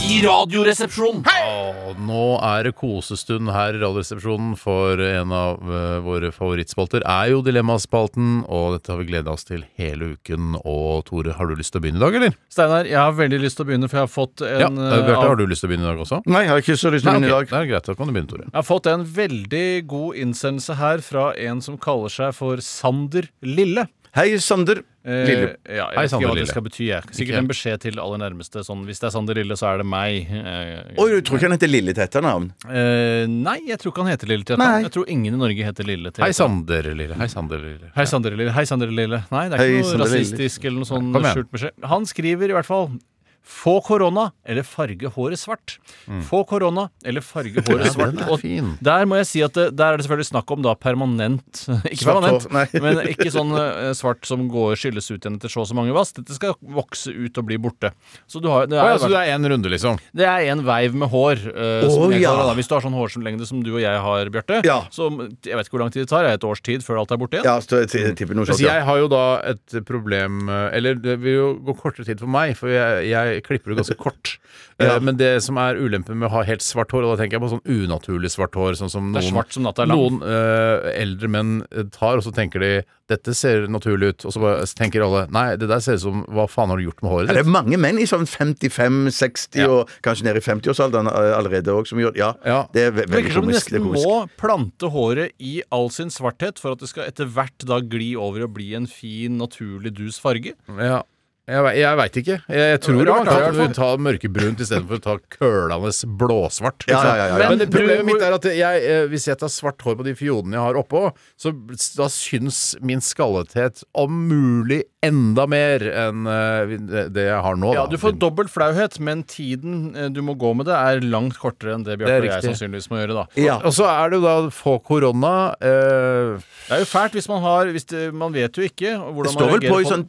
H: i Radioresepsjonen.
F: Og nå er det kosestund her i Radioresepsjonen, for en av eh, våre favorittspalter er jo Dilemmaspalten, og dette har vi gleda oss til hele uken. Og Tore, har du lyst til å begynne i dag, eller?
H: Steinar, jeg har veldig lyst til å begynne, for jeg har fått en,
F: Ja,
H: eh,
F: eh, Bjarte,
H: av-
F: har du lyst til å begynne i dag også?
G: Nei, jeg har ikke så lyst til å begynne i
F: ok,
G: dag.
F: det er greit, da kan du begynne, Tore.
H: jeg har fått en veldig god innsendelse her fra en som kaller seg for Sander Lille.
G: Hei, Sander.
H: Eh,
F: Lille.
H: Ja, jeg
F: Hei,
H: vet ikke
F: Sander
H: hva
F: Lille.
H: det skal bety. Jeg. Sikkert
F: Ikke.
H: en beskjed til aller nærmeste. Sånn, hvis det er Sander Lille, så er det meg. Eh,
G: Oi, du tror ikke han heter Lille til etternavn?
H: eh, nei, jeg tror ikke han heter Lille til
G: Nei.
H: etternavn. Jeg tror ingen i Norge heter Lille til
F: Hei,
H: etternavn.
F: Sander Lille. Hei, Sander Lille.
H: Hei, Sander Lille. Hei, Sander Lille. Nei, det er
G: Hei,
H: ikke noe
G: Sander Lille.
H: rasistisk eller noe sånn
F: Kom igjen.
H: skjult beskjed. Han skriver i hvert fall få korona eller farge håret svart. Få korona eller farge håret
F: Mm. Ja,
H: svart.
F: den er
H: Og
F: fin.
H: der må jeg si at det, der er det selvfølgelig snakk om da permanent Ikke
G: Svart
H: permanent,
G: hår, nei.
H: men ikke sånn eh, svart som går skylles ut igjen etter så og så mange vass. Dette skal vokse ut og bli borte. Så du har, det,
F: Å
H: er,
F: ja, så du er én runde, liksom?
H: det er en veiv med hår. eh,
G: Å,
H: som jeg
G: ja.
H: kaller det da. Hvis du har sånn hårlengde som du og jeg har, Bjarte,
G: Ja.
H: så jeg vet ikke hvor lang tid det tar, jeg, et års tid før alt er borte igjen.
G: Ja, så jeg t- tipper noe
F: Mens
G: sånt. Ja.
F: jeg har jo da et problem eh, Eller det vil jo gå kortere tid for meg, for jeg, jeg klipper det ganske kort. Eh, Men det som er ulempen med å ha helt svart hår, og da tenker jeg på sånn unaturlig svart hår Sånn som
H: Det er
F: noen,
H: svart som natta er lang.
F: noen eh, eldre menn eh, tar, og så tenker de 'dette ser naturlig ut', og så bare, så tenker alle 'nei, det der ser ut som hva faen har du gjort med håret
G: Det er
F: ditt'?
G: mange menn i sånn 55-60
F: Ja.
G: og kanskje ned i 50-årsalderen eh, allerede òg som gjør ja,
F: Ja.
G: Det er ve
H: Det
G: veldig
H: virker som du
G: komisk. Det
H: nesten
G: er komisk.
H: må plante håret i all sin svarthet for at det skal etter hvert da gli over og bli en fin, naturlig dus farge.
F: Ja. Jeg, ve- jeg veit ikke. Jeg, jeg tror
H: Det er
F: man
H: rart, i hvert
F: kan
H: fall.
F: ta mørkebrunt istedenfor å ta kølende blåsvart. ikke
G: Ja,
F: sant?
G: ja, ja, ja.
F: Men
H: Men
F: problemet
H: du-
F: mitt er at jeg, eh, hvis jeg tar svart hår på de fjodene jeg har oppå, så da syns min skallethet om mulig enda mer enn eh, det jeg har nå.
H: Ja,
F: da.
H: Du får dobbelt flauhet, men tiden eh, du må gå med det, er langt kortere enn det
F: Det
H: Bjarte og
F: er
H: jeg
F: riktig.
H: sannsynligvis må gjøre. da
G: Ja.
F: Og så er det jo da få korona. eh,
H: Det er jo fælt hvis man har hvis det, Man vet jo ikke
G: Det
H: hvordan
G: står
H: man
G: vel på
H: reagerer
G: i sånn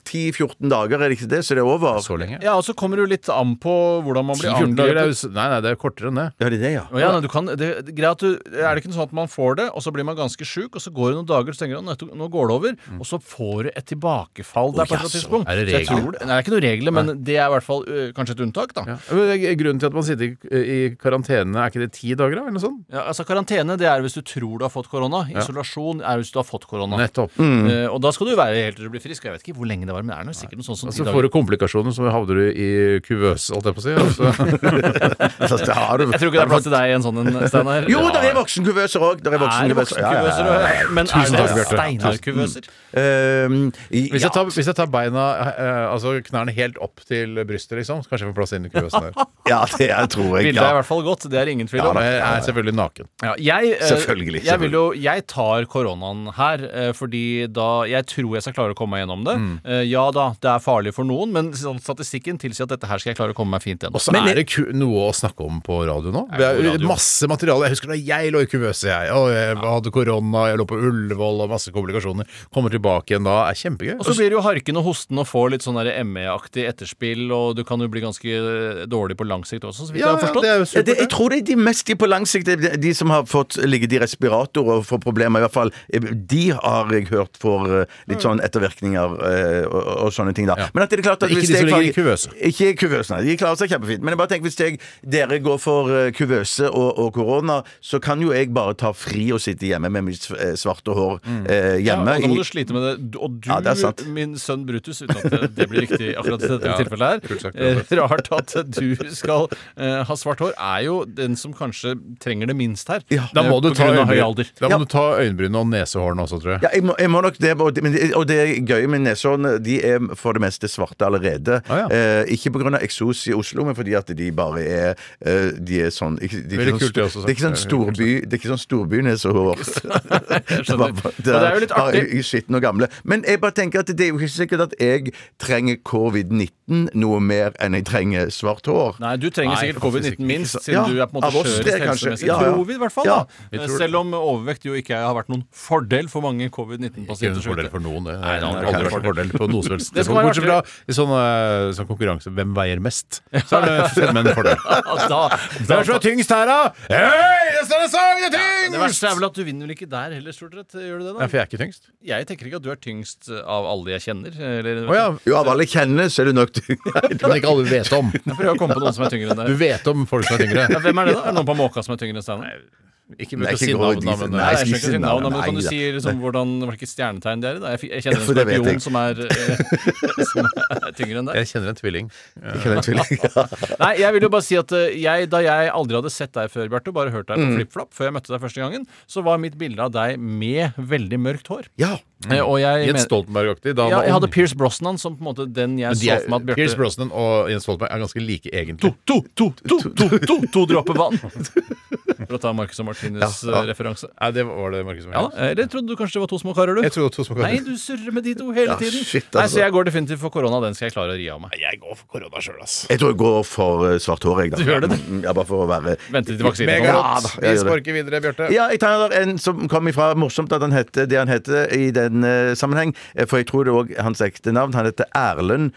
G: 10-14 dager, er det ikke det? Så det er over?
F: så lenge?
H: Ja, og så kommer det jo litt an på hvordan man blir
F: 10-14 dager? Det er jo,
H: angrepet.
F: s- nei, nei, det er kortere enn det.
G: Ja, det er det, ja.
H: Å Ja, nei, du kan, det, det, er greit at du, er det ikke noe sånn at man får det, og så blir man ganske sjuk, og så går det noen dager, så tenker man at nå går det over, og så får du et tilbakefall der på et eller annet
F: jaså,
H: tidspunkt.
F: er det
H: Så jeg
F: regler?
H: tror det- Nei, det er ikke noen regler, men det er i hvert fall ø, kanskje et unntak, da. Ja.
F: Ja, men det er Grunnen til at man sitter i, i karantene, er ikke det ti dager, da? Eller noe sånt?
H: altså Karantene det er hvis du tror du har fått korona. Isolasjon er hvis du har fått korona.
F: Nettopp.
H: Eh, og da skal du være helt til du blir frisk. Jeg vet ikke hvor lenge det var, men det er noe, sikkert noe sånt som
F: Og
H: ti
F: så Altså, får
H: dager.
F: du komplikasjoner, så havner du i kuvøse, holdt jeg på å si. og så-
G: Altså, det har du.
H: Jeg tror ikke det er plass til deg i en sånn en, Steinar.
G: Jo, det
H: Ja.
G: er voksenkuvøser òg! Det er
H: Er det
G: voksenkuvøser. Ja, ja,
H: voksenkuvøser?
G: ja.
H: Men er
F: takk,
H: det
F: Bjarte.
H: Steinar-kuvøser?
G: Ehm, i-
F: Hvis,
G: ja.
F: jeg tar, hvis jeg tar beina, eh, altså knærne helt opp til brystet, liksom, så kanskje jeg får plass inn i kuvøsen der.
G: Ja, det er, tror jeg.
H: Bildet er i
G: Ja.
H: hvert fall godt, det er ingen tvil
F: Ja,
H: om.
F: men jeg er selvfølgelig naken.
H: Ja, jeg, eh,
G: Selvfølgelig,
H: Jeg, vil jo, jeg tar koronaen her, eh, fordi da jeg tror jeg skal klare å komme meg gjennom det.
F: Mm.
H: Eh, ja da, det er farlig for noen, men sånn statistikken tilsier at dette her skal jeg klare å komme meg fint gjennom.
F: Og så er det ku noe å snakke om på radio nå. Det er
H: god
F: jo
H: radio.
F: masse materiale. Jeg husker da jeg lå i kuvøse, jeg. Og jeg hadde korona, jeg lå på Ullevål og masse komplikasjoner. Kommer tilbake igjen da. er kjempegøy.
H: Og så blir det jo harken og hosten og får litt sånn der ME-aktig etterspill, og du kan jo bli ganske eh, dårlig på lang sikt også, så vidt
F: ja,
H: jeg har
F: ja,
H: forstått.
F: det er jo
G: Ja, det,
F: supert.
G: jeg tror det er de mest de på lang sikt, det er de som har fått ligget i respirator og får problemer, i hvert fall.
F: Mm.
G: De har jeg hørt får eh, litt sånn ettervirkninger eh, og, og sånne ting, da. Men at er det klart at
F: Ikke
G: hvis
F: de som
G: jeg
F: ligger i
G: farger-
F: kuvøse.
G: Ikke i kuvøse, nei. De klarer seg kjempefint. Men jeg bare tenker, hvis jeg, dere går for eh, kuvøse og, og korona, så kan jo jeg bare ta fri og sitte hjemme med mitt eh, svarte hår
F: Mm.
G: eh,
H: Ja,
G: hjemme.
H: og da må
G: i-
H: du slite med det. Og du,
G: Ja, det er sant.
H: min sønn Brutus, uten at det- det blir riktig akkurat i dette
F: Ja,
H: tilfellet
F: kult sagt,
H: her. eh, Rart at du skal eh, ha svart hår, er jo den som kanskje trenger det minst her.
G: Ja.
F: Da må
H: Eh,
F: du
H: på
F: ta,
H: grunn av høy
F: øyenbryn-
H: alder.
F: da må
G: Ja.
F: du ta øyenbrynene og nesehårene også, tror jeg.
G: Ja, jeg må, jeg må nok det, og det, men det- og det er gøye med nesehårene, de er for det meste svarte allerede.
F: Ah, ja.
G: eh, ikke pga. eksos i Oslo, men fordi at de bare er eh, De er sånn ikke, de er
F: Veldig kult,
G: ikke sånn,
F: det
G: sto-
F: også,
G: Det er ikke sånn
F: sagt. Det er
G: storby Det er ikke sånn storbynesehår. Det er bare-
H: det er jo litt
G: bare
H: artig.
G: i- i skitten og gamle. Men jeg bare tenker at det er jo ikke sikkert at jeg trenger covid-19 noe mer enn jeg trenger svart hår.
H: Nei, du trenger
F: Nei,
H: sikkert
F: faktisk
H: covid-19 minst, siden
G: Ja,
H: du er på en måte
G: av oss
H: skjørest
G: tre, kanskje.
H: helsemessig.
G: Ja, ja.
H: Tror vi, i hvert fall.
G: Ja,
F: vi
H: da. Eh,
F: tror det.
H: Selv om overvekt jo ikke har vært noen fordel for mange
F: Ikke
H: covid-19-pasienter.
F: en
H: så vidt
F: fordel
H: jeg-
F: for noen, det.
H: Nei, det
F: det
H: har
F: er
H: aldri
F: aldri
H: vært
F: vært fordel på noe som helst.
H: Det skal være
F: Bortsett fra i sånn, eh, sånn konkurranse hvem veier mest, så er det fremmed en fordel.
H: Ja, Altså, da,
F: Hvem som er tyngst her, da? Hei, det står en sang, det er
H: det verste er
F: tyngst!
H: vel at du vinner vel ikke der heller, stort sett. Gjør du
F: Ja,
H: det, da?
F: for jeg er ikke tyngst.
H: Jeg tenker ikke at du er tyngst av alle jeg kjenner. Eller,
F: Å ja.
G: Jo, av alle kjenner, så er det nok du.
F: Men ikke alle vet om.
H: Jeg prøver å komme på noen som er tyngre enn deg.
F: Du vet om folk som er
H: Ja,
F: tyngre.
H: hvem er det, da? Er det noen på måka som er tyngre enn Steinar?
F: Ikke
G: Nei,
F: begynt å
G: ikke
F: si
G: gå
F: navn,
G: dit.
F: da, men eh,
G: Nei,
H: Nei, jeg
G: ikke
H: skjønner ikke
G: si
H: sitt navn, da, men
G: navn,
H: kan du
G: nei,
H: si liksom hvordan, hvilke stjernetegn det er i? da? Jeg, fikk- jeg
G: Ja,
H: kjenner
G: for
H: en som
G: det vet
H: er
G: jeg.
H: pion, som er, eh, som er tyngre enn deg.
F: jeg kjenner en tvilling.
G: Jeg kjenner en tvilling.
H: Nei, jeg vil jo bare si at eh, jeg, da jeg aldri hadde sett deg før, Bjarte, bare hørt deg
G: Mm.
H: på FlippFlapp før jeg møtte deg første gangen, så var mitt bilde av deg med veldig mørkt hår.
G: Ja.
H: Eh, Og jeg,
F: Jens
H: mener-
F: Stoltenberg-aktig. da han
H: ja,
F: var
H: jeg hadde
F: ung.
H: Pierce Brosnan som på en måte den jeg
F: De
H: så
F: er-
H: for meg at
F: Pierce
H: Bjarte
F: Brosnan og Jens Stoltenberg er ganske like, egentlig.
H: To, to, to, to, to, to, to dråper vann! For å ta Marcus og Martinus'
G: Ja, ja.
H: eh, referanse.
F: Nei, det var det Markus som
H: Ja, Eh.
F: var.
H: Eller trodde du kanskje det var to små karer, du?
F: Jeg tror det var to som
H: Nei, du surrer med de to hele
G: Ja,
H: tiden.
G: shit,
H: Nei,
G: altså.
H: Så jeg går definitivt for korona. Den skal jeg klare å ri av meg.
F: Jeg går for korona sjøl, ass.
G: Jeg tror jeg går for eh, svart hår, jeg, da.
H: Du gjør det, du.
G: Mm, Ja, bare for å være
H: Vente til vaksinen
G: Ja,
H: kommer.
F: Megarått.
G: da, jeg
F: Vi
G: gjør det.
F: sparker videre, Bjarte.
G: Ja, jeg tar en som kom ifra Morsomt at han hette det han hette i den eh, sammenheng. Eh, For jeg tror det er òg hans ekte navn. Han heter Erlend.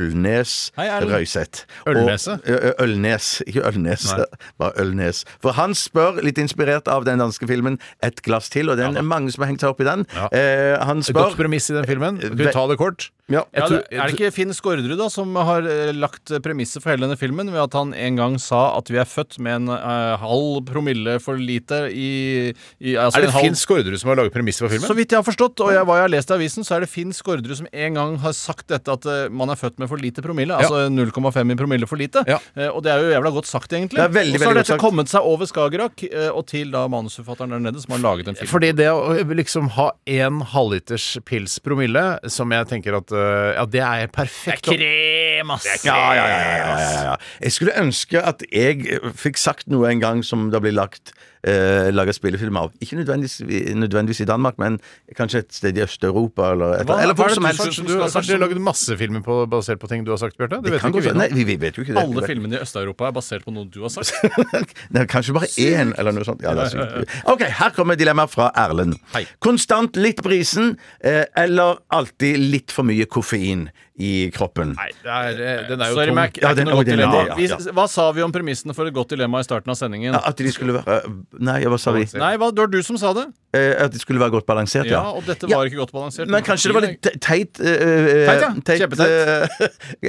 G: Ølnes
H: Hei, Erlend.
G: Røiseth.
F: Ølnese?
G: Og- Ø- Ø- Ølnes, ikke Ølnes. Bare Ølnes. For han spør, litt inspirert av den danske filmen 'Et glass til', og det er mange som har hengt seg opp i den.
F: Ja.
G: Eh, han
F: Et godt
G: spør
F: premiss i den filmen. Skal vi
G: Ve-
F: ta Eh, det kort?
G: ja.
H: Ja,
F: Jeg
H: det,
F: tror-
H: er det ikke Finn Skårderud da som har eh, lagt premisset for hele denne filmen ved at han en gang sa at vi er født med en eh, halv promille for lite i, i altså
F: Er det
H: en halv-
F: Finn Skårderud som har laget premisset for filmen?
H: Så vidt jeg har forstått, og jeg, hva jeg har lest i avisen, så er det Finn Skårderud som en gang har sagt dette at eh, man er født med for lite promille. Altså 0,5 i promille for lite.
F: Ja.
H: Eh, og det er jo jævla godt sagt, egentlig.
G: Det er veldig,
H: og så har
G: veldig
H: dette
G: godt sagt.
H: kommet seg over Skagerrak eh, og til da manusforfatteren der nede som har laget en film.
F: Fordi det å liksom ha en halvliters pils promille, som jeg tenker at øh, Ja, det er perfekt.
H: Krem, ass!
G: Ja, ja, ja, ja, ja, ja. Jeg skulle ønske at jeg eh, fikk sagt noe en gang som det blir lagt eh, laget spillefilm av. Ikke nødvendigvis, nødvendigvis i Danmark, men kanskje et sted i Øst-Europa eller et
H: Hva-
G: eller
H: hva
G: hvor
H: er det
G: som
H: du
G: helst.
F: Kanskje
H: synes som
F: du
H: skal ha
F: har
H: sagt
F: kanskje
H: som-
F: laget masse filmer på, basert på ting du har sagt, Bjarte? Det, vet
G: Kan
F: vi ikke
G: godt
F: vi
G: være-
F: nå.
G: Nei, vi, vi vet jo ikke det.
H: Alle filmene i Øst-Europa er basert på noe du har sagt.
G: Nei, kanskje bare én, eller noe sånt. Ja, det er sykt. Ok, her kommer dilemmaet fra Erlend. Konstant litt brisen, eh, eller alltid litt for mye koffein i kroppen.
F: Nei, det er, eh, den er jo
H: Sorry,
F: tung.
H: Mac. Det
G: Ja,
H: er ikke
G: den-
H: noe
G: oi,
H: godt
G: den er-
H: dilemma.
G: ja,
H: Vi,
G: ja.
H: hva sa vi om premissene for et godt dilemma i starten av sendingen?
G: Ja, At de skulle være eh, Nei, hva sa vi?
H: Nei, hva, det var du som sa det.
G: Eh, At de skulle være godt balansert,
H: Ja,
G: ja.
H: Og dette
G: Ja.
H: var ikke godt balansert.
G: Men kanskje det var litt te- teit eh, eh,
H: Teit, ja.
G: eh,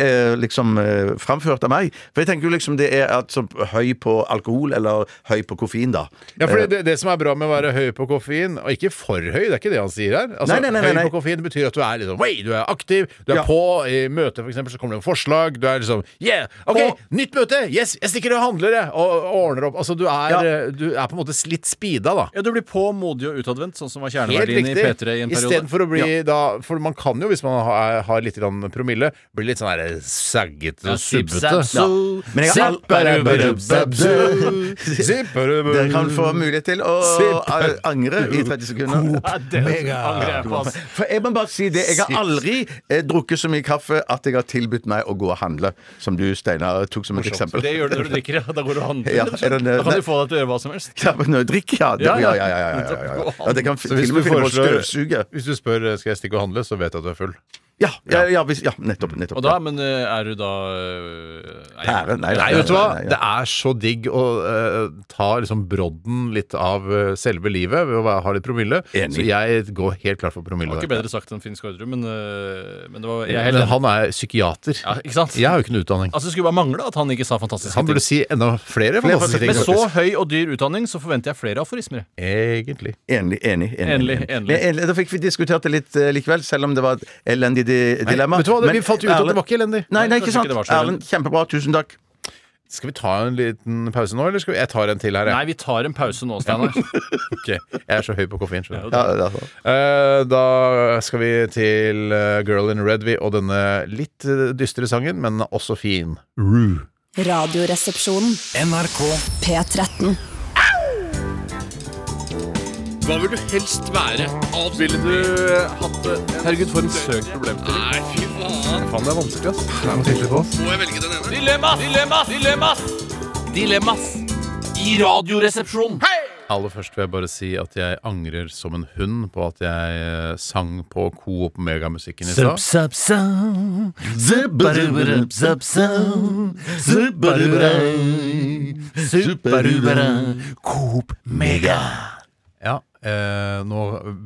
G: eh, Liksom eh, framført av meg. For jeg tenker jo liksom det er at så høy på alkohol eller høy på koffein, da. Eh,
F: Ja, for det, det som er bra med å være høy på koffein, og ikke for høy, det er ikke det han sier her altså,
G: Nei, nei, nei, nei, nei.
F: Høy på koffein betyr at du er liksom Wei, du er aktiv, du er
G: Ja.
F: på i møte, for eksempel, så kommer det en forslag, du er liksom Yeah, OK,
G: På.
F: nytt møte! Yes, jeg stikker og handler, jeg! Og, og ordner opp. Altså, du er,
G: Ja.
F: eh, du er på en måte litt speeda, da.
H: Ja, Du blir på modig og utadvendt, sånn som var
F: Helt
H: kjerneverdien i P3 i
F: riktig.
H: en periode.
F: Istedenfor å bli da For man kan jo, hvis man har, har litt grann promille, bli litt sånn der saggete og subbete.
G: Men jeg har all-
F: Zipperubberubberubsu. Zipperubberubberubsu.
G: Dere kan få mulighet til å
F: Sipp.
G: a- angre i 30 sekunder.
H: Ja, det angrer jeg på, ass.
G: For jeg må bare si det, jeg har aldri eh, drukket så mye kaffe at jeg har tilbudt meg å gå og handle, som du, Steinar, tok som et eksempel.
H: Det gjør du når du drikker, ja. Da går du og handler.
G: Ja,
H: rett og
G: er
H: slett.
G: det-
H: da kan du få deg til å gjøre hva som helst.
G: Ja, men når jeg drikker, ja. Det,
H: Ja,
G: ja,
H: ja.
G: ja, ja, ja, ja, ja, ja. ja det kan
F: Så hvis
G: til og
F: du
G: med finne på å
F: foreslår-
G: støvsuge.
F: Hvis du spør eh, skal jeg stikke og handle, så vet jeg at du er full.
G: Ja, ja, ja, hvis, ja nettopp. nettopp
H: Og da,
G: ja.
H: men eh, er du da eh, nei,
G: Pære? Nei,
F: Nei, vet du hva?
G: nei,
F: Det er så digg å eh, ta liksom brodden litt av eh, selve livet ved å være- ha litt promille.
G: Enig.
F: Så jeg går helt klart for promille.
H: Det var ikke
F: der.
H: bedre sagt enn Finn Skårderud, men, eh, men det var jeg er helt
F: Men
H: enig.
F: han er psykiater.
H: Ja, ikke sant?
F: Jeg har jo ikke noe utdanning.
H: Altså, det skulle bare mangle at han ikke sa fantastiske
F: Han burde si
H: ting.
F: enda flere fantastiske ting.
H: Med så
F: faktisk.
H: høy og dyr utdanning så forventer jeg flere aforismer.
F: Egentlig.
G: Enig. enig, enig,
H: Endelig,
G: enig. Men
H: endelig.
G: endelig, Da fikk vi diskutert det litt eh, likevel, selv om det var et elendig di- dilemma.
F: vet du hva? Det-
G: Men-
F: vi falt jo ut at det
G: Erlend-
F: var ikke elendig.
G: Nei, nei
H: Kanskje
G: ikke sant.
H: ikke det var så
G: Erlend, kjempebra. Tusen takk.
F: Skal vi ta en liten pause nå, eller skal vi Jeg tar en til her, jeg.
H: Nei, vi tar en pause nå, Steinar.
F: Ok. Jeg er så høy på koffein. skjønner du.
G: Ja, det er bra.
F: Eh, Da skal vi til eh, Girl in Red Vi og denne litt eh, dystre sangen, men også fin. Rue.
A: Radioresepsjonen. NRK P13.
I: Hva vil du helst være? Alt ville du
H: Herregud, for eh, en søk problem.
I: Nei, fy faen.
F: Faen, det er vanskelig, ass. Det er noe tydelig på oss.
I: Må jeg velge den ene?
H: Dilemmas! Dilemmas! Dilemmas! Dilemmas i Radioresepsjonen.
F: Aller først vil jeg bare si at jeg angrer som en hund på at jeg eh, sang på Coop Megamusikken i stad.
G: Mm,
H: Coop Mega.
F: Ja, eh, nå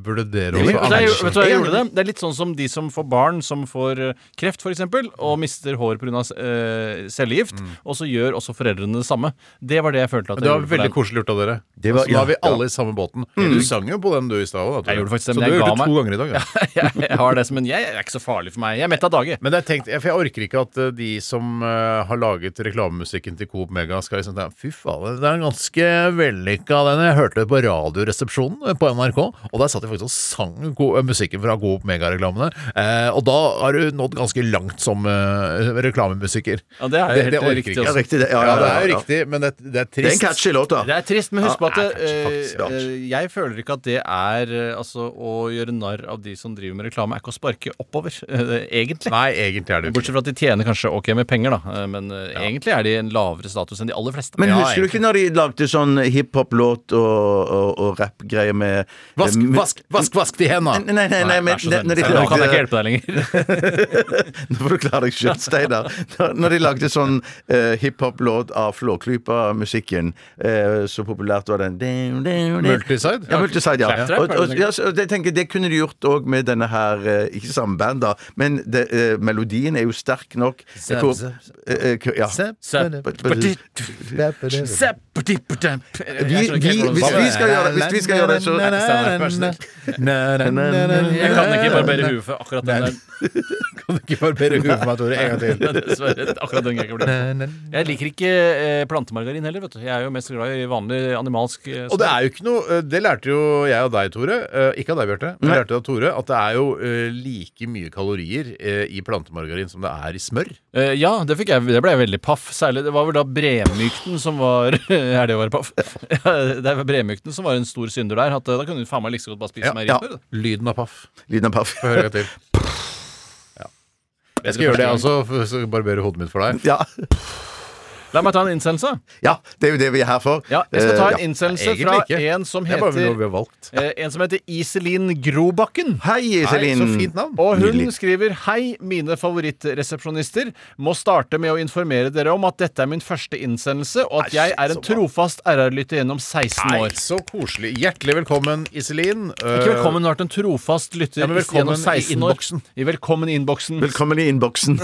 F: burde dere
H: Vet
F: også
H: du hva jeg vet du
F: angre.
H: hva jeg gjorde det? Det er litt sånn som de som får barn som får eh, kreft, f.eks., og mister hår pga. Uh, cellegift. Og så gjør også foreldrene det samme. Det var det jeg følte at
F: Det
H: jeg
F: var
H: gjorde. for
F: veldig
H: deg.
F: koselig gjort av dere.
G: Det var-
F: så nå er vi
G: ja,
F: alle i samme båten. Du sang jo på den du i stad òg.
H: Mm. Jeg gjorde faktisk det,
F: Så
H: men
F: du
H: jeg
F: har
H: ga
F: gjort det to
H: meg.
F: ganger i dag. Ja.
H: jeg, jeg har det som en Jeg er ikke så farlig for meg. Jeg er mett av dage.
F: Men jeg, tenkte, for jeg orker ikke at eh, de som eh, har laget reklamemusikken til Coop Mega, skal liksom tenke Fy faen, det er ganske vellykka, den. Jeg hørte det på Radioresepsjonen eh, på NRK, og der satt de faktisk og sang Coop- eh, musikken fra Coop Mega-reklamene. Eh, og da har du nådd ganske langt som eh, reklamemusiker.
H: Ja, det er helt riktig
F: ikke.
H: også.
G: Ja, riktig. Det, ja,
F: Ja,
G: ja,
F: det er jo
G: ja.
F: riktig, men det, det er
G: Det er en
F: trist.
G: catchy låt, da.
H: Det er trist, men husk på at
F: Ja,
H: det,
F: det er faktisk-
H: eh, eh, jeg føler ikke at det er eh, Altså, å gjøre narr av de som driver med reklame, er ikke å sparke oppover, eh, egentlig.
F: Nei, egentlig er det jo ikke
H: Bortsett fra at de tjener kanskje ok med penger, da, eh, men eh, egentlig er de en lavere status enn de aller fleste.
G: Men
H: Ja,
G: husker du ikke når de lagde sånn hiphop-låt og, og, og rappgreier med
F: Vask,
G: med-
F: vask, vask, vask de henda!
G: Nei, nei, nei, nei, men
H: vær så
G: det-
H: snill.
G: når de
H: Nå kan jeg ikke
G: lagde
H: hjelpe deg lenger.
G: Nå får du klare deg sjøl, Steinar. Når- Når de lagde sånn uh, hiphop-låt av Flåklypa-musikken, eh, så populært var den
F: Multiside?
G: Ja, Multiside, ja.
H: Claptrap,
G: Og,
H: er det
G: og,
H: den
G: ja så det, tenker, jeg, det kunne de gjort òg med denne her eh, Ikke samme band, da, men det, eh, melodien er jo sterk nok. Jeg tror-
F: zap,
G: eh, eh, Ja. Vi- vi- hvis vi skal gjøre det- hvis vi skal gjøre det, så-
H: Steinar, vær så snill. Jeg kan ikke barbere huet for akkurat den der.
F: Kan du ikke barbere huet på meg, Tore, en gang til?
H: Dessverre. Akkurat den gangen jeg ikke bli. Jeg liker ikke eh, plantemargarin heller, vet du. Jeg er jo mest glad i vanlig animalsk eh,
F: Og det er jo ikke noe eh, Det lærte jo jeg og deg, Tore. eh, Ikke av deg, Bjarte. Men jeg lærte av Tore at det er jo eh, like mye kalorier eh, i plantemargarin som det er i smør.
H: Eh, ja, det, fikk jeg, det ble jeg veldig paff. Særlig, det var vel da bremykten som var Er det å være paff? Ja, det var bremykten som var en stor synder der. At, eh, da kunne du faen meg like så godt bare
F: Ja,
H: spise ja,
G: ja.
H: meierismør.
F: Lyden av paff.
G: Lyden av paff.
F: Få høre en gang til. Ja. Jeg skal gjøre det også, for- så barberer hodet mitt for deg.
G: Ja.
H: La meg ta en innsendelse.
G: ja, det er jo det vi er her for.
H: Ja, jeg skal ta
G: Eh,
H: en innsendelse
F: Egentlig
H: fra
F: ikke.
H: en som
F: Det er bare noe
H: heter
F: vi har valgt.
H: eh, En som heter Iselin Grobakken.
G: Hei,
F: Nei,
G: Iselin.
F: så fint navn.
H: Og hun
G: Nydelig.
H: skriver Hei, mine favorittresepsjonister. Må starte med å informere dere om at dette er min første innsendelse, og at jeg er en trofast RR-lytter gjennom 16
F: Nei,
H: år.
F: så koselig. Hjertelig velkommen, Iselin.
H: Ikke velkommen, du har vært en trofast lytter
F: Ja, men velkommen
H: gjennom 16
F: i
H: år.
F: innboksen.
H: I velkommen i innboksen.
G: Velkommen i innboksen.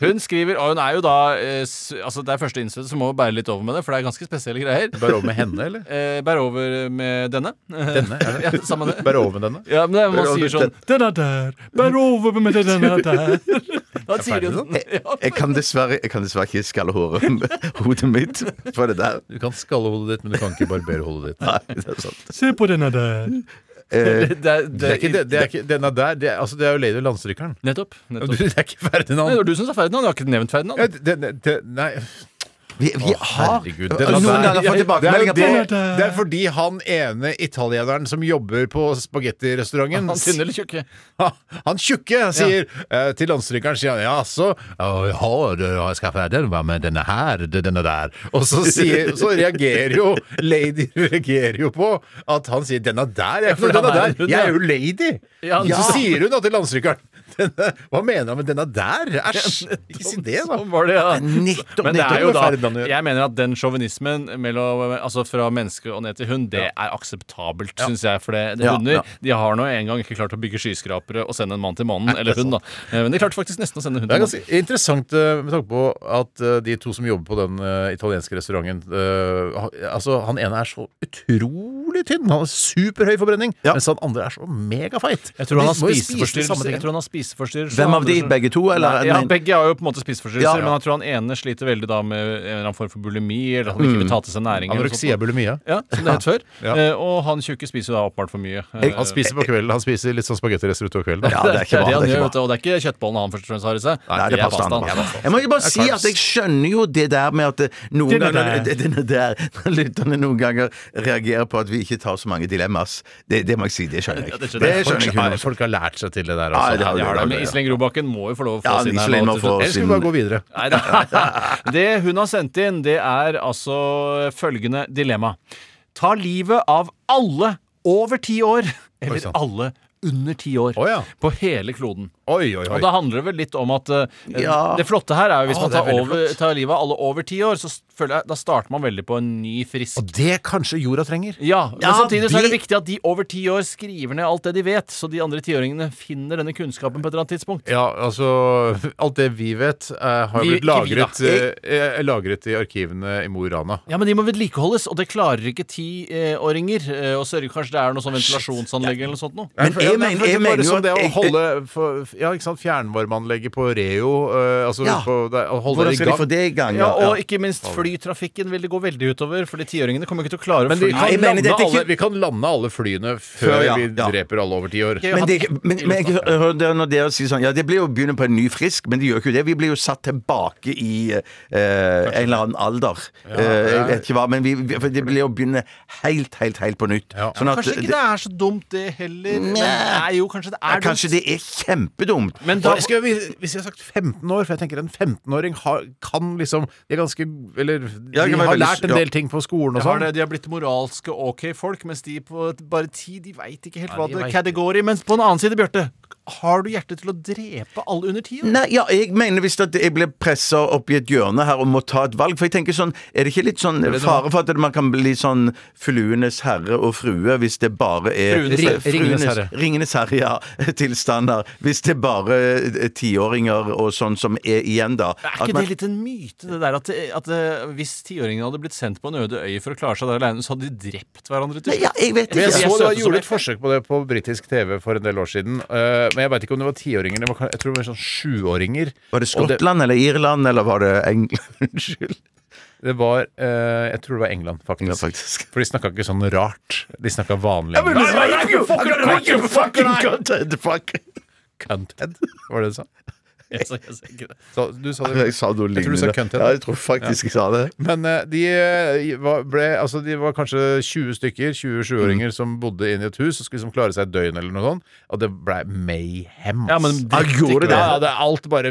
H: hun skriver, og hun er jo da eh, s- Altså, det er første innstilling, så må vi bære litt over med det, for det er ganske spesielle greier.
F: Bær over med henne, eller?
H: Eh, bære over med denne.
F: Denne, er det?
H: ja, sammen med det.
F: Bær over med denne?
H: Ja, men det, man
G: over
H: sier sånn Den er der! Bær over med den er der! Da sier hun sånn. Ja.
G: Jeg kan dessverre, jeg kan dessverre ikke skalle håret hodet mitt for det der.
F: Du kan skalle hodet ditt, men du kan ikke barbere hodet ditt.
G: Nei, det er sant.
H: Se på den er der!
G: Eh,
H: Det er,
F: Det er ikke, det, det er ikke, denne der, det er, altså, det er jo Lady Landstrykeren.
H: Nettopp.
F: Du,
H: nettopp.
F: det er ikke
H: Nei, det var
F: Ferdinand.
H: du som sa Ferdinand. Du har ikke nevnt Ferdinand.
F: Ja, det, det, det, nei,
G: vi, vi har
F: herregud,
G: noen
F: det er-
G: ganger fått
F: det, er jo
G: tilbakemeldinger
F: det,
G: på
F: det er fordi han ene italieneren som jobber på spagettirestauranten
H: Han tynne eller tjukke?
F: Han tjukke sier eh, til landstrykeren sier han, Ja, så «Å, ja, du har skaffa den, hva med denne her, det- denne der? Og så, sier, så reagerer jo lady reagerer jo på at han sier 'denne der', jeg,
H: for
F: denne
H: han er
F: der.
H: en
F: jeg
H: hund, ja.
F: er jo lady!
H: Ja,
F: Så
H: ja.
F: sier hun da til landstrykeren Denne, hva mener han med denne der? Æsj! Ikke si det, da.
H: Sånn var det, ja.
F: Nettopp,
H: Men
F: nettopp
H: det er jo
F: med
H: da
F: Ferdinand å gjøre.
H: Jeg mener at den sjåvinismen mellom- altså fra menneske og ned til hund, det er akseptabelt, synes syns jeg. For det, det
G: Ja,
H: hunder
G: ja.
H: de har nå en gang ikke klart å bygge skyskrapere og sende en mann til mannen, eller hund, da. Eh, Men de klarte faktisk nesten å sende hund
F: Det er
H: til mannen.
F: ganske interessant eh, med tanke på at eh, de to som jobber på den eh, italienske restauranten eh, ha- Altså, Han ene er så utrolig tynn, han har superhøy forbrenning,
G: Ja.
F: mens han andre er så megafeit.
H: Jeg tror, han har
F: De må jo spise det
H: spiseforstyrrelser.
F: samme
H: jeg
F: ting.
H: tror han har spiseforstyrrelser.
G: Hvem av de?
H: Andre-
G: Begge to? Eller?
H: Nei, ja,
G: Nei.
H: begge har jo på en måte spiseforstyrrelser,
G: Ja.
H: men jeg tror han ene sliter veldig da med en eller annen form for bulimi, eller at han ikke
G: Mm.
H: vil ta til seg næring. eller noe
F: Anoreksi er
H: sånt.
F: bulimia.
H: Ja, som det het før.
F: Ja.
H: Eh, Og han tjukke spiser jo da åpenbart for mye. Eh,
F: Han spiser på kvelden, han spiser litt sånn spagettirester utover kvelden. da.
G: Ja, det er ikke bra,
H: det han
G: det er ikke
H: gjør,
G: bra.
H: vet du, og det er ikke kjøttbollene han først og fremst har i seg.
G: Nei, det er pastaen. det er pastaen. Jeg må ikke bare si at jeg skjønner jo det der med at det- noen
F: Det er det
G: ganger
F: der.
G: det- det er der, når lytterne noen ganger reagerer på at vi ikke tar så mange dilemmas. Det, det må jeg si, det skjønner jeg.
H: Ja, det
G: Det
H: skjønner jeg.
G: skjønner jeg
F: Folk, har,
G: ikke.
F: folk har lært seg til det der,
G: Ja,
F: altså.
G: det har de,
H: Ja,
G: det
H: da,
G: har de.
H: men Iselin Grobakken må jo få lov å få
G: Ja,
H: sin her
G: Iselin
H: nå
G: må
H: til
G: få
H: slutt.
F: Eller skal vi bare gå videre?
H: Nei, da. Det hun har sendt inn, det er altså følgende dilemma. Ta livet av alle over ti år,
F: Oi,
H: eller
F: sant.
H: alle under ti år,
F: Å, ja.
H: på hele kloden.
F: Oi, oi,
H: Og
F: oi.
H: da handler det vel litt om at eh,
G: Ja.
H: Det flotte her er jo hvis
F: Å,
H: man
F: det er
H: tar,
F: veldig
H: over,
F: flott.
H: tar livet av alle over ti år, så s- føler jeg, da starter man veldig på en ny, frisk
F: Og det kanskje jorda trenger.
H: ja, men
G: Ja,
H: samtidig så er det
G: det-
H: viktig at de over ti år skriver ned alt det de vet, så de andre tiåringene finner denne kunnskapen på et eller annet tidspunkt.
F: Ja, altså Alt det vi vet, eh, har
H: Vi-
F: blitt lagret,
H: ikke vi, da.
F: eh, eh, lagret i arkivene i Mo i Rana.
H: Ja, men de må vedlikeholdes, og det klarer ikke tiåringer. Eh, og sørger kanskje det er noe sånn ventilasjonsanlegg eller noe sånt noe.
G: Men jeg mener- jeg
F: bare
G: mener jo
F: sånn
G: at
F: det å
G: jeg-
F: holde for, Ja, ikke sant, fjernvarmeanlegget på Reo eh, Altså
G: Ja.
F: på, det, å holde
G: Hvordan
F: det i
G: skal de
F: gang.
G: få det i gang?
H: Ja,
G: ja?
H: og ikke minst flytrafikken vil det gå veldig utover, fordi tiåringene kommer ikke til å klare å
F: Men vi
H: fly.
F: kan,
G: jeg mener
F: lande
G: dette er ikke-
F: alle, vi kan lande alle flyene før
G: Før, ja,
F: vi
G: ja.
F: dreper alle over ti år.
H: Ikke
G: Men,
H: hatt-
G: det, men, men jeg hører det når dere sier sånn Ja, det blir jo å begynne på en ny frisk, men det gjør jo ikke det. Vi blir jo satt tilbake i eh, en eller annen alder. Eh, jeg vet ikke hva, men vi, vi, for det blir jo å begynne helt, helt, helt på nytt.
F: Ja.
G: Sånn
H: Kanskje ikke det er så dumt, det heller. Men det er jo kanskje det
G: ja,
H: er
G: kanskje
H: dumt.
G: det er kjempedumt.
H: Men
F: Da,
H: da,
F: jeg skulle, hvis- hvis jeg har sagt 15 år, for jeg tenker en 15-åring har, kan liksom De er ganske Eller de
G: Ja, det kan være
F: har
G: veldig-
F: lært en
G: ja.
F: del ting på skolen og
H: Jeg har
F: sånn.
H: det, de har blitt moralske ok folk, mens de på et- bare ti de veit ikke helt hva
F: de
H: det
F: vet
H: kategori Mens på en annen side, Bjarte, har du hjerte til å drepe alle under ti år?
G: Nei, ja, jeg mener visst at jeg ble pressa opp i et hjørne her og må ta et valg. For jeg tenker sånn, er det ikke litt sånn fare for at man kan bli sånn fluenes herre og frue hvis det bare er
H: Fruenes herre.
G: Fru-
F: Ringenes herre.
G: Ringenes herre, ja. Tilstander. Hvis det bare er tiåringer og sånn som er igjen, da.
H: Er
G: At
H: ikke
G: man-
H: det litt en myte, det der at, at eh, hvis tiåringene hadde blitt sendt på en øde øy for å klare seg der alene, så hadde de drept hverandre til
G: Nei, ja, jeg vet
F: Men
G: ikke.
F: jeg så det var-
H: søte som
F: gjorde
H: jeg.
F: et forsøk på det på britisk TV for en del år siden. eh, men jeg veit ikke om det var tiåringer. det var- Jeg tror det var sånn sjuåringer.
G: Var det
F: Og det-
G: Skottland eller Irland, eller var det England? Unnskyld.
F: Det var eh, Jeg tror det var England, faktisk.
G: England, faktisk.
F: For de snakka ikke sånn rart. De snakka vanlig. engelsk. Cunthead, var det du sa?
H: Jeg sa- Altså, jeg sa ikke det.
F: Så, du sa det.
G: Jeg sa noe
F: Jeg tror du sa
G: lignende.
F: cunthead.
G: Ja, jeg tror faktisk jeg sa det.
F: Men eh, de, eh, var, ble, altså, de var kanskje 20 stykker, 20-åringer,
H: Mm.
F: som bodde inne i et hus og skulle liksom klare seg et døgn eller noe sånt. Og det ble mayhem.
H: Ja, men
F: ass.
H: drept
G: Ja, gjorde
H: ikke
G: det?
H: hverandre.
F: Ja, ja, det er alt bare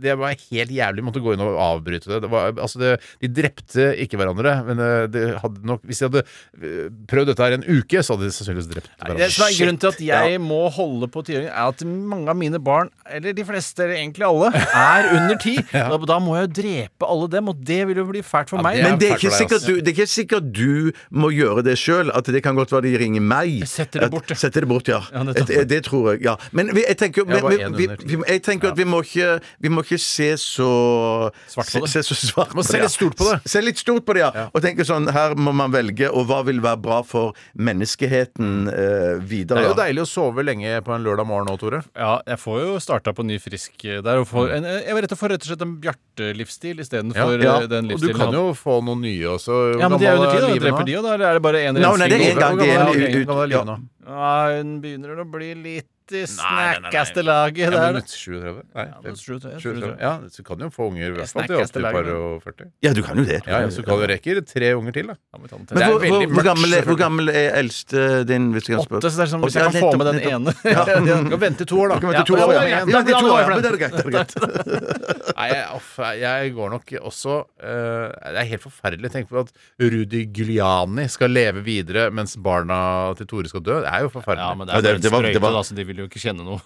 F: Det var helt jævlig. Måtte gå inn og avbryte det. det, var, altså det de drepte ikke hverandre, men eh, det hadde nok Hvis de hadde eh, prøvd dette her en uke, så hadde de sannsynligvis drept hverandre.
H: Det som er grunnen til at jeg må holde på tiåringer, er at mange av mine barn, eller de fleste, eller egentlig alle, er under ti. da, da må jeg jo drepe alle dem, og det vil jo bli fælt for meg.
F: det altså. er
G: Men det er,
F: fælt for
G: ikke
F: deg,
G: sikkert
F: ass.
G: du, det er ikke sikkert du må gjøre det sjøl. At det kan godt være de ringer meg.
H: setter det
G: At-
H: bort, ja.
G: setter det bort, ja.
H: Ja, nettopp.
G: det, det tror jeg. ja Men vi, jeg tenker,
F: Jeg
G: men,
F: var en
G: men, vi,
F: under ti.
G: vi, jeg tenker at vi må ikke Vi må ikke se så
H: Svart på det.
G: Se, se så svart
F: Må
G: på
F: se
G: det, ja.
F: litt stort på det.
G: Se litt stort på det, ja. Og tenke sånn Her må man velge, og hva vil være bra for menneskeheten eh,
F: Det
G: videre?
F: er jo
G: ja.
F: deilig å sove lenge på en lørdag morgen nå, Tore.
H: Ja, jeg får jo starta på ny frisk eh, der. Og får en, jeg var rett og slett rett og slett en Bjarte-livsstil istedenfor
F: Ja.
H: eh, den
F: Og du
H: livsstilen.
F: kan
H: han-
F: jo få noen nye også. Hvor
H: ja, men de er
F: gammel
H: under ti, da.
F: Liven
H: Dreper de jo, da? Eller er det bare én
G: Nei, nei, det er en gang.
F: Hvor
G: Det er
F: gammel
G: en-
F: Liven- hvor gammel er
G: ja.
F: Liven nå?
H: Ja, hun begynner å bli litt i
F: nei, nei, nei.
H: snackaste laget
F: Ja,
H: der.
F: men 37? Nei,
H: men 37,
F: 37. Ja, så kan du jo få unger i hvert fall til
H: Snakkes
F: opptil
H: til laget,
F: par
H: da.
F: og 40.
G: ja, du kan jo det.
F: Ja, ja, så kan du rekke tre unger til, da.
H: Ja, men ta den til.
G: Men
H: Det er
G: hvor,
H: veldig
G: hvor, hvor,
H: mørkt,
G: gammel er, hvor
H: selvfølgelig.
G: gammel er eldste din? Hvis jeg kan spørre?
H: Åtte, så det er sånn,
G: Åtte,
H: hvis jeg kan
G: ja,
H: få med den
G: nettopp,
H: ene
G: nettopp. Ja.
F: Du kan vente to år, da.
G: Kan vente to
H: Ja,
G: år, ja.
H: ja, ja, ja.
G: Ja, det er to år, ja.
H: Ja,
G: Men det er greit. Det er greit.
F: Nei, jeg, uff, jeg går nok også eh, Det er helt forferdelig. Tenk på at Rudi Giuliani skal leve videre mens barna til Tore skal dø. Det er jo forferdelig.
H: Ja, men det
G: Ja,
H: er
G: det-
H: bare en
G: det var- det
H: sprøyte,
G: var-
H: da, så de vil vil jo ikke kjenne noe.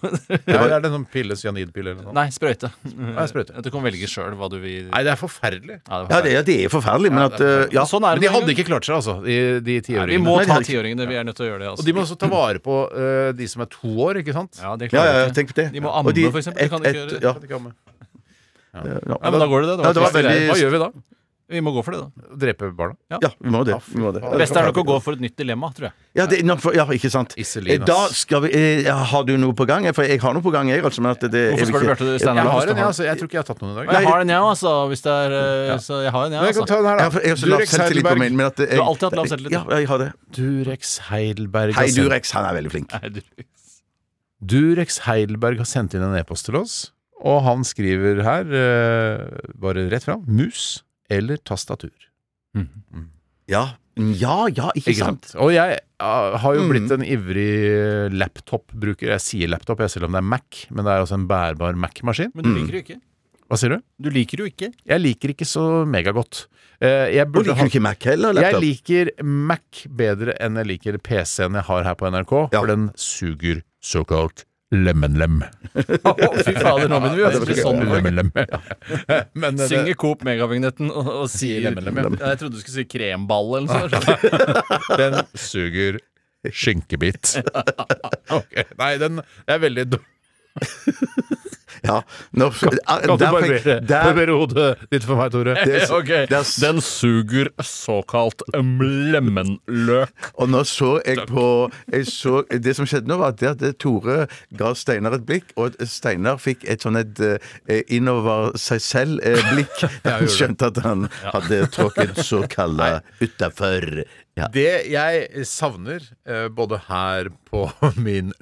F: Eller er det noen pille, cyanidpille eller noe?
H: Nei, sprøyte.
F: sprøyte.
H: Du kan velge sjøl hva du vil.
F: Nei, det er forferdelig.
H: Ja, det var
G: Ja, det er, det er forferdelig, men at eh, ja.
H: Sånn er
F: Men
H: det.
F: de hadde ikke klart seg, altså, de, de
H: Nei, Vi må
F: tiåringene.
H: ta tiåringene. Vi er nødt til å gjøre det.
F: Og
H: Altså.
F: de må også ta vare på eh, de som er to år, ikke sant?
H: ja, det
G: Ja,
H: klarer
G: ja,
H: vi ikke.
G: tenk på det.
H: De må
G: Og
H: amme,
G: de-
H: for eksempel. Det kan de
G: et-
H: ikke gjøre.
G: et- ja.
F: At de kan med.
G: Ja,
H: Ja, men da går det, det.
G: Ja, det var
H: trist.
G: veldig-
H: Hva gjør vi da?
F: vi da?
H: Vi må gå for det, da.
F: Drepe barna?
G: ja, vi må det. Vi må det.
H: Det beste er nok å gå for et nytt dilemma, tror jeg.
G: Ja, det, nå, for, ja ikke sant.
F: Iselin,
G: Eh, Da
F: ass.
G: skal vi, eh, har du noe på gang? For jeg har noe på gang, jeg. Altså, men at det, det,
H: Hvorfor
G: jeg vil
H: spør
G: ikke-
H: du Bjarte
F: Jeg
H: Steinar? Ja,
F: har en,
H: hvis du
F: jeg,
H: har-
F: altså. Jeg tror ikke jeg har tatt noen i dag.
H: Og jeg har den, jeg, altså. Hvis det er, eh,
F: Ja.
H: Så jeg har den,
F: Men
H: jeg,
F: jeg kan ta
H: altså.
F: den her,
G: Ja,
F: da.
G: for jeg har så lav
F: Durex
G: selvtillit på
F: Heidelberg.
G: min. Men at, jeg,
H: har alltid hatt lav selvtillit.
G: Ja, jeg har det.
F: Durex Heidelberg
G: Hei,
F: har sendt-
G: Durex. Han er veldig flink.
H: Nei, du-
F: Durex Heidelberg har sendt inn en e-post til oss, og han skriver her, eh, bare rett fram, mus eller tastatur.
G: Ja, ja, ja ikke,
F: Ikke
G: sant?
F: sant? Og jeg ah, har jo
G: Mm.
F: blitt en ivrig laptop-bruker. Jeg sier laptop, jeg selv om det er Mac, men det er altså en bærbar Mac-maskin.
H: Men du liker jo ikke.
F: Hva sier du?
H: Du liker jo ikke.
F: Jeg liker ikke så megagodt. Eh, Jeg
G: Og
F: burde
G: liker du ikke Mac heller?
F: Jeg
G: Laptop?
F: liker Mac bedre enn jeg liker PC-en jeg har her på NRK, for den suger såkalt lemenlem.
H: Å, fy fader, nå begynner vi å
F: Det
H: høre
F: betyr
H: sånn. folk.
F: lemenlem. Men eh, det-
H: Synger Coop Megavignetten og, og sier
F: Sier lemmel, lemmel,
H: Jeg trodde du skulle si kremball eller noe sånt.
F: den suger skinkebit. Ok, Nei, den er veldig dum.
G: Ja. Nå,
F: Kan du
G: der fikk-
F: barbere,
G: der,
F: barbere hodet ditt for meg, Tore?
H: Ok. Den suger såkalt lemenløk.
G: og nå så jeg på jeg så, Det som skjedde nå, var at det at Tore ga Steinar et blikk, og at Steinar fikk et sånn et eh, innover seg selv-blikk. han skjønte at han hadde tråkket såkalla utafor. Ja.
F: Det jeg savner, eh, både her på min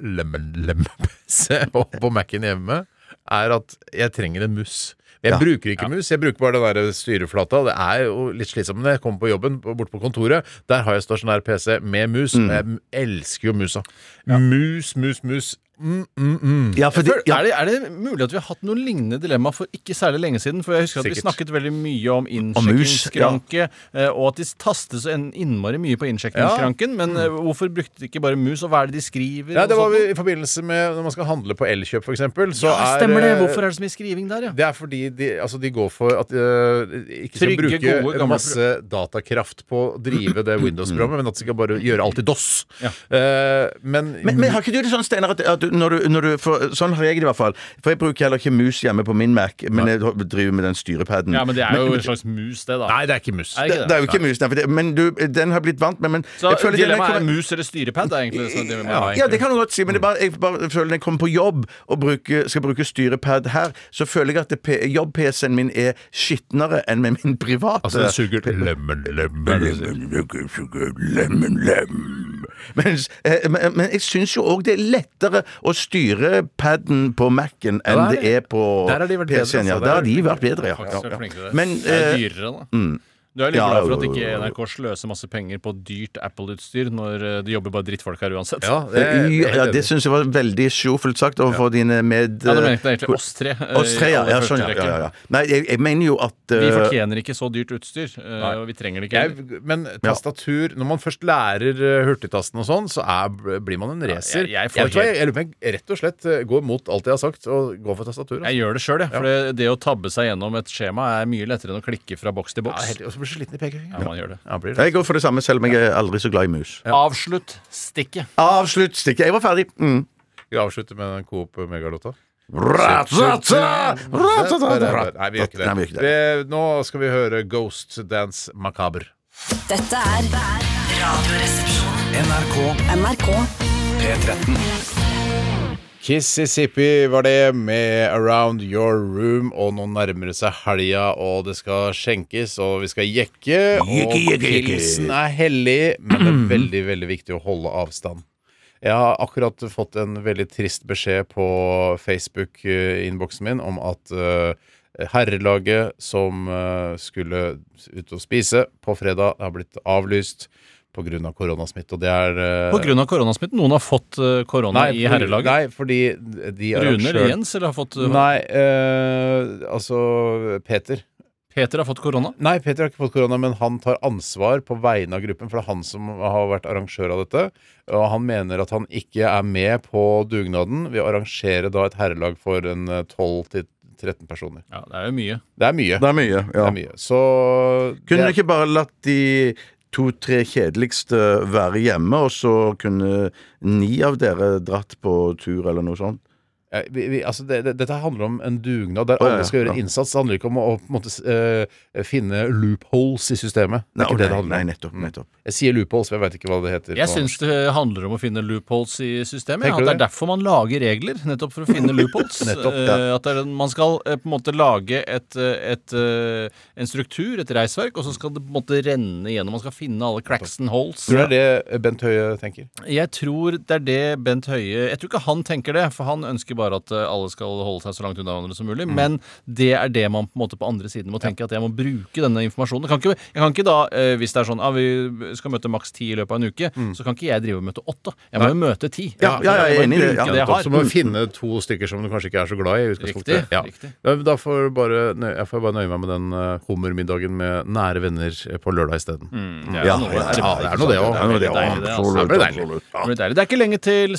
F: lemenlem-PC og på Mac-en hjemme, er at jeg trenger en mus. Jeg
G: Ja.
F: bruker ikke mus, jeg bruker bare den der styreflata. og Det er jo litt slitsomt når jeg kommer på jobben, bort på kontoret. Der har jeg stasjonær PC med mus, og jeg elsker jo musa. Mus, mus, mus. Mm, mm, mm.
G: Ja, fordi,
H: Føl-
G: ja,
H: Er, det, er det mulig at vi har hatt noen lignende dilemma for ikke særlig lenge siden? For jeg husker at vi
F: Sikkert.
H: snakket veldig mye om
G: mus,
H: innsjekkingsskranke, eh, og at de tastet så en- innmari mye på innsjekkingsskranken. Men eh, hvorfor brukte de ikke bare mus, og hva er det de skriver?
F: Ja,
H: og
F: det var vi
H: sånt?
F: i forbindelse med når man skal handle på Elkjøp, f.eks.
H: ja, stemmer
F: eh,
H: det. Hvorfor er det så mye skriving der, ja?
F: Det er fordi de, altså de går for at de ikke skal
H: Trygge,
F: bruke
H: gode, gamle Mm.
F: masse datakraft på å drive det Windows-programmet, men at de skal bare gjøre alt i DOS. Eh, men,
G: Men, men har ikke du det sånn, Steinar, at, at du- når du, når du for, Sånn har jeg det i hvert fall. For jeg bruker heller ikke mus hjemme på min Mac, men jeg driver med den styrepaden.
H: Ja, men det er jo en slags mus, det, da.
F: Nei, det er ikke mus.
H: Er
G: det, det er jo ikke mus, nei, for det, men du, den har jeg blitt vant med. Men
H: Så
G: jeg føler den
H: dilemmaet
G: kommer-
H: er mus eller styrepad, er egentlig det som er dilemmaet.
G: ja,
H: egentlig.
G: ja, det kan du godt si,
H: Mm.
G: men det er bare, jeg bare føler når jeg kommer på jobb og bruker, skal bruke styrepad her, så føler jeg at det P- jobb-PC-en min er skitnere enn med min private.
F: Altså, den suger lemon, lemon.
G: Mens, eh, men, men jeg syns jo òg det er lettere å styre paden på Mac-en enn
F: Ja, der er-
G: det er på
F: der har de vært bedre,
G: PC-en. Ja.
F: altså. Der
G: Der
F: har
G: har de
F: de
G: vært bedre, ja.
H: Faktisk vært
G: ja,
H: flinke til
G: ja.
H: det.
G: Men
H: det er
G: eh,
H: dyrere, da. Du er litt
G: Ja,
H: glad for at
G: jo, jo,
H: ikke
G: jo, jo.
H: NRK sløser masse penger på dyrt Apple-utstyr når eh, det jobber bare drittfolk her uansett.
F: Ja, det er, det er
G: ja,
F: helt
G: det
F: enig.
G: syns jeg var veldig sjofelt sagt overfor dine med...
H: Ja, du mente egentlig oss tre. eh,
G: Oss tre, ja.
H: i aller
G: ja,
H: første
G: sånn, ja,
H: rekke.
G: ja, ja. Nei, jeg, jeg mener jo at
H: Vi
G: eh,
H: fortjener ikke så dyrt utstyr, eh, og vi trenger det ikke. heller.
F: jeg, men tastatur Når man først lærer eh, hurtigtasten og sånn, så er, blir man en racer.
H: jeg- jeg
F: vet
H: får
F: hva, jeg,
H: helt-
F: jeg lurer på om jeg rett og slett eh, går mot alt jeg har sagt, og går for tastatur. altså.
H: Jeg gjør det sjøl, jeg. For det, det å tabbe seg gjennom et skjema er mye lettere enn å klikke fra boks til
F: Ja,
H: boks.
F: helt- Og så blir du sliten i pekefingeren.
H: Ja, man gjør det.
F: Ja, blir det.
G: Jeg går for det samme, selv om jeg er aldri så glad i mus.
H: Avslutt stikket.
G: Avslutt stikket. Jeg var ferdig. Mm.
F: Skal vi avslutte med den Coop Megalåta?
G: Ratata! Ratata!
F: Nei, vi gjør ikke det.
G: Nei, vi gjør ikke
F: Vi- Nå skal vi høre Ghost Dance Macabre.
A: Dette er Radioresepsjonen. NRK. NRK.
F: Kississippi var det med Around Your Room, og nå nærmer det seg helga, og det skal skjenkes, og vi skal jekke. Mm. Og pilsen er hellig, men det er veldig, veldig viktig å holde avstand. Jeg har akkurat fått en veldig trist beskjed på Facebook-innboksen min om at eh, herrelaget som eh, skulle ut og spise på fredag, har blitt avlyst pga. Av koronasmitte. Og det er eh,
H: På grunn av koronasmitten. Noen har fått eh, korona
F: nei,
H: i herrelaget.
F: Nei, fordi de
H: Rune
F: arrangør-
H: eller Jens eller har fått eh,
F: Nei, eh, altså Peter.
H: Peter har fått korona.
F: Nei, Peter har ikke fått korona, men han tar ansvar på vegne av gruppen. For det er han som har vært arrangør av dette. Og han mener at han ikke er med på dugnaden ved å arrangere da et herrelag for en eh, 12-13 personer.
H: Ja, det er jo mye.
F: Det er mye.
G: Det er mye.
F: Det
G: ja.
F: er mye. Så
G: Kunne
F: det-
G: du ikke bare latt de to-tre kjedeligste være hjemme, og så kunne ni av dere dratt på tur eller noe sånt?
F: Ja, vi, vi, altså det, det, dette handler om en dugnad der
G: Å, ja,
F: alle skal gjøre en
G: ja.
F: innsats. Det handler ikke om å, å på en måte, s- eh, finne loopholes i systemet. Det er ikke det det handler
G: nei,
F: om. Mm.
G: nettopp. nettopp.
F: Jeg sier loopholes, for jeg veit ikke hva det heter.
H: Jeg
F: på
H: syns
F: norsk.
H: det handler om å finne loopholes i systemet.
F: Tenker du
H: Ja, at det er
F: det?
H: derfor man lager regler, nettopp for å finne loopholes.
F: Nettopp,
H: Eh, At det er, man skal eh, på en måte lage et, eh, et, eh, en struktur, et reisverk, og så skal det på en måte renne igjennom. Man skal finne alle cracks and holes.
F: Tror du det er det Bent Høie tenker?
H: Jeg tror det er det Bent Høie Jeg tror ikke han tenker det, for han ønsker bare at eh, alle skal holde seg så langt unna hverandre som mulig. Men det er det man på en måte på andre siden må tenke, at jeg må bruke denne informasjonen. Jeg kan ikke, jeg kan ikke da, eh, hvis det er sånn ah, vi skal møte maks ti i løpet av en uke, så kan ikke jeg drive og møte åtte. Jeg må jo møte ti.
G: Ja, ja, jeg er
H: må
G: enig i det, ja.
H: bruke det jeg
F: Så må
H: har.
F: du finne to stykker som du kanskje ikke er så glad i. i utgangspunktet.
H: Riktig, riktig.
F: Ja, men Da får du bare, nø- jeg får bare nøye meg med den eh, hummermiddagen med nære venner eh, på lørdag isteden.
H: Mm.
G: Ja,
H: noe,
G: ja,
H: det er
G: ja,
F: det er noe det også.
G: er noe det
H: Det er
G: også.
H: veldig deilig, det, altså.
G: Absolutt.
F: Det er veldig
G: absolutt.
H: Men Det er det. Det er ikke lenge til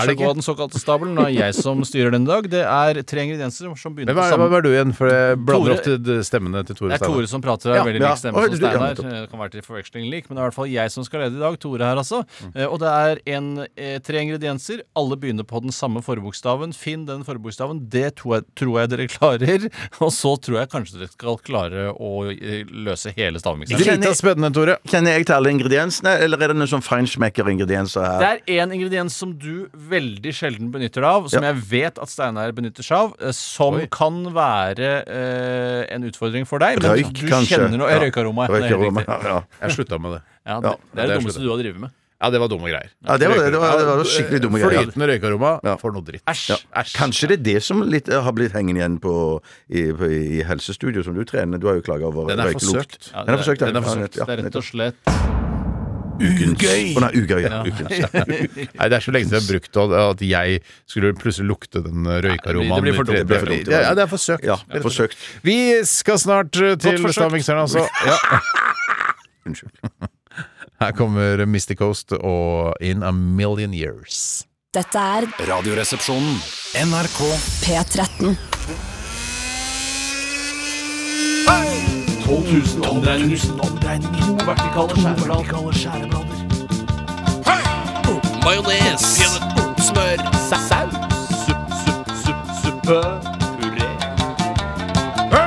F: Er det
H: skal gå
F: ikke?
H: av den såkalte stabelen. Det er jeg som styrer den i dag. Det er tre ingredienser som begynner
F: Hvem
H: på
F: er,
H: samme
F: hvem er du igjen? For jeg blander
H: Tore-
F: ofte d- stemmene til Tore
H: Det er Tore
F: Steinar.
H: som prater. Ja,
F: Ja,
H: veldig
G: ja.
H: lik stemme
G: Oi,
H: som
G: du- ja,
H: Steinar.
G: nettopp.
H: Eh, Det kan være til forveksling lik, men det er i hvert fall jeg som skal lede i dag. Tore her, altså.
G: Mm.
H: Eh, Og det er en, eh, tre ingredienser. Alle begynner på den samme forbokstaven. Finn den forbokstaven. Det tror jeg, tror jeg dere klarer. Og så tror jeg kanskje dere skal klare å eh, løse hele stavmikseren.
F: Drita spennende, Tore.
G: Kjenner jeg til alle ingrediensene, eller er det noen sånn feinschmecker-ingredienser
H: Det
G: her?
H: er én ingrediens som du veldig sjelden benytter deg av, som jeg vet at Steinar benytter seg av, eh, som
F: Oi.
H: kan være eh, en utfordring for deg. Men
G: Røyk,
H: du
G: kanskje.
H: kjenner noe
G: Ja.
H: Røykaroma. det er helt
G: Røykeroma.
H: riktig.
G: Ja, ja.
F: Jeg slutta med det.
H: Ja,
G: Ja,
H: det, det er
F: det
H: det
F: er
H: dummeste
F: slutt.
H: du har drevet med.
F: Ja, det var dumme greier.
G: Ja, det var det. Det var- det var skikkelig dumme greier.
F: Flytende røykaroma for noe dritt.
H: Æsj.
F: Æsj.
G: Kanskje det er det som litt, eh, har blitt hengende igjen på, i, på, i helsestudio, som du trener. Du har jo klaga over
F: Den er
G: røykelukt.
F: forsøkt.
H: Ja,
G: Den er forsøkt. ja.
H: det, er forsøkt.
G: Ja,
H: det er rett og
G: nettopp.
H: slett
G: Ugøy! Å nei, ugøy. Ja. Ukens.
F: Nei, det er så lenge siden jeg har brukt det, at jeg skulle plutselig lukte den røykaromaen.
H: det blir for dumt,
F: i tredje-
H: det blir
G: for dumt.
F: Ja, det er forsøkt.
G: Ja, forsøkt.
F: Vi skal snart eh, til
H: forsøkt.
F: Stavmikseren, altså. Ja.
G: Unnskyld.
F: Her kommer Mystic Coast og In A Million Years.
A: Dette er
B: Radioresepsjonen. NRK.
A: P13.
I: 12 000 omdreininger. To vertikale skjæreblader. Majones. Smør. Saus. Supp, supp, supp, suppe. Puré.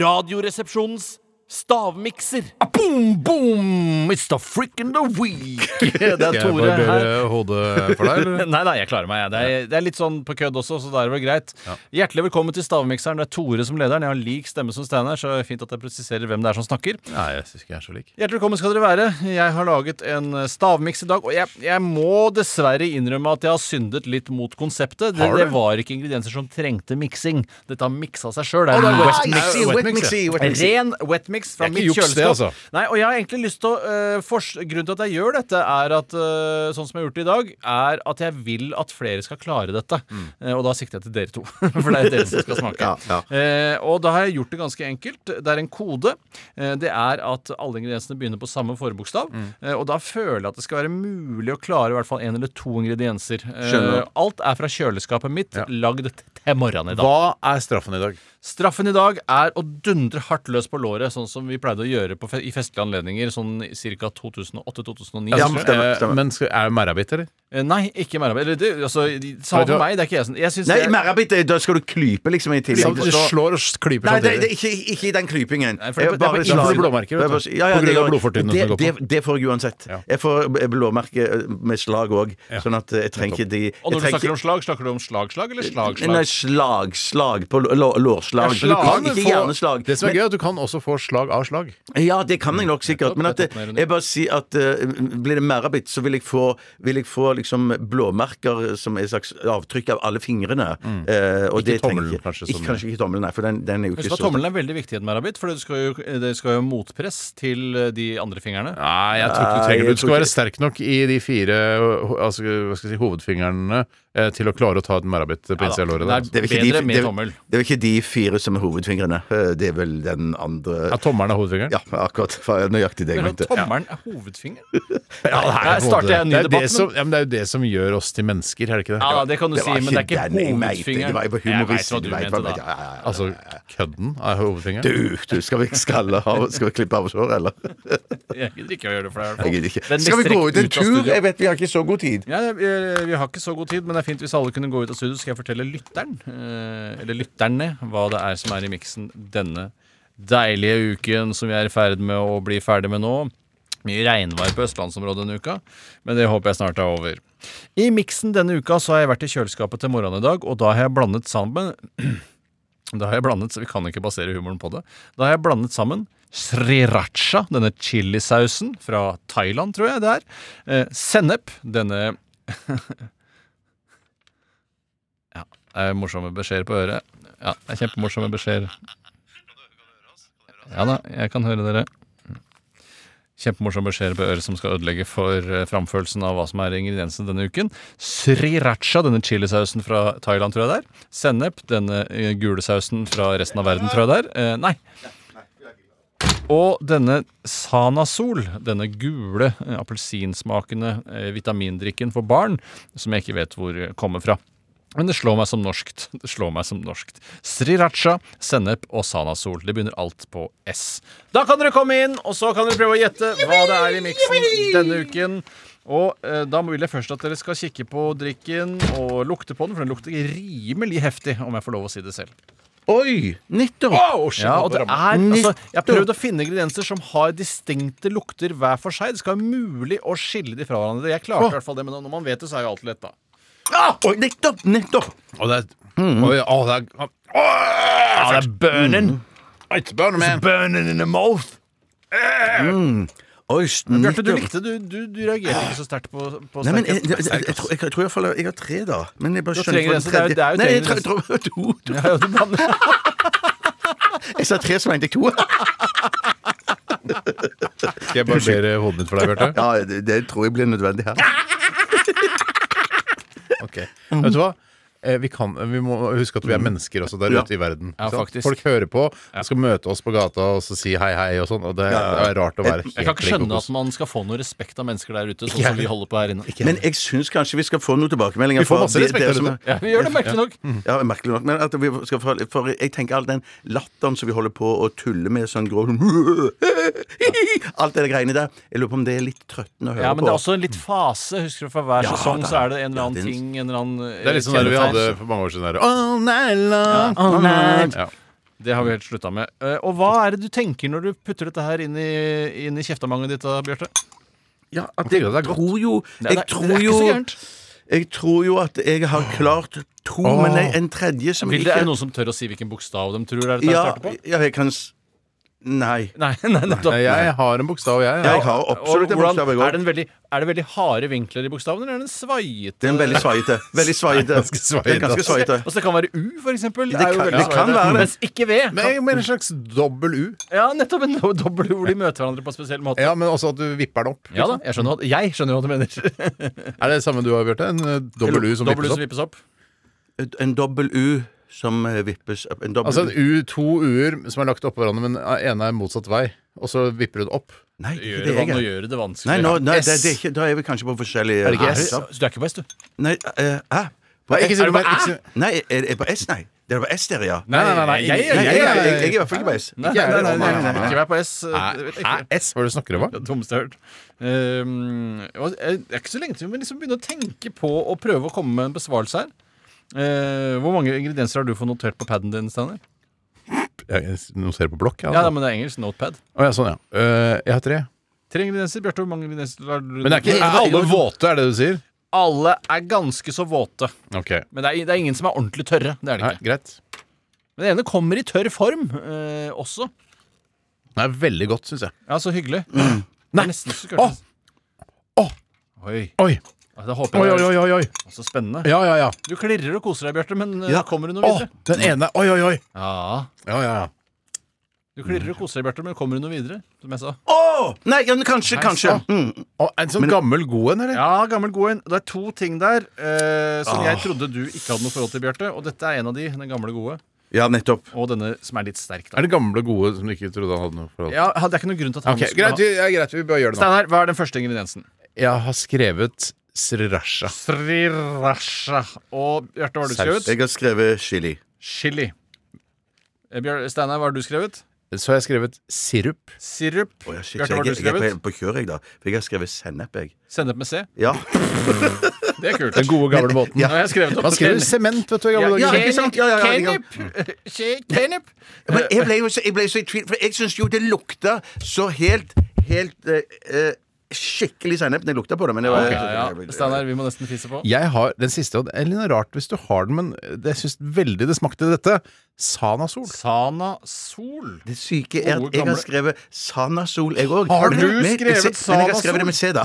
I: Radioresepsjonens stavmikser.
H: Ah, Boom, boom! It's the freaking the week! Det er
F: Skal
H: Tore
F: jeg
H: her.
F: barbere hodet for deg, eller?
H: Nei, nei, jeg klarer meg. jeg. Det er, det er litt sånn på kødd også, så da er det vel greit. Hjertelig velkommen til Stavmikseren. Det er Tore som lederen. Jeg har lik stemme som Steinar, så det er fint at jeg presiserer hvem det er som snakker.
F: Nei, jeg syns ikke jeg er så lik.
H: Hjertelig velkommen skal dere være. Jeg har laget en eh, stavmiks i dag, og jeg, jeg må dessverre innrømme at jeg har syndet litt mot konseptet. Det,
F: Har du?
H: det var ikke ingredienser som trengte miksing. Dette har miksa seg sjøl.
F: Å, det er
H: wet
F: wet mix.
H: mixing.
F: Wet mix, ja.
H: En Ren wetmix fra
F: Det er
H: mitt
F: ikke juks,
H: kjøleskap.
F: det, altså.
H: Nei, og jeg har egentlig lyst til å øh, fors- Grunnen til at jeg gjør dette, er at øh, sånn som jeg har gjort det i dag, er at jeg vil at flere skal klare dette. Eh, og da sikter jeg til dere to. For det er dere som skal smake. Eh, og da har jeg gjort det ganske enkelt. Det er en kode. Eh, det er at alle ingrediensene begynner på samme forbokstav. Eh, og da føler jeg at det skal være mulig å klare i hvert fall én eller to ingredienser. Eh,
G: Skjønner.
H: alt er fra kjøleskapet mitt, lagd til morgenen i dag.
F: Hva er straffen i dag?
H: Straffen i dag er å dundre hardt løs på låret, sånn som vi pleide å gjøre på fe i festlige anledninger sånn ca. 2008-2009.
G: Ja,
H: tror jeg.
G: stemmer,
F: Eh,
G: stemmer.
F: Men skal, er det merrabitt, eller?
H: Eh, Nei, ikke merarbeid. Eller det, altså, de- samme
F: Vet du
H: for
F: hva?
H: meg, det er ikke jeg som jeg synes
G: Nei,
H: det-
G: merrabitt, da skal du klype liksom i tillegg.
F: Du
G: Det står-
F: slår og klyper
G: Nei, det, det,
F: samtidig.
G: er ikke, ikke i den klypingen.
H: Nei, for
G: Jeg
H: det- det er på
G: bare-
H: innsiden.
G: Ja,
H: Du får
F: blodmerker, vet du.
G: bare- ja, ja,
F: På grunn
G: det
F: av
G: gjør-
F: blodfortynnelsen
G: det-
F: som går på.
G: Det, det får jeg uansett.
F: Ja.
G: Jeg får blåmerke eh, med slag òg, sånn at jeg trenger ikke de
H: Og når du
G: jeg
H: snakker
G: trenger
H: om slag, snakker du om slagslag eller
G: ikke- Nei,
H: slagslag?
G: slag, slag på lå- lå- lårslag.
H: Ja, slag.
G: Men du kan Ikke
F: Få-
G: hjerneslag.
F: Det som er gøy, er at du kan også få slag av slag.
G: Ja, det kan jeg nok sikkert. Men at det,
H: Nettopp, nettopp,
G: jeg bare sier at eh, blir det merrabitt, så vil jeg få, vil jeg få liksom blåmerker som er et slags avtrykk av alle fingrene. Eh, og
F: Ikke
G: det trenger
F: tommelen,
G: jeg
F: kanskje,
G: Ikke,
F: som-
G: kanskje ikke tommelen, nei, for den, den er jo
H: Husk
G: ikke
H: at tommelen er veldig viktig i et merarbeid, for det skal, jo, det skal jo motpress til eh, de andre fingrene.
F: Nei, jeg tror ikke du
G: Nei,
F: trenger
G: jeg
F: det. Du skal
G: tror
F: være
G: ikke-
F: sterk nok i de fire ho- altså, hva skal jeg si, hovedfingrene eh, til å klare å ta et merabit på innsida av låret. der, altså.
H: Det er
G: vel ikke
H: bedre
G: de-
H: med
G: det er-
H: tommel.
G: Det er vel ikke de fire som er hovedfingrene. Eh, Det er vel den andre
F: Ja, tommelen er hovedfingeren?
G: Ja, akkurat. Fa- Nøyaktig det jeg
H: Men
G: mente.
H: tommelen er hovedfingeren?
F: Ja, det er
H: Her
F: på en måte-
H: starter jeg en ny
F: det er det
H: debatt, men-
F: som, ja, men det er jo det som gjør oss til mennesker, er det ikke det?
H: Ja, det kan du
G: Det
H: si,
G: var
H: men det er ikke
G: den jeg mente.
H: hovedfingeren.
G: Det var jo på
H: Jeg vet
G: humorist.
H: hva du mente da.
G: Ja, ja, ja.
F: Altså, kødden er hovedfingeren?
G: Du, du, skal vi ikke skalle av Skal vi klippe av oss håret, eller?
H: Jeg gidder ikke å gjøre det for deg. i hvert
G: Jeg
H: fall.
G: gidder ikke.
H: Den
G: Skal vi
H: strekker
G: gå ut en
H: ut av
G: tur?
H: studio.
G: Jeg vet vi har ikke så god tid.
H: Ja, det- eh, Vi har ikke så god tid, men det er fint hvis alle kunne gå ut av studio. Så skal jeg fortelle lytteren, eh, eller lytterne, hva det er som er i miksen denne deilige uken som vi er i ferd med å bli ferdig med nå. Mye regnvær på østlandsområdet denne uka, men det håper jeg snart er over. I miksen denne uka så har jeg vært i kjøleskapet til morgenen i dag, og da har jeg blandet sammen Da har jeg blandet, så vi kan ikke basere humoren på det. Da har jeg blandet sammen sriracha, denne chilisausen fra Thailand, tror jeg det er. Eh, sennep, denne Ja, det er morsomme beskjeder på øret. Ja, det er kjempemorsomme beskjeder. Ja da, jeg kan høre dere. Kjempemorsomme beskjeder på øret som skal ødelegge for eh, framførelsen av hva som er ingrediensene denne uken. Sriracha, denne chilisausen fra Thailand, tror jeg det er. Sennep, denne eh, gule sausen fra resten av verden, tror jeg det er. Eh, nei. Og denne Sanasol, denne gule eh, appelsinsmakende eh, vitamindrikken for barn, som jeg ikke vet hvor eh, kommer fra. Men det slår meg som norskt. Det slår meg som norskt. Sriracha, sennep og sanasol. Det begynner alt på S. Da kan dere komme inn, og så kan dere prøve å gjette hva det er i miksen denne uken. Og eh, da vil jeg først at dere skal kikke på drikken og lukte på den, for den lukter rimelig heftig, om jeg får lov å si det selv.
G: Oi! Nettopp!
H: Ja, og det er, altså, jeg har prøvd å finne ingredienser som har distinkte lukter hver for seg. Det skal være mulig å skille de fra hverandre. Jeg klarte i hvert fall det, men når man vet det, så er jo alt lett, da.
G: Ah, oi, nettopp! Nettopp!
F: Og det er, Oi, å, det er, å, Mm. det er burning! It's burning, man. burning in the mouth.
G: Oi,
H: Bjarte, du
G: nettopp.
H: likte Du, du, du reagerte ikke så sterkt på, på
G: Nei, men jeg, jeg,
H: sterkest.
G: jeg, jeg, tror- jeg, jeg tror jeg, faller, jeg har tre, da. Men jeg sånn bare
H: Du har
G: skjønner
H: tre grenser, det er jo- det er jo
G: Nei,
H: tre
G: jeg, tror- jeg, tror- to, to.
H: Ja, ja, du blander.
G: jeg sa tre, så mente jeg to.
F: Skal jeg barbere hodet mitt for deg, Bjarte?
G: Ja, det, det tror jeg blir nødvendig her.
F: Ok. Vet du hva? Eh, Vi, kan, vi må huske at vi er mennesker også der
G: Ja.
F: ute i verden. Ikke
H: Ja,
F: sant?
H: faktisk.
F: Folk hører på, skal møte oss på gata og så si hei, hei og sånn. Og det, det er rart å være helt
H: Jeg kan ikke
F: klin
H: skjønne
F: kokos.
H: at man skal få noe respekt av mennesker der ute, sånn som vi holder på her inne.
G: Men jeg syns kanskje vi skal få noen tilbakemeldinger.
F: Vi får
G: fra
F: masse
G: de-
F: respekt
G: dere
F: der
G: som-
F: ute.
H: Ja, vi gjør det merkelig nok.
G: Ja, merkelig nok. Men at vi skal få, for jeg tenker all den latteren som vi holder på å tulle med, sånn grå sånn, Alt det der greiene der. Jeg lurer på om det er litt trøttende å høre
H: Ja, men
G: på.
H: det er altså- også en litt fase. Husker du, for hver
G: Ja,
H: sesong
G: det er-
H: så er det en eller
G: ja,
H: annen
G: det er en-
H: ting, en eller annen eh,
F: Det er litt sånn der vi hadde for mange år siden. Der. All night long.
H: All night.
F: Ja.
H: Det har vi helt slutta med. Eh, Og hva er det du tenker når du putter dette her inn i, inn i kjeftamanget ditt, da, Bjarte?
G: ja, at jeg
F: det er godt.
G: tror jo
H: Det er-
G: Jeg
H: det
G: tror
H: er ikke
G: jo
H: så gærent.
G: Jeg tror jo at jeg har klart to, men nei, en tredje som
H: Vil det, er det
G: ikke
H: noen som tør å si hvilken bokstav de tror er dette
G: ja,
H: her starter på?
G: ja, jeg kan s- Nei.
H: Nei, nei, nettopp.
F: Nei, Jeg har en bokstav, jeg.
G: Jeg har absolutt
H: Og
G: en
H: hvordan-
G: bokstav, jeg
H: er, det
G: òg.
H: en veldig, er det veldig harde vinkler i bokstavene, eller er det en svaiete
G: Det er en veldig svaiete. Veldig svaiete.
F: ganske svaiete,
G: Det er ganske
F: altså.
G: svaiete.
H: Altså, det kan være U, for eksempel.
G: Det
H: er jo
G: kan-
H: veldig
G: det kan
H: svaiete.
G: være det.
H: Mens ikke V.
F: Men jeg mener en slags dobbel U.
H: Ja, nettopp. En do- dobbel U hvor de møter hverandre på en spesiell måte.
F: Ja, Men også at du vipper den opp.
H: Ja da, jeg skjønner hva, jeg skjønner hva du mener.
F: Er det det samme du har, Bjarte? En eh, dobbel U som
H: Dobbel U
F: vippes
H: som
F: opp?
H: vippes opp.
G: En dobbel U som eh, vippes opp. En dobbel
F: Altså en
G: U.
F: U, to U-er som er lagt oppå hverandre, men eh, ene er motsatt vei. Og så vipper du det opp.
G: Nei, det er
H: Gjør
G: ikke
H: det,
G: det
H: van- nå
G: jeg er.
H: gjør det det vanskelig.
G: Nei, nå, nei
F: S.
G: det, det er ikke, da er vi kanskje på forskjellige
F: Er det ikke
G: Nei,
F: S?
G: så-
H: Så du er ikke på S, du?
G: Nei, eh, hæ? På
F: Nei, ikke si
G: Er
F: det
G: det på
F: mer,
G: æ?
F: ikke si-
G: Nei, er det på S, nei? Det er på S dere, ja.
F: Nei, nei, nei, nei,
H: jeg-
G: Nei, jeg,
F: jeg-
G: jeg, jeg, er i hvert fall ikke på S.
F: Ikke
H: Nei, nei,
F: jeg,
H: nei, nei,
F: nei,
H: nei,
F: nei.
H: Ikke vær på S. eh,
F: Hæ? Hæ? S? Hva er det du snakker om? hva?
H: Det dummeste jeg har hørt. Ehm, og det er ikke så lenge til vi liksom begynner å tenke på å prøve å komme med en besvarelse her. Eh, hvor mange ingredienser har du fått notert på paden din, Steinar?
F: Jeg noterer på blokk. jeg,
H: Ja,
F: altså.
H: men det er engelsk. Notepad.
F: Å, ja, sånn, ja. Eh, jeg har tre.
H: Tre ingredienser. Bjarte, hvor mange ingredienser har du?
F: Men det er ikke er alle våte, er det du sier?
H: Alle er ganske så våte.
F: Ok,
H: Men det er, det er ingen som er ordentlig tørre. Det er det
F: Nei,
H: ikke.
F: Greit.
H: Men det ene kommer i tørr form eh, også.
F: Det er veldig godt, syns jeg.
H: Ja, så hyggelig. Nei! Nesten så skulle
F: Mm.
H: jeg
F: Åh! Åh!
H: Oi.
F: Oi,
H: Ja, Det håper
F: oi,
H: jeg
F: oi, oi. oi, oi.
H: er så spennende.
F: Ja, ja, ja.
H: Du klirrer og koser deg, Bjarte, men eh, kommer du noe
F: Å,
H: videre?
F: den ene. Oi, oi, oi.
H: Ja.
F: Ja, ja, ja.
H: Du klirrer og koser deg, Bjarte, men kommer du noe videre? Som jeg sa.
G: Åh! Nei, ja, men kanskje, kanskje. Mm.
F: Å, en sånn gammel god en, eller?
H: Ja, gammel god en. Det er to ting der eh, som jeg trodde du ikke hadde noe forhold til, Bjarte. Og dette er en av de, den gamle gode.
G: Ja, nettopp.
H: Og denne som er litt sterk, da.
F: Er det gamle gode som du ikke trodde han hadde noe forhold til?
H: Ja, det er ikke noen grunn til at han
F: Ok, greit, vi- ja, greit, vi bare gjør det nå.
H: Steinar, hva er den første ingrediensen?
F: Jeg har skrevet srirasha.
H: Srirasha. Og Bjarte, hva har du
F: Saus.
H: skrevet?
G: Jeg har skrevet chili.
H: Chili. Eh, Bjør- Steinar, hva har du skrevet?
F: Så har jeg skrevet sirup.
H: Sirup.
G: Å, ja, shit,
H: Bjarte, hva har du
G: jeg, jeg er
H: skrevet?
G: på, på kjør, jeg, da. For jeg har skrevet sennep, jeg.
H: Sennep med C.
G: Ja.
H: Det er kult.
F: Den gode, gamle måten.
H: Nå har jeg skrevet opp
F: Man skriver sement, vet du, i gamle
G: ja,
F: dager.
G: ikke sant? Ja, ja, ja, ja.
H: Kennep. Kje- Kennep.
G: Men jeg ble jo så, jeg ble så i tvil, for jeg syns jo det lukta så helt, helt eh, eh, Skikkelig sennep når jeg lukta på det. Men det var
H: Ja, ja. Steinar, vi må nesten fise på.
F: Jeg har den siste, og det er litt rart hvis du har den, men det- jeg syns veldig det smakte dette. Sanasol.
H: Sana Sol.
G: Det syke er
H: Gode,
G: at jeg har
H: gamle-
G: skrevet Sanasol, jeg òg.
H: Har du skrevet
G: Men jeg har skrevet det med C, da.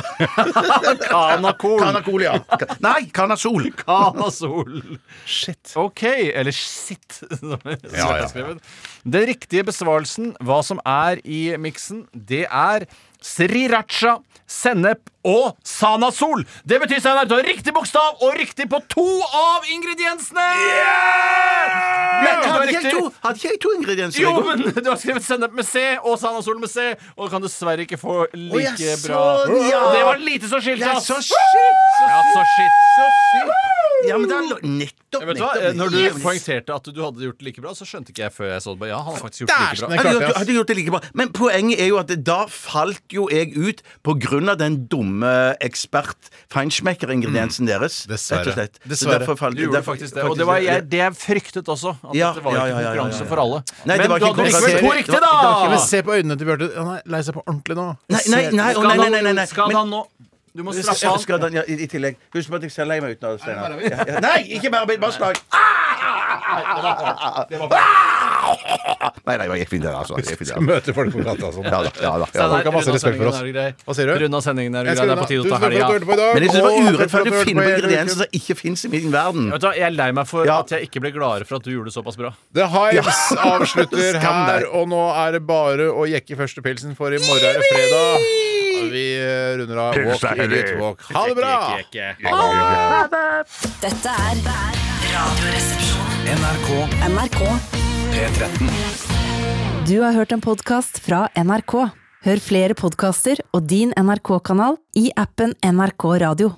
H: Kanakol.
G: Kanakol, ja. Ka- Nei, Kanasol.
H: Kanasol.
F: Shit.
H: OK. Eller shit. som jeg
F: Ja, ja.
H: skrev. Den riktige besvarelsen, hva som er i miksen, det er sriracha, sennep og sanasol. Det betyr Steinar, du har riktig bokstav og riktig på to av ingrediensene!
G: Men
H: Du har
G: hadde jeg
H: riktig-
G: to, hadde ikke jeg to ingredienser?
H: Jo,
G: jeg også?
H: men du har skrevet sennep med C og Sanasol med C, og kan dessverre ikke få like
G: Å, ja,
H: bra
G: sånn, ja.
H: Det var lite som skilte,
G: Det er
H: ass!
G: så shit!
H: Ja, så shit.
G: Ja, men det er lo- nettopp,
H: Vet du hva?
G: nettopp.
H: Eh, Når du
G: nettopp.
H: poengterte at du hadde gjort det like bra, så skjønte ikke jeg før jeg så det. bare, Ja, han har faktisk gjort det like
F: Dæsken, jeg
H: bra.
G: Hadde
F: klarte
G: gjort,
F: det, ass.
G: hadde gjort det like bra. Men poenget er jo at da falt jo jeg ut på grunn av den dumme ekspert-feinschmecker-ingrediensen deres.
F: Dessverre.
G: Rett og slett. Så
F: Dessverre.
G: derfor falt-
H: Du gjorde
G: derfor-
H: faktisk det, og det var jeg, det jeg fryktet også. At
G: Ja,
H: det var
G: ja,
H: ikke
G: ja, ja, ja, ja.
H: konkurranse for
G: Nei,
H: alle.
G: det
H: Men
G: var
H: du
G: ikke
H: hadde
G: konkurranse.
H: likevel to
G: Det
H: riktige,
G: var-
F: Ja, men
H: da!
F: se på øynene til Bjarte. Han er lei seg på ordentlig nå.
G: Nei, nei, nei, å, nei, nei, nei, nei, nei.
H: Skal
G: Men-
H: han nå Du må straffe
G: Ja,
H: han.
G: skal den, ja, i, I tillegg. Husk på at jeg ser lei meg ut nå, Steinar. Ja, ja. Nei, ikke mer arbeid, bare slag! Ah! Ah! Nei, nei, det gikk fint, det. Altså. Det gikk fint, det.
F: Møter folk på gata og sånn.
G: Ja da. Ja, da, ja, da.
F: Folk har masse respekt for oss. Hva sier du?
H: Rund av sendingen er
F: Jeg
H: grei.
F: skal
H: Det er på
F: unna.
H: tide å
F: Tusen
H: ta
F: takk for at
H: helga.
F: du hørte på i dag.
G: Men jeg synes det
F: Og
G: var
F: takk for at du
G: urettferdig å
F: hørte på
G: finne på
F: i hele
G: ingredienser
F: uken.
G: som ikke fins i min verden.
H: Vet du hva, Jeg er lei meg for
G: Ja.
H: at jeg ikke ble gladere for at du gjorde det såpass bra.
F: The Hives avslutter
G: Skam
F: her,
G: deg.
F: og nå er det bare å jekke første pilsen, for i morgen er det fredag. Og Vi eh, runder av Walk in it, walk. Ha det bra!
A: Dette er Radioresepsjonen. NRK.
B: P13.
J: Du har hørt en podkast fra NRK. Hør flere podkaster og din NRK-kanal i appen NRK Radio.